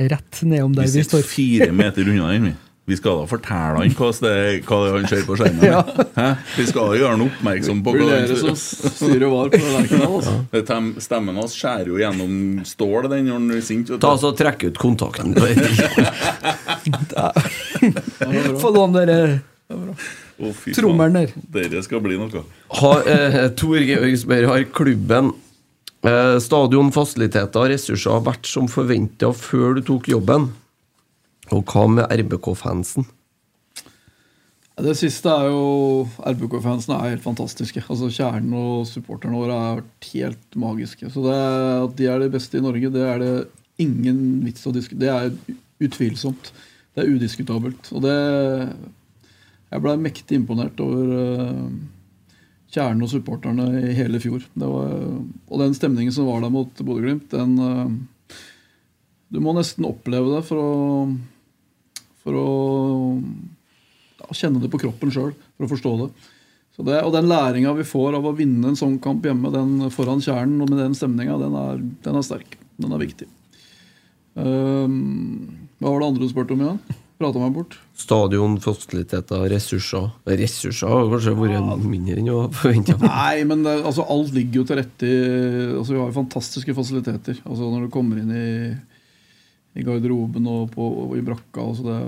Rett nedom
Vi
der vi
sitter
står. [LAUGHS]
fire meter unna den. vi. Vi skal da fortelle han hva det, hva det er han ser på
[LAUGHS]
skjermen. Hæ? Vi skal da gjøre han oppmerksom på
Blir
hva
dere som
han
styrer var på Lerkendal, altså.
Det tem- Stemmen hans skjærer jo gjennom stål den når han er sint. vet du.
Ta altså Trekk
[LAUGHS]
ut kontakten. på det.
Få låne eh, dere da.
Å, fy faen.
Trommelen der.
Dere skal bli noe.
Har, eh, Tor Georg spør har klubben eh, stadion, fasiliteter og ressurser har vært som forventa før du tok jobben. Og hva med RBK-fansen?
Ja, Det siste er jo RBK-fansene er helt fantastiske. Altså Kjernen og supporterne våre har vært helt magiske. Så det, at de er de beste i Norge, det er det ingen vits å diskutere. Det er utvilsomt. Det er udiskutabelt. Og det Jeg blei mektig imponert over eh, kjernen og supporterne i hele fjor. Det var, og den stemningen som var der mot Bodø-Glimt, den eh, Du må nesten oppleve det for å, for å ja, kjenne det på kroppen sjøl for å forstå det. Så det. Og den læringa vi får av å vinne en sånn kamp hjemme, den foran kjernen og med den stemninga, den, er- den er sterk. Den er viktig. Ehm, hva var det andre du spurte om igjen? Prata meg bort.
Stadion, fasiliteter, ressurser. Ressurser har kanskje vært mindre enn jeg forventa.
[LAUGHS] Nei, men det, altså, alt ligger jo til rette i altså, Vi har jo fantastiske fasiliteter. Altså, når du kommer inn i, i garderoben og, på, og i brakka altså, det,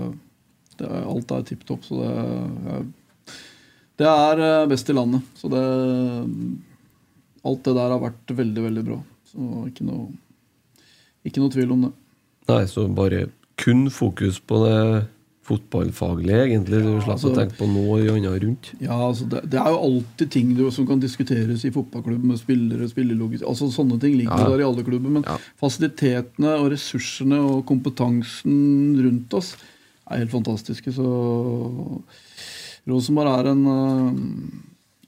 det, er- Alt er tipp topp. Så det, er- det er eh, best i landet. Så det Alt det der har vært veldig, veldig bra. Så ikke noe, ikke noe tvil om det.
Nei, så bare kun fokus på det fotballfaglige, egentlig. Du slapp å
altså-
tenke på noe annet rundt.
Ja, altså det, det er jo alltid ting du, som kan diskuteres i fotballklubben med spillere, spillelogistikk altså Sånne ting ligger
Ja.
jo der i alle klubber. Men
Ja.
fasilitetene og ressursene og kompetansen rundt oss er helt fantastiske. Så Rosenborg er en eh,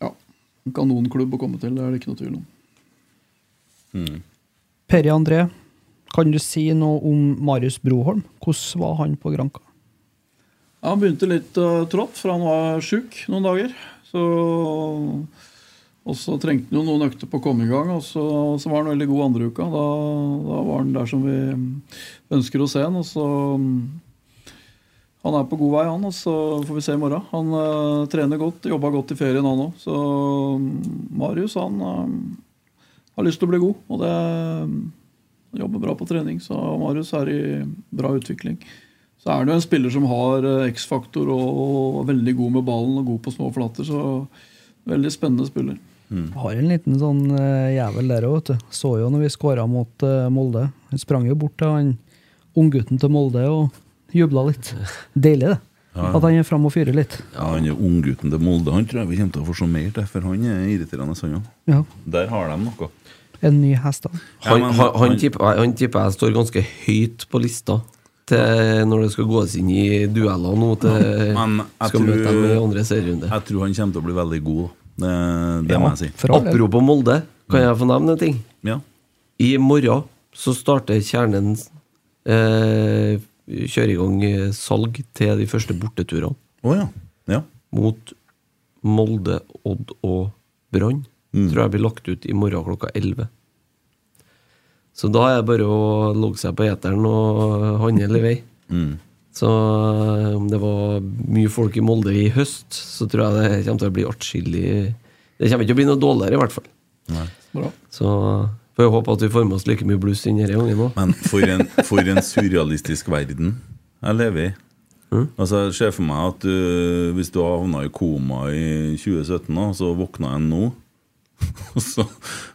ja, en kanonklubb å komme til, det er det ikke noe tvil om.
Perry André, kan du si noe om Marius Broholm? Hvordan var han på Granka?
Ja, han begynte litt eh, trått, for han var sjuk noen dager. Så, og så trengte han jo noen økter på å komme i gang, og så, så var han veldig god andre uka. Da, da var han der som vi ønsker å se han, og så mm, Han er på god vei, han, og så får vi se i morgen. Han eh, trener godt, jobba godt i ferien, han òg. Så mm, Marius, han eh, har lyst til å bli god, og det han jobber bra på trening, så Marius er i bra utvikling. Så er han jo en spiller som har eh, X-faktor og, og er veldig god med ballen og god på små flater, så veldig spennende spiller.
Mm.
Har en liten sånn eh, jævel der òg, vet du. Så jo når vi skåra mot eh, Molde. Han sprang jo bort til han unggutten til Molde og jubla litt. Deilig, det. At han er fram og fyrer litt.
Ja, han er unggutten til Molde. Han tror jeg vi kommer til å få se mer til, for han er irriterende, han òg.
Ja.
Der har de noe.
En ny hest, da.
Han,
Ja, men-
han, han, tipper, jeg- han tipper jeg står ganske høyt på lista til når det skal gås inn i dueller nå. Til,
Men jeg
skal møte dem i
tror-
andre serierunde.
Jeg tror han kommer til å bli veldig god. Det, det må jeg si.
for all del.
Apropos Molde, kan jeg få nevne en ting?
Ja.
I morgen så starter kjernen eh, Kjører i gang eh, salg til de første borteturene
Å ja. ja.
mot Molde, Odd og Brann. Tror jeg blir lagt ut i morgen klokka 11. Så da er det bare å logge seg på eteren og handle i vei.
Mm.
Så eh, om det var mye folk i Molde i høst, så tror jeg det kommer til å bli atskillig Det kommer ikke til å bli noe dårligere, i hvert fall.
Bra.
Så får jeg håpe at vi får med oss like mye bluss inn denne gangen òg.
Men for en, for en surrealistisk verden jeg lever i. Altså, Jeg ser for meg at du, hvis du havna i koma i 2017, da, så våkna jeg nå [LAUGHS] Og så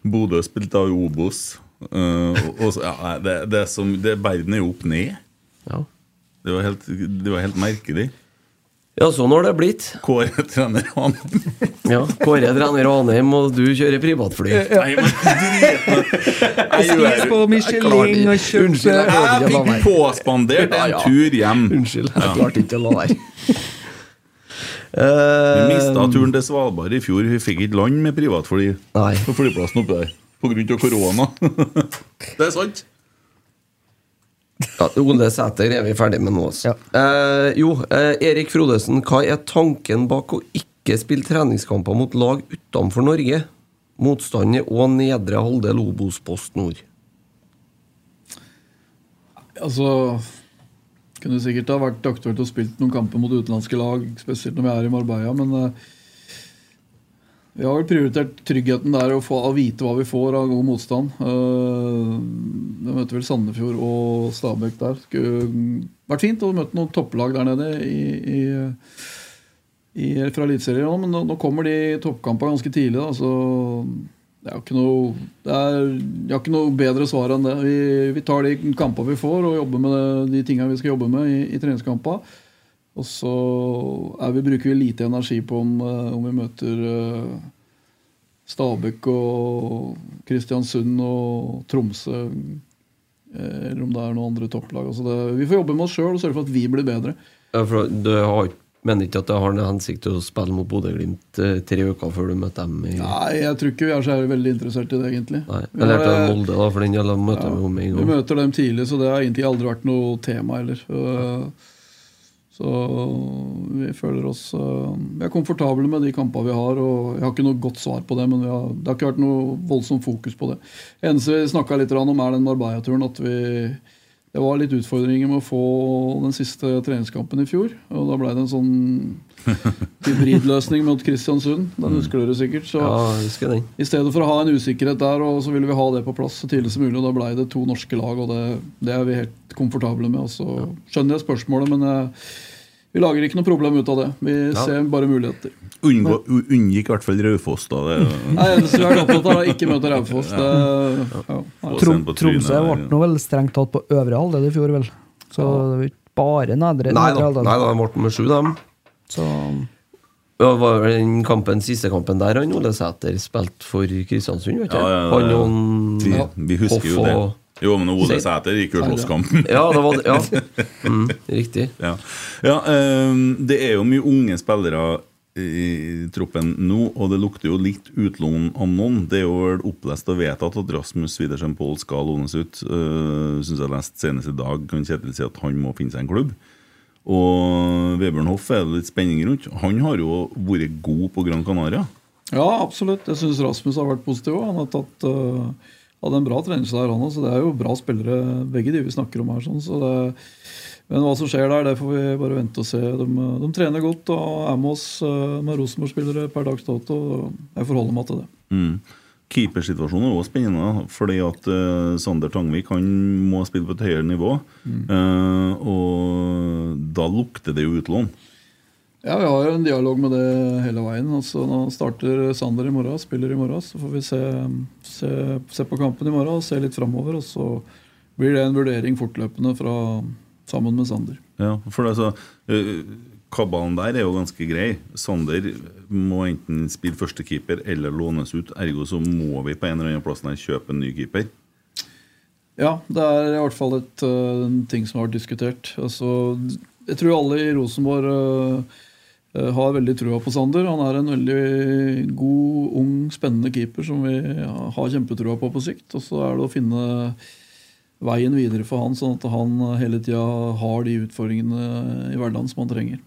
Bodø spilte av i Obos. Eh, og, og, så- ja, nei, det, det er som, det, verden er jo opp ned.
Ja.
Det var helt, det var helt merkelig.
ja, sånn har det blitt.
Kåre trener han
Ja, Kåre er trener i Anheim, og du kjører privatfly.
Nei, men drit nå. Jeg
Spis
gjør-
på Michelin og kjøp
Unnskyld, jeg klarte
Jeg
ikke å la
fikk
være.
påspandert
Ja,
en
ja. Mm.
tur hjem.
Unnskyld, jeg klarte ikke å la være.
Vi
Eh,
mista turen til Svalbard i fjor. Vi fikk ikke land med privatfly
Nei.
på flyplassen oppe der pga. korona. [LAUGHS] det er sant.
Ja, Ole Sæter er vi ferdig med nå. Altså.
Ja.
Eh, jo, eh, Erik Frodesen, hva er tanken bak å ikke spille treningskamper mot lag utenfor Norge? Motstander og nedre halvdel Obos-post nord.
Altså Kunne sikkert ha vært aktuelt å spille noen kamper mot utenlandske lag, spesielt når vi er i Marbella, men eh, vi har vel prioritert tryggheten der og få, å vite hva vi får av god motstand. Eh, Vi møter vel Sandefjord og Stabæk der. Skulle vært fint å møte noen topplag der nede i, i i, fra Eliteserien òg, men nå, nå kommer de toppkampene ganske tidlig. Da, så det er jo ikke noe det er, Jeg har ikke noe bedre svar enn det. Vi, vi tar de kampene vi får, og jobber med det, de tingene vi skal jobbe med i, i treningskampene. Og så er vi, bruker vi lite energi på om, eh, om vi møter eh, Stabæk og Kristiansund og Tromsø. eh, Eller om det er noen andre topplag. Altså det, vi får jobbe med oss sjøl og sørge for at vi blir bedre.
Ja, for du har, mener ikke at det har noen hensikt til å spille mot Bodø-Glimt eh, tre uker før du møter dem i
Nei, jeg tror ikke vi er så veldig interessert i det, egentlig.
Nei.
Vi
Jeg lærte
har,
av
eh,
Molde, da, for den gjelder å møte dem om en
Vi
gang.
møter dem tidlig, så det har egentlig aldri vært noe tema heller. Eh, Så vi føler oss eh, Vi er komfortable med de kampene vi har. Og jeg har ikke noe godt svar på det, men vi har, det har ikke vært noe voldsomt fokus på det. Eneste vi snakka litt om, er den Marbella-turen. At vi Det var litt utfordringer med å få den siste treningskampen i fjor. Og da ble det en sånn hybridløsning mot Kristiansund. Den husker dere sikkert. Så
Mm. Ja, jeg husker den.
i stedet for å ha en usikkerhet der, og så ville vi ha det på plass så tidlig som mulig. og Da blei det to norske lag, og det, det er vi helt komfortable med. Og så skjønner jeg spørsmålet, men eh, vi lager ikke noe problem ut av det. Vi ser bare muligheter.
Unngå, u- unngikk i hvert fall Raufoss, da. Det,
Nei, eneste vi har vært opptatt av, er ikke møte Raufoss. Det, ja. Nei.
Trom,
Få seg en på trynet
Tromsø ble
der.
nå vel strengt tatt på øvre halvdel i fjor, vel. Så det var ikke bare nedre,
Nei
nedre
da,
halvdel.
nei da, de ble med sju, dem.
Så um,
Ja, Det var vel den kampen, siste kampen der han Ole Sæter spilte for Kristiansund, vet du.
Ja, ja, ja.
Han og han-
Vi, vi husker jo
Hoff
det.
og-
Jo, men Ole
Sier-
Sæter gikk jo slåsskampen.
Ja, det var det. Ja. Mm, riktig.
Ja, ja ehm, det er jo mye unge spillere i troppen nå, og det lukter jo litt utlån av noen. Det er jo vel opplest og vedtatt at Rasmus Widersen Pohl skal lånes ut. Uh, Syns jeg leste senest i dag kan Kjetil si at han må finne seg en klubb. Og Vebjørn Hoff er det litt spenning rundt. Han har jo vært god på Gran Canaria.
ja, absolutt. Jeg syns Rasmus har vært positiv òg. Han har tatt eh, hadde en bra trener der, han òg. Så det er jo bra spillere, begge de vi snakker om her. Sånn, så det, men hva som skjer der, det får vi bare vente og se. De, de trener godt og er med oss eh, med Rosenborg-spillere per dags dato. og Jeg forholder meg til det.
Mm. Keepersituasjonen er også spennende, da, fordi at eh, Sander Tangvik han må spille på et høyere nivå. Eh, og da lukter det jo utlån.
Ja, Vi har jo en dialog med det hele veien. Altså, nå starter Sander i morgen, spiller i morgen. Så får vi se, se, se på kampen i morgen og se litt framover. Og så blir det en vurdering fortløpende fra, sammen med Sander.
Ja, for altså, eh, kabalen der er jo ganske grei. Sander må enten spille førstekeeper eller lånes ut. Ergo så må vi på en eller annen plass der kjøpe en ny keeper.
Ja, det er i hvert fall et, øh, en ting som har vært diskutert. Altså, jeg tror alle i Rosenborg øh, øh, har veldig trua på Sander. Han er en veldig god, ung, spennende keeper som vi har kjempetrua på på sikt. Og så er det å finne veien videre for han, sånn at han hele tida har de utfordringene i hverdagen som han trenger.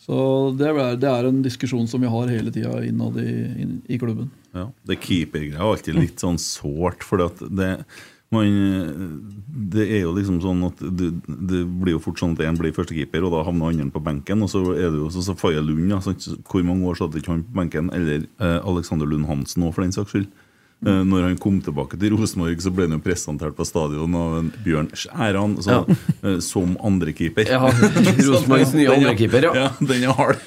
Så det er, det er en diskusjon som vi har hele tida innad i, inn- i klubben.
Ja, Det keepergreia er alltid litt sånn sårt, for det, man, det er jo liksom sånn at du, det blir jo fort sånn at én blir førstekeeper, og da havner andre på benken. Og så er det jo sånn som Faye Lund. Ja, sant? Hvor mange år satt ikke han på benken? Eller eh, Alexander Lund Hansen òg, for den saks skyld. Eh, når han kom tilbake til Rosenborg, så ble han jo presentert på stadion av en Bjørn Skjæran så, eh, som andrekeeper.
Ja,
[LAUGHS]
Rosenborgs nye andrekeeper,
Ja,
ja.
den er hard.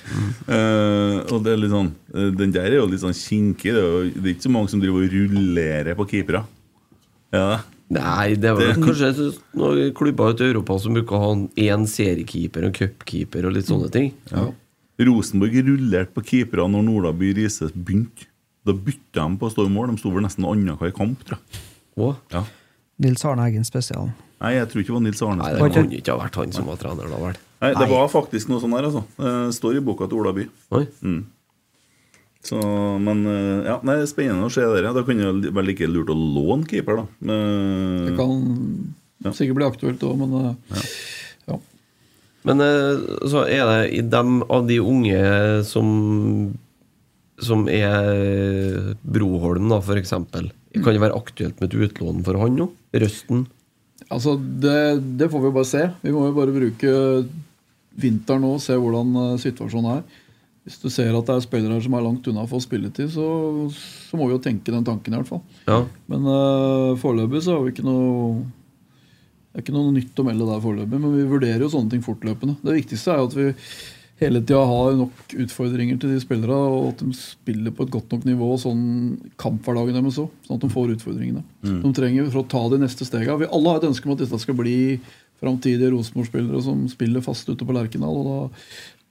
Eh, og det er litt sånn, eh, den der er jo litt sånn kinkig. Det er, jo, det er ikke så mange som driver og rullerer på keepere. Ja,
Nei, det var
Det-
kanskje noen klubber ute i Europa som bruker å ha en- én seriekeeper og en cupkeeper og litt
Mm.
sånne ting.
Rosenborg rullerte på keepere når Nordaby Riise begynte. Da bytta de på å stå i mål. De sto vel nesten annenhver kamp, tror jeg.
Å,
Ja.
Nils Arne Eggen spesial.
Nei, jeg tror ikke det var Nils Arne.
Nei,
Nei,
det kunne ikke ha vært han som var trener, da vel.
det var faktisk noe sånn der, altså. Eh, står i boka til Olaby.
Oi.
Så, men eh, ja, nei, det er spennende å se det der. Da kunne det vært like lurt å låne keeper, da. Eh,
Det kan sikkert bli aktuelt òg, men eh, ja.
Men eh, så er det i dem av de unge som Som er Broholm, da, for eksempel. Kan det være aktuelt med et utlån for han nå? Røsten?
Altså, det, det får vi bare se. Vi må jo bare bruke vinteren nå og se hvordan eh, situasjonen er. Hvis du ser at det er spillere her som er langt unna for spilletid, så, så må vi jo tenke den tanken i hvert fall.
Ja.
Men uh, foreløpig så har vi ikke noe det er ikke noe nytt å melde der foreløpig, men vi vurderer jo sånne ting fortløpende. Det viktigste er jo at vi hele tida har nok utfordringer til de spillerne, og at de spiller på et godt nok nivå sånn kamphverdagen deres òg. Sånn at de får utfordringene. De trenger for å ta de neste stegene. Vi alle har et ønske om at dette skal bli framtidige Rosenborg-spillere som spiller fast ute på Lerkendal. og da,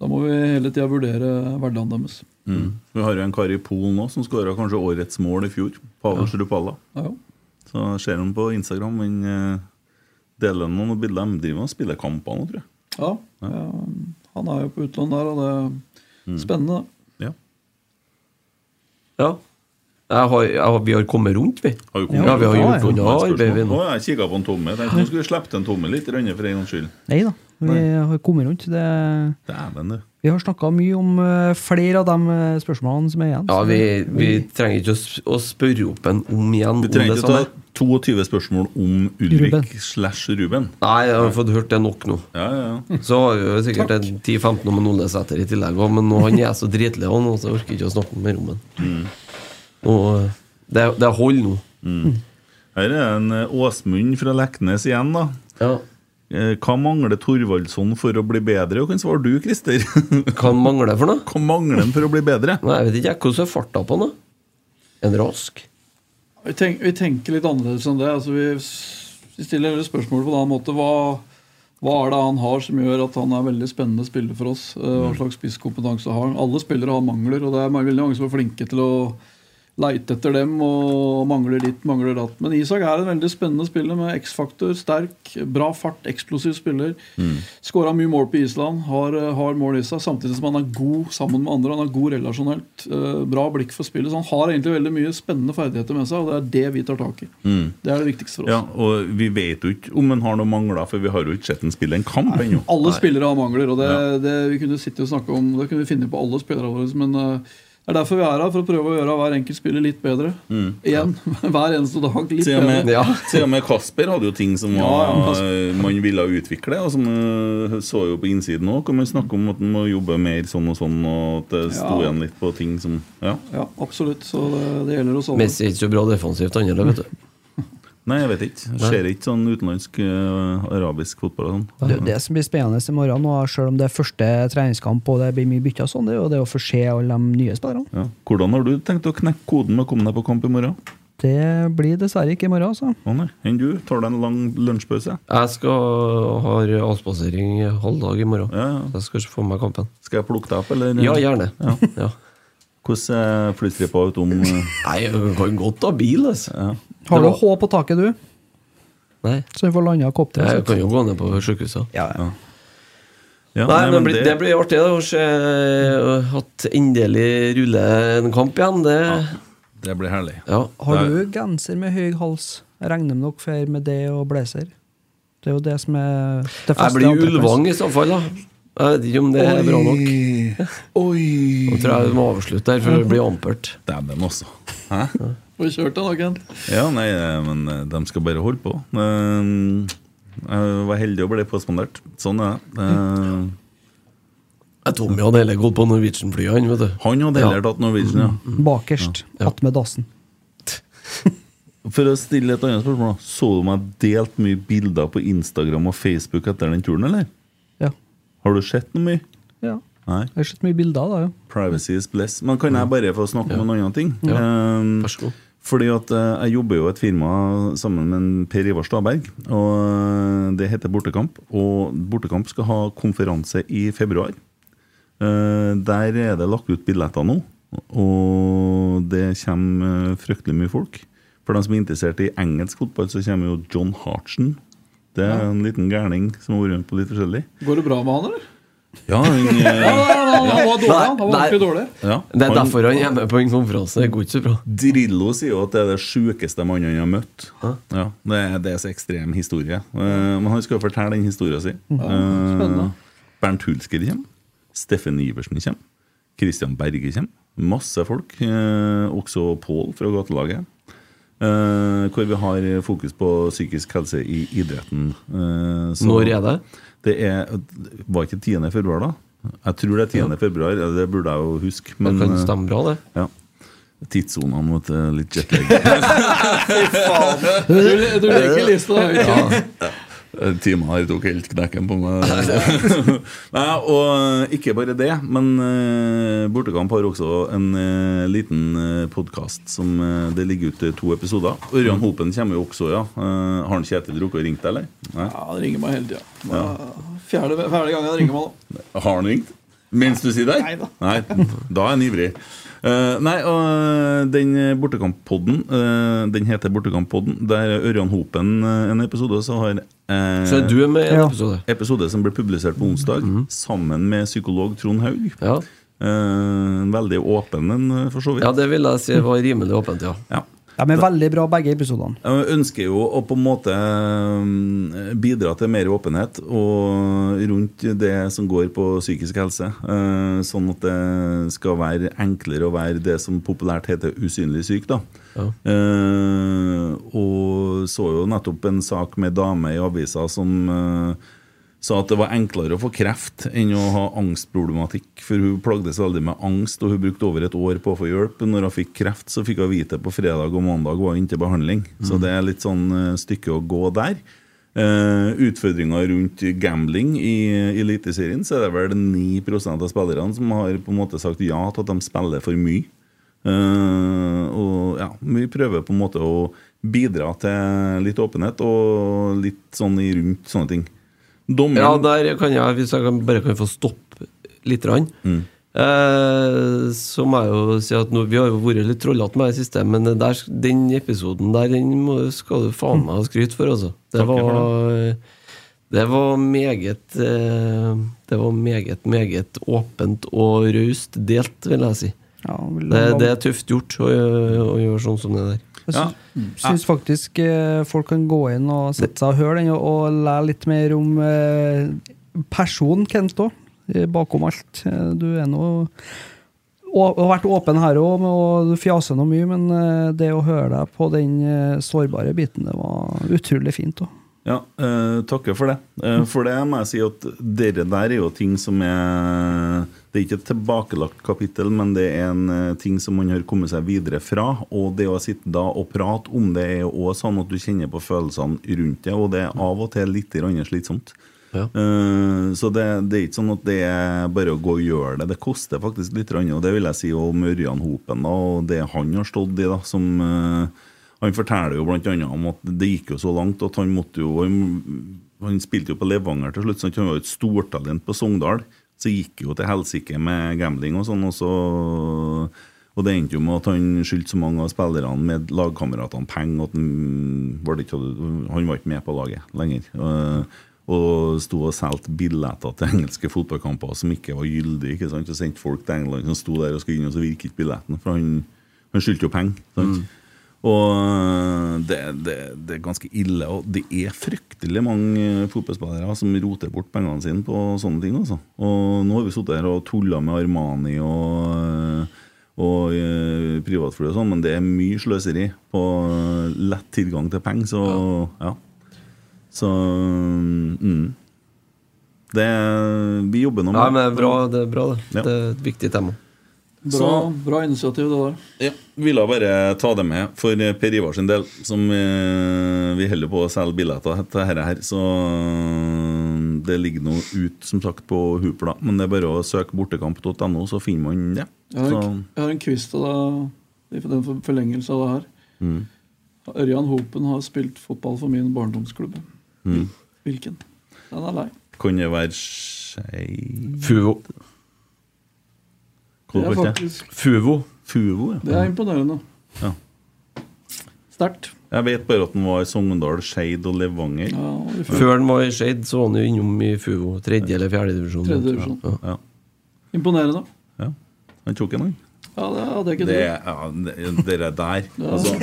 da må vi hele tida vurdere hverdagen deres.
Mm. Vi har jo en kar i Polen nå som skåra kanskje årets mål i fjor. Pavel Strupalla.
Ja, ja.
Så ser han på Instagram. Han eh, deler noen bilder. De driver og spiller kamper nå, tror jeg.
Ja, ja, han er jo på utlandet der, og det er spennende.
Ja.
Ja. Jeg har, jeg har, vi har kommet rundt, vi.
Har vi kommet
ja, vi har
rundt?
gjort unna arbeidet.
Å, jeg kikka på en Tommy. Jeg Tenkte nå skulle vi slippe til en Tommy litt Rønne, for en gangs skyld.
Nei da, vi har kommet rundt. Det,
Dæven, du.
vi har snakka mye om eh, flere av de eh, spørsmålene som er igjen.
Ja,
så
vi, vi trenger ikke å sp- å spørre opp en om igjen.
Vi
om
trenger
det
ikke å
samme.
ta 22 spørsmål om Ulrik
Ruben.
slash Ruben.
Nei, jeg har fått hørt det nok nå.
Ja, ja, ja.
Så har vi jo sikkert en 10-15 om en Olesæter i tillegg også, men nå han er så dritlei og nå, så jeg orker ikke å snakke mer om han.
Mm.
Og eh, det, det holder nå.
Her er en eh, Åsmund fra Leknes igjen, da.
Ja.
Eh, Hva mangler Thorvaldsson for å bli bedre? Og Hva svarer du, Christer? [LAUGHS]
Hva mangler for noe?
Hva mangler han for å bli bedre?
Nei, jeg vet ikke jeg. hvordan er farta på han, da? En rask?
Vi, tenk, vi tenker litt annerledes enn det. Altså, vi, s- vi stiller hele spørsmålet på en annen måte. Hva, hva er det han har som gjør at han er veldig spennende spiller for oss? Eh, Hva slags spisskompetanse har han? Alle spillere har mangler, og det er ma- veldig mange som er flinke til å leite etter dem og mangler ditt, mangler datt. Men Isak er en veldig spennende spiller med X-faktor. Sterk, bra fart, eksplosiv spiller. Mm. Skåra mye mål på Island, har, eh, har mål i seg. Samtidig som han er god sammen med andre. Han er god relasjonelt. eh, Bra blikk for spillet. Så han har egentlig veldig mye spennende ferdigheter med seg, og det er det vi tar tak i. Det er det viktigste for oss.
Ja, og Vi vet jo ikke om han har noen mangler, for vi har jo ikke sett han spille en kamp ennå.
Alle spillere har mangler, og det, det vi kunne sitte og snakke om Det kunne vi finne på alle spillere våre. Men eh, det er derfor vi er her, for å prøve å gjøre hver enkelt spiller litt bedre. Igjen. [LAUGHS] Hver eneste dag litt
Til og, med,
bedre.
Ja.
til og med Kasper hadde jo ting som
Ja, ja,
var,
Kasper.
man ville utvikle, og som eh, så jo på innsiden òg. Kan man snakke om at man må jobbe mer sånn og sånn, og at det sto
Ja.
igjen litt på ting som Ja.
Ja, absolutt. Så det, det gjelder oss alle.
Messi er ikke så bra defensivt, han heller, vet du.
Nei, jeg vet ikke. Jeg ser ikke sånn utenlandsk eh, arabisk fotball og sånn.
Det er jo det som blir spennende i morgen, og selv om det er første treningskamp og det blir mye bytter, og sånn, det er jo det å få se alle de nye spillerne.
Ja. Hvordan har du tenkt å knekke koden med å komme deg på kamp i morgen?
Det blir dessverre ikke i morgen, altså.
Å nei, Enn du? Tar deg en lang lunsjpause?
Jeg skal ha avspasering halv dag i morgen.
Ja, ja.
Så jeg skal ikke få med meg kampen.
Skal jeg plukke deg opp, eller?
Ja, gjerne.
Ja.
Ja.
Hvordan flytter på utom eh,
Nei, jeg kan godt ha bil, altså.
ja.
Har du
Det var-
H på taket, du?
Nei,
Så vi får landa
det
kopteret.
kan jo gå ned på sjukehuset.
Ja, ja.
Ja,
Nei, men blir- det blir artig da, å se eh, at endelig ruller en kamp igjen. Det,
det blir herlig.
ja.
Har
Nei.
du genser med høy hals? Jeg regner med dere fer med det og blazer. Det er jo det som er det
Jeg blir Ulvang i så fall, da. Jeg vet ikke om det er bra nok. Nå tror jeg vi må avslutte her, for det blir ampert.
Dæven også. Hæ?
Får vi kjørt det da, Kent?
Ja, nei, eh, men eh, de skal bare holde på. Eh, Jeg var heldig å bli påspandert. Sånn er det. Eh,
Jeg Tommy hadde heller gått på Norwegian-flyet, han, vet du.
Han hadde heller tatt Norwegian, ja.
Bakerst.
Ja.
Attmed dassen.
For å stille et annet spørsmål, da. så du meg delt mye bilder på Instagram og Facebook etter den turen, eller?
Ja.
Har du sett noe mye?
ja.
Nei.
Jeg har sett mye bilder av det, jo.
Privacy is bliss. Men kan jeg bare få snakke om en annen ting?
Mm. Ja.
Eh,
Vær så god.
Fordi at eh, jeg jobber jo i et firma sammen med en Per Ivar Staberg. Og eh, det heter Bortekamp. Og Bortekamp skal ha konferanse i februar. Eh, Der er det lagt ut billetter nå, og det kommer eh, fryktelig mye folk. For de som er interessert i engelsk fotball, så kommer jo John Hartsen. Det er en liten gærning som har vært rundt på litt forskjellig.
Går det bra med han, eller?
Ja, han, eh,
Ja, han, han, han var dårlig, han. Han var
Nei.
ordentlig dårlig.
[LAUGHS] ja,
Det er
han-
derfor han er med på en konferanse. Det går ikke så bra.
Drillo sier jo at det er det sjukeste mannen han har møtt. Ja, det, er, det er så ekstrem historie. Eh, men han skal jo fortelle den historien sin.
spennende.
Eh, Bernt Hulsker kommer. Steffen Iversen kommer. Christian Berge kommer. Masse folk. eh, også Pål fra gatelaget. Eh, hvor vi har fokus på psykisk helse i idretten. Eh, så-
Når er det?
det er, var ikke 10. februar, da? Jeg tror det er 10. februar, ja, det burde jeg jo huske.
Det
Men,
kan
eh,
stemme bra, det.
ja. Tidssonene mot eh,
[LAUGHS]
litt jetlag.
Du, du legger lista høyt.
Den timen her Eh, tok helt knekken på meg. [LAUGHS] Nei, og ikke bare det, men eh, Bortekamp har også en eh, liten uh, podkast som eh, det ligger ut to episoder.
Mm.
Ørjan Hopen kommer jo også, ja. Eh, har han Kjetil drukket og ringt, eller? Nei?
Ja, det ringer meg hele tida. Fjerde, fjerde gangen det ringer meg nå.
Har han ringt? Mens du sitter der?
Nei da.
Nei, da er han ivrig. Eh, nei, og eh, den Bortekamp-podden, eh, den heter Bortekamp-podden. Der er Ørjan Hopen eh, en episode, og så har eh,
Så er du med i en
Ja.
episode.
episode som ble publisert på onsdag, sammen med psykolog Trond Haug.
Ja.
Eh, en veldig åpen en, eh, for så vidt.
ja, det vil jeg si var rimelig åpent, ja.
Ja.
De er veldig bra, begge episodene.
Jeg ønsker jo å på en måte eh, bidra til mer åpenhet og rundt det som går på psykisk helse. eh, Sånn at det skal være enklere å være det som populært heter usynlig syk. da.
Ja.
Eh, Og så jo nettopp en sak med ei dame i avisa som eh, sa at det var enklere å få kreft enn å ha angstproblematikk. For hun plagdes veldig med angst, og hun brukte over et år på å få hjelp. Når hun fikk kreft, så fikk hun vite på fredag og mandag var hun inne til behandling. Så det er litt sånn eh, stykke å gå der. Eh, utfordringer rundt gambling i Eliteserien, så er det vel 9 av spillerne som har på en måte sagt ja til at de spiller for mye. Eh, og ja, vi prøver på en måte å bidra til litt åpenhet og litt sånn i rundt sånne ting. Dommeren
Ja, der kan jeg, hvis jeg kan, bare kan få stoppe litt rann, eh, så må jeg jo si at nå, vi har jo vært litt trollete med det siste, men det der, den episoden der den må, skal du faen meg ha skryt for, altså. Det
for
var, det var meget eh, Det var meget, meget åpent og raust delt, vil jeg si.
Ja,
Det, det er tøft gjort å, gjø- å gjøre sånn som det der.
Jeg
Ja.
syns, syns faktisk eh, folk kan gå inn og sette seg og høre den, og, og lære litt mer om eh, personen Kent òg, bakom alt. Eh, Du er nå og har vært åpen her òg, og du fjaser nå mye, men eh, det å høre deg på den eh, sårbare biten, det var utrolig fint òg.
Ja, eh, takker for det. Eh, for det må jeg si at dere der er jo ting som er Det er ikke et tilbakelagt kapittel, men det er en eh, ting som man har kommet seg videre fra. Og det å sitte da og prate om det er jo også sånn at du kjenner på følelsene rundt det, og det er av og til litt grann slitsomt.
Ja.
Eh, så det, det er ikke sånn at det er bare å gå og gjøre det. Det koster faktisk litt, grann, og det vil jeg si om Ørjan Hopen da, og det han har stått i, da, som eh, han forteller jo blant annet om at det gikk jo så langt at han måtte jo Han, han spilte jo på Levanger til slutt, så han var jo et stortalent på Sogndal. Så gikk jo til helsike med gambling og sånn, og så Og det endte jo med at han skyldte så mange av spillerne med lagkameratene penger at han mm, var, det ikke, han var ikke med på laget lenger. Eh, Og sto og solgte billetter til engelske fotballkamper som ikke var gyldige. ikke sant? Og sendte folk til England som sto der og skulle inn, og så virket ikke billetten. For han, han skyldte jo penger. sant? Og eh, det, det, det er ganske ille. Og det er fryktelig mange eh, fotballspillere som roter bort pengene sine på sånne ting. Altså. Og nå har vi sittet her og tulla med Armani og, og eh, privatfly og sånn, men det er mye sløseri på eh, lett tilgang til penger, så ja. Så mm. Det Vi jobber nå
Nei, men det er bra, det. er bra det.
Ja.
det er et viktig tema.
Bra,
Så-
bra initiativ, det der.
Ja, ville bare ta det med for eh, Per Ivar sin del, som eh, vi holder på å selge billetter til dette her. Så eh, det ligger nå ut som sagt på Hupla, men det er bare å søke bortekamp.no, så finner man det.
Jeg har
Så,
en, jeg har en quiz til deg i den for- forlengelse av det her.
mm.
Ørjan Hopen har spilt fotball for min barndomsklubb. Hvilken? Den er lei.
mm, Kan det være Skei...
Fuvo.
Det er,
Hvor var det?
faktisk,
Fuvo.
Fuvo,
det
ja.
er imponerende.
Ja.
Sterkt.
Jeg vet bare at den var i Sogndal, Skeid og Levanger.
Ja, vi får-
Før han var i Skeid, så var han jo innom i Fuvo. Tredje eller fjerde divisjon.
Tredje divisjon.
Ja.
Ja,
imponerende.
ja. Han tok en, han.
Ja, det hadde jeg ikke
Det,
trodd.
ja, det- det der der altså,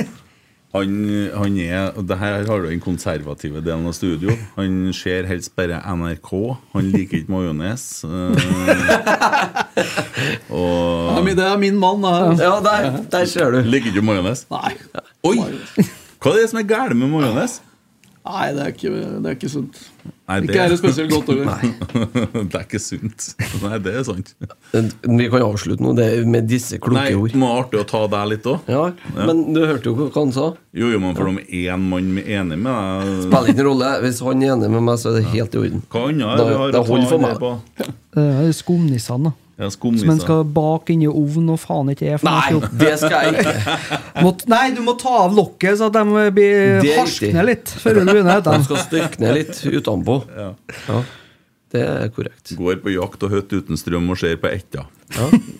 han, han er og det Her har du den konservative delen av studio. Han ser helst bare NRK. Han liker ikke
[LAUGHS]
majones. eh, og
Ja, men Det er min mann, det her.
Ja, der, der ser du.
Liker ikke majones.
Nei.
Oi! Hva er det som er galt med majones?
Nei, det er ikke, det er ikke sunt.
Nei,
Ikke er det spesielt godt [LAUGHS] heller.
[LAUGHS] det er ikke sunt. Nei, det er sant.
Vi kan avslutte nå det er med disse
Nei,
kloke ord.
må være artig å ta deg litt òg.
Ja, Men du hørte jo hva han sa.
Jo, jo, men for om én mann er enig med deg
Spiller ingen rolle. Hvis han er enig med meg, så er det helt i orden.
Hva annet er
Da-
det vi har
da
å ta
holder for
andre
meg.
på?
Eh, Skumnissene, da.
Ja,
Som en
Skumnisser.
skal bake inni ovnen og faen ikke er. for
Nei,
noe.
det skal jeg ikke.
Må, nei, du må ta av lokket, så at de blir
Det er
harskne
riktig.
litt. Før du begynner
De
etter.
[LAUGHS] skal styrke ned litt utenpå. Ja, det er korrekt.
Går på jakt og hytte uten strøm og ser på etta.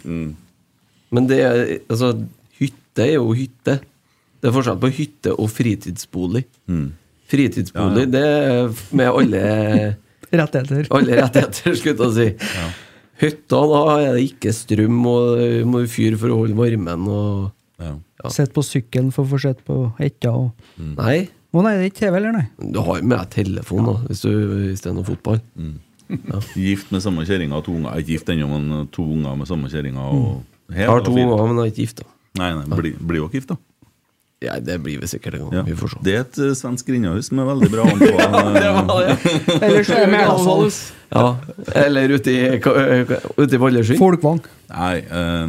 Men det er altså Hytte er jo hytte. Det er forskjell på hytte og fritidsbolig.
Mm.
Fritidsbolig, det er med alle
Rettigheter.
Alle rettigheter, skulle jeg til å si. Hytta, da er det ikke strøm, og du må fyre for å holde varmen og
Ja.
Sitt på sykkelen for å få sett på etta og
Mm.
Nei,
Å nei, det er ikke TV, eller? nei?
du har jo med deg telefon da, hvis du hvis det er noe fotball.
Gift med samme kjerringa og to unger. Ikke gift ennå, men to unger med samme kjerringa. og- Helt
Jeg Mm. har to
fint.
unger, men jeg er ikke gift, da.
Nei, nei, bli- blir jo ikke gift, da.
Ja, det blir vi sikkert en gang.
Ja.
Vi får se.
Det er et eh, svensk grindehus som er veldig bra. anbefalt.
[LAUGHS]
Ellers er det Meldalshallen.
Ja, Eller ute i, ute i Vallersund.
Folkvang.
Nei, eh,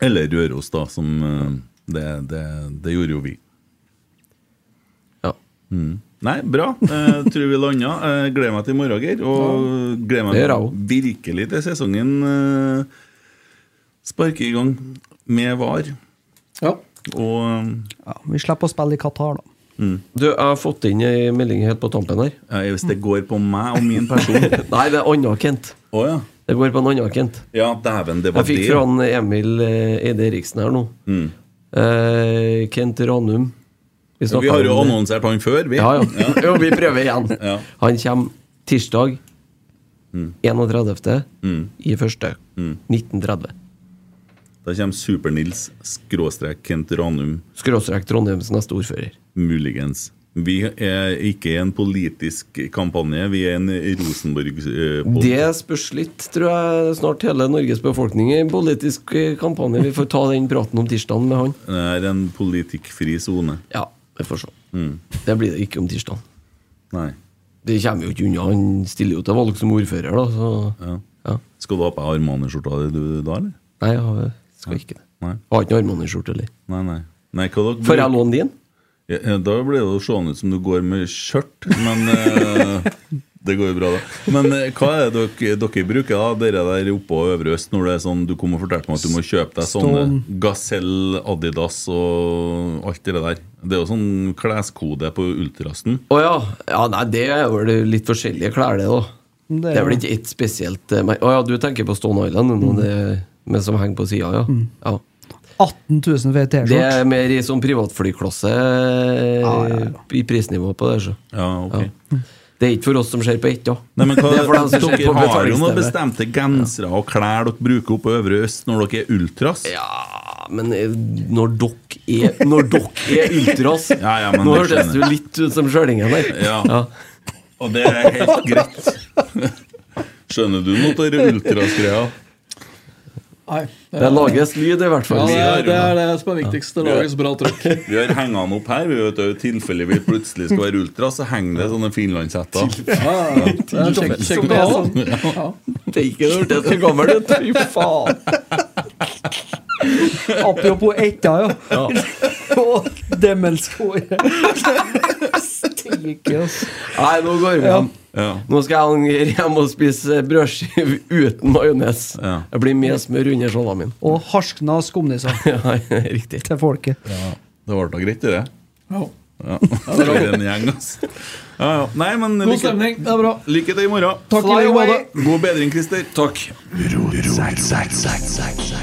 eller Røros, da, som eh, det, det, det gjorde jo vi.
Ja.
Nei, bra. Eh, tror vi landa. Eh, gleder meg til i morgen, Geir. Og gleder
Det gjør
meg
jeg også.
virkelig til sesongen eh, sparker i gang med VAR.
Ja.
Og eh,
Ja, vi slipper å spille i Qatar, da.
Du, jeg har fått inn ei melding helt på tampen her.
eh, hvis det går på meg og min person
[LAUGHS]
Å
Nei, det er anna Kent.
ja.
Det går på en annen Kent.
Ja, dæven, det var
Jeg
det. Mm.
fikk fra han Emil eh, Eide Eriksen her nå. Eh, Kent Ranum. Vi,
Vi har jo
om det.
annonsert han før, vi.
Ja, ja. [LAUGHS] jo, vi prøver igjen.
Ja. Mm.
Han kommer tirsdag 31. i første. 1930.
Da kommer Super-Nils skråstrek Kent Ranum.
Skråstrek Trondheims neste ordfører.
Muligens. Vi er ikke en politisk kampanje, vi er en eh, Rosenborg-podkast.
Det spørs litt, tror jeg, snart hele Norges befolkning i en politisk eh, kampanje. Vi får ta den praten om tirsdagen med han.
Det er en politikkfri sone.
Ja, vi får se. Det blir det ikke om tirsdagen.
Nei.
Det kommer jo ikke unna. Han stiller jo til valg som ordfører, da. Så
Ja.
ja.
Skal du ha på Armani-skjorta di du da, eller?
Nei, jeg har- skal ikke det.
Nei.
Jeg har ikke noen Armani-skjorte heller.
Nei, nei. nei hva dere
Får
bruker-
jeg låne din?
Ja, ja, da blir det jo seende ut som du går med skjørt, men eh, Det går jo bra, da. Men eh, hva er det dere, dere bruker, da, dere der oppe og øvre øst, når det er sånn du kom og fortalte meg at du må kjøpe deg sånne Gazelle, Adidas og alt det der? Det er jo sånn kleskode på Ultrasten.
Å ja. ja. Nei, det er vel litt forskjellige klær, det, da.
Det
Det
er
er vel
jo-
ikke ett spesielt eh, mer- Å ja, du tenker på Stone Island,
Mm.
nå, det, men som henger på sida, ja. ja.
18 000 for ei
Det
T-skjorte.
er mer i sånn privatflyklasse eh,
Ja, ja, ja.
i prisnivå på det. Så.
Ja, ok.
Det er ikke for oss som ser på ett, da.
Mm. Nei, men hva,
[LAUGHS] det er for dem som ser
dere
på
har jo noen
betalingsstedet.
bestemte gensere og klær dere bruker oppe på Øvre Øst når dere er ultras.
Ja, men eh, når dere er Når dere er ultras
[LAUGHS] Ja, ja, men
Nå
det skjønner
hørtes du
jeg.
litt ut som sjølingen der.
Ja. Og det er helt greit. Skjønner du noe av det ultras-greia?
Nei, det
Det
er,
lages lyd, i hvert
ja,
fall.
det, er, det er det som er viktigst. Det lages bra trykk. [LAUGHS]
Vi har hengt den opp her. Vi vet jo I tilfelle vi plutselig skal være ultras, så henger det sånne finlandshetter.
Ja, ja, ja. Det er kjekt- kjekt å ha. Ja.
Det er ikke det hørtes så gammel ut. Fy
sånn.
faen.
[LAUGHS] Apropos etta, ja. [LAUGHS] Og [LAUGHS] demenskoret. Steike, altså.
Nei, nå går vi hjem.
Ja.
Nå skal jeg angre hjem og spise brødskive uten majones.
Ja.
Det blir mer smør under salamien.
Og harskna skumnisser
[LAUGHS] Ja, riktig.
til folket.
Det ble da greit, det.
Ja.
Ja. Det blir en gjeng, altså. Ja, ja. Nei, men
God
lykke,
stemning. Det er bra.
lykke til i morgen.
Takk i like måte.
God bedring, Christer. Takk.
Zack, zack, zack, zack, zack.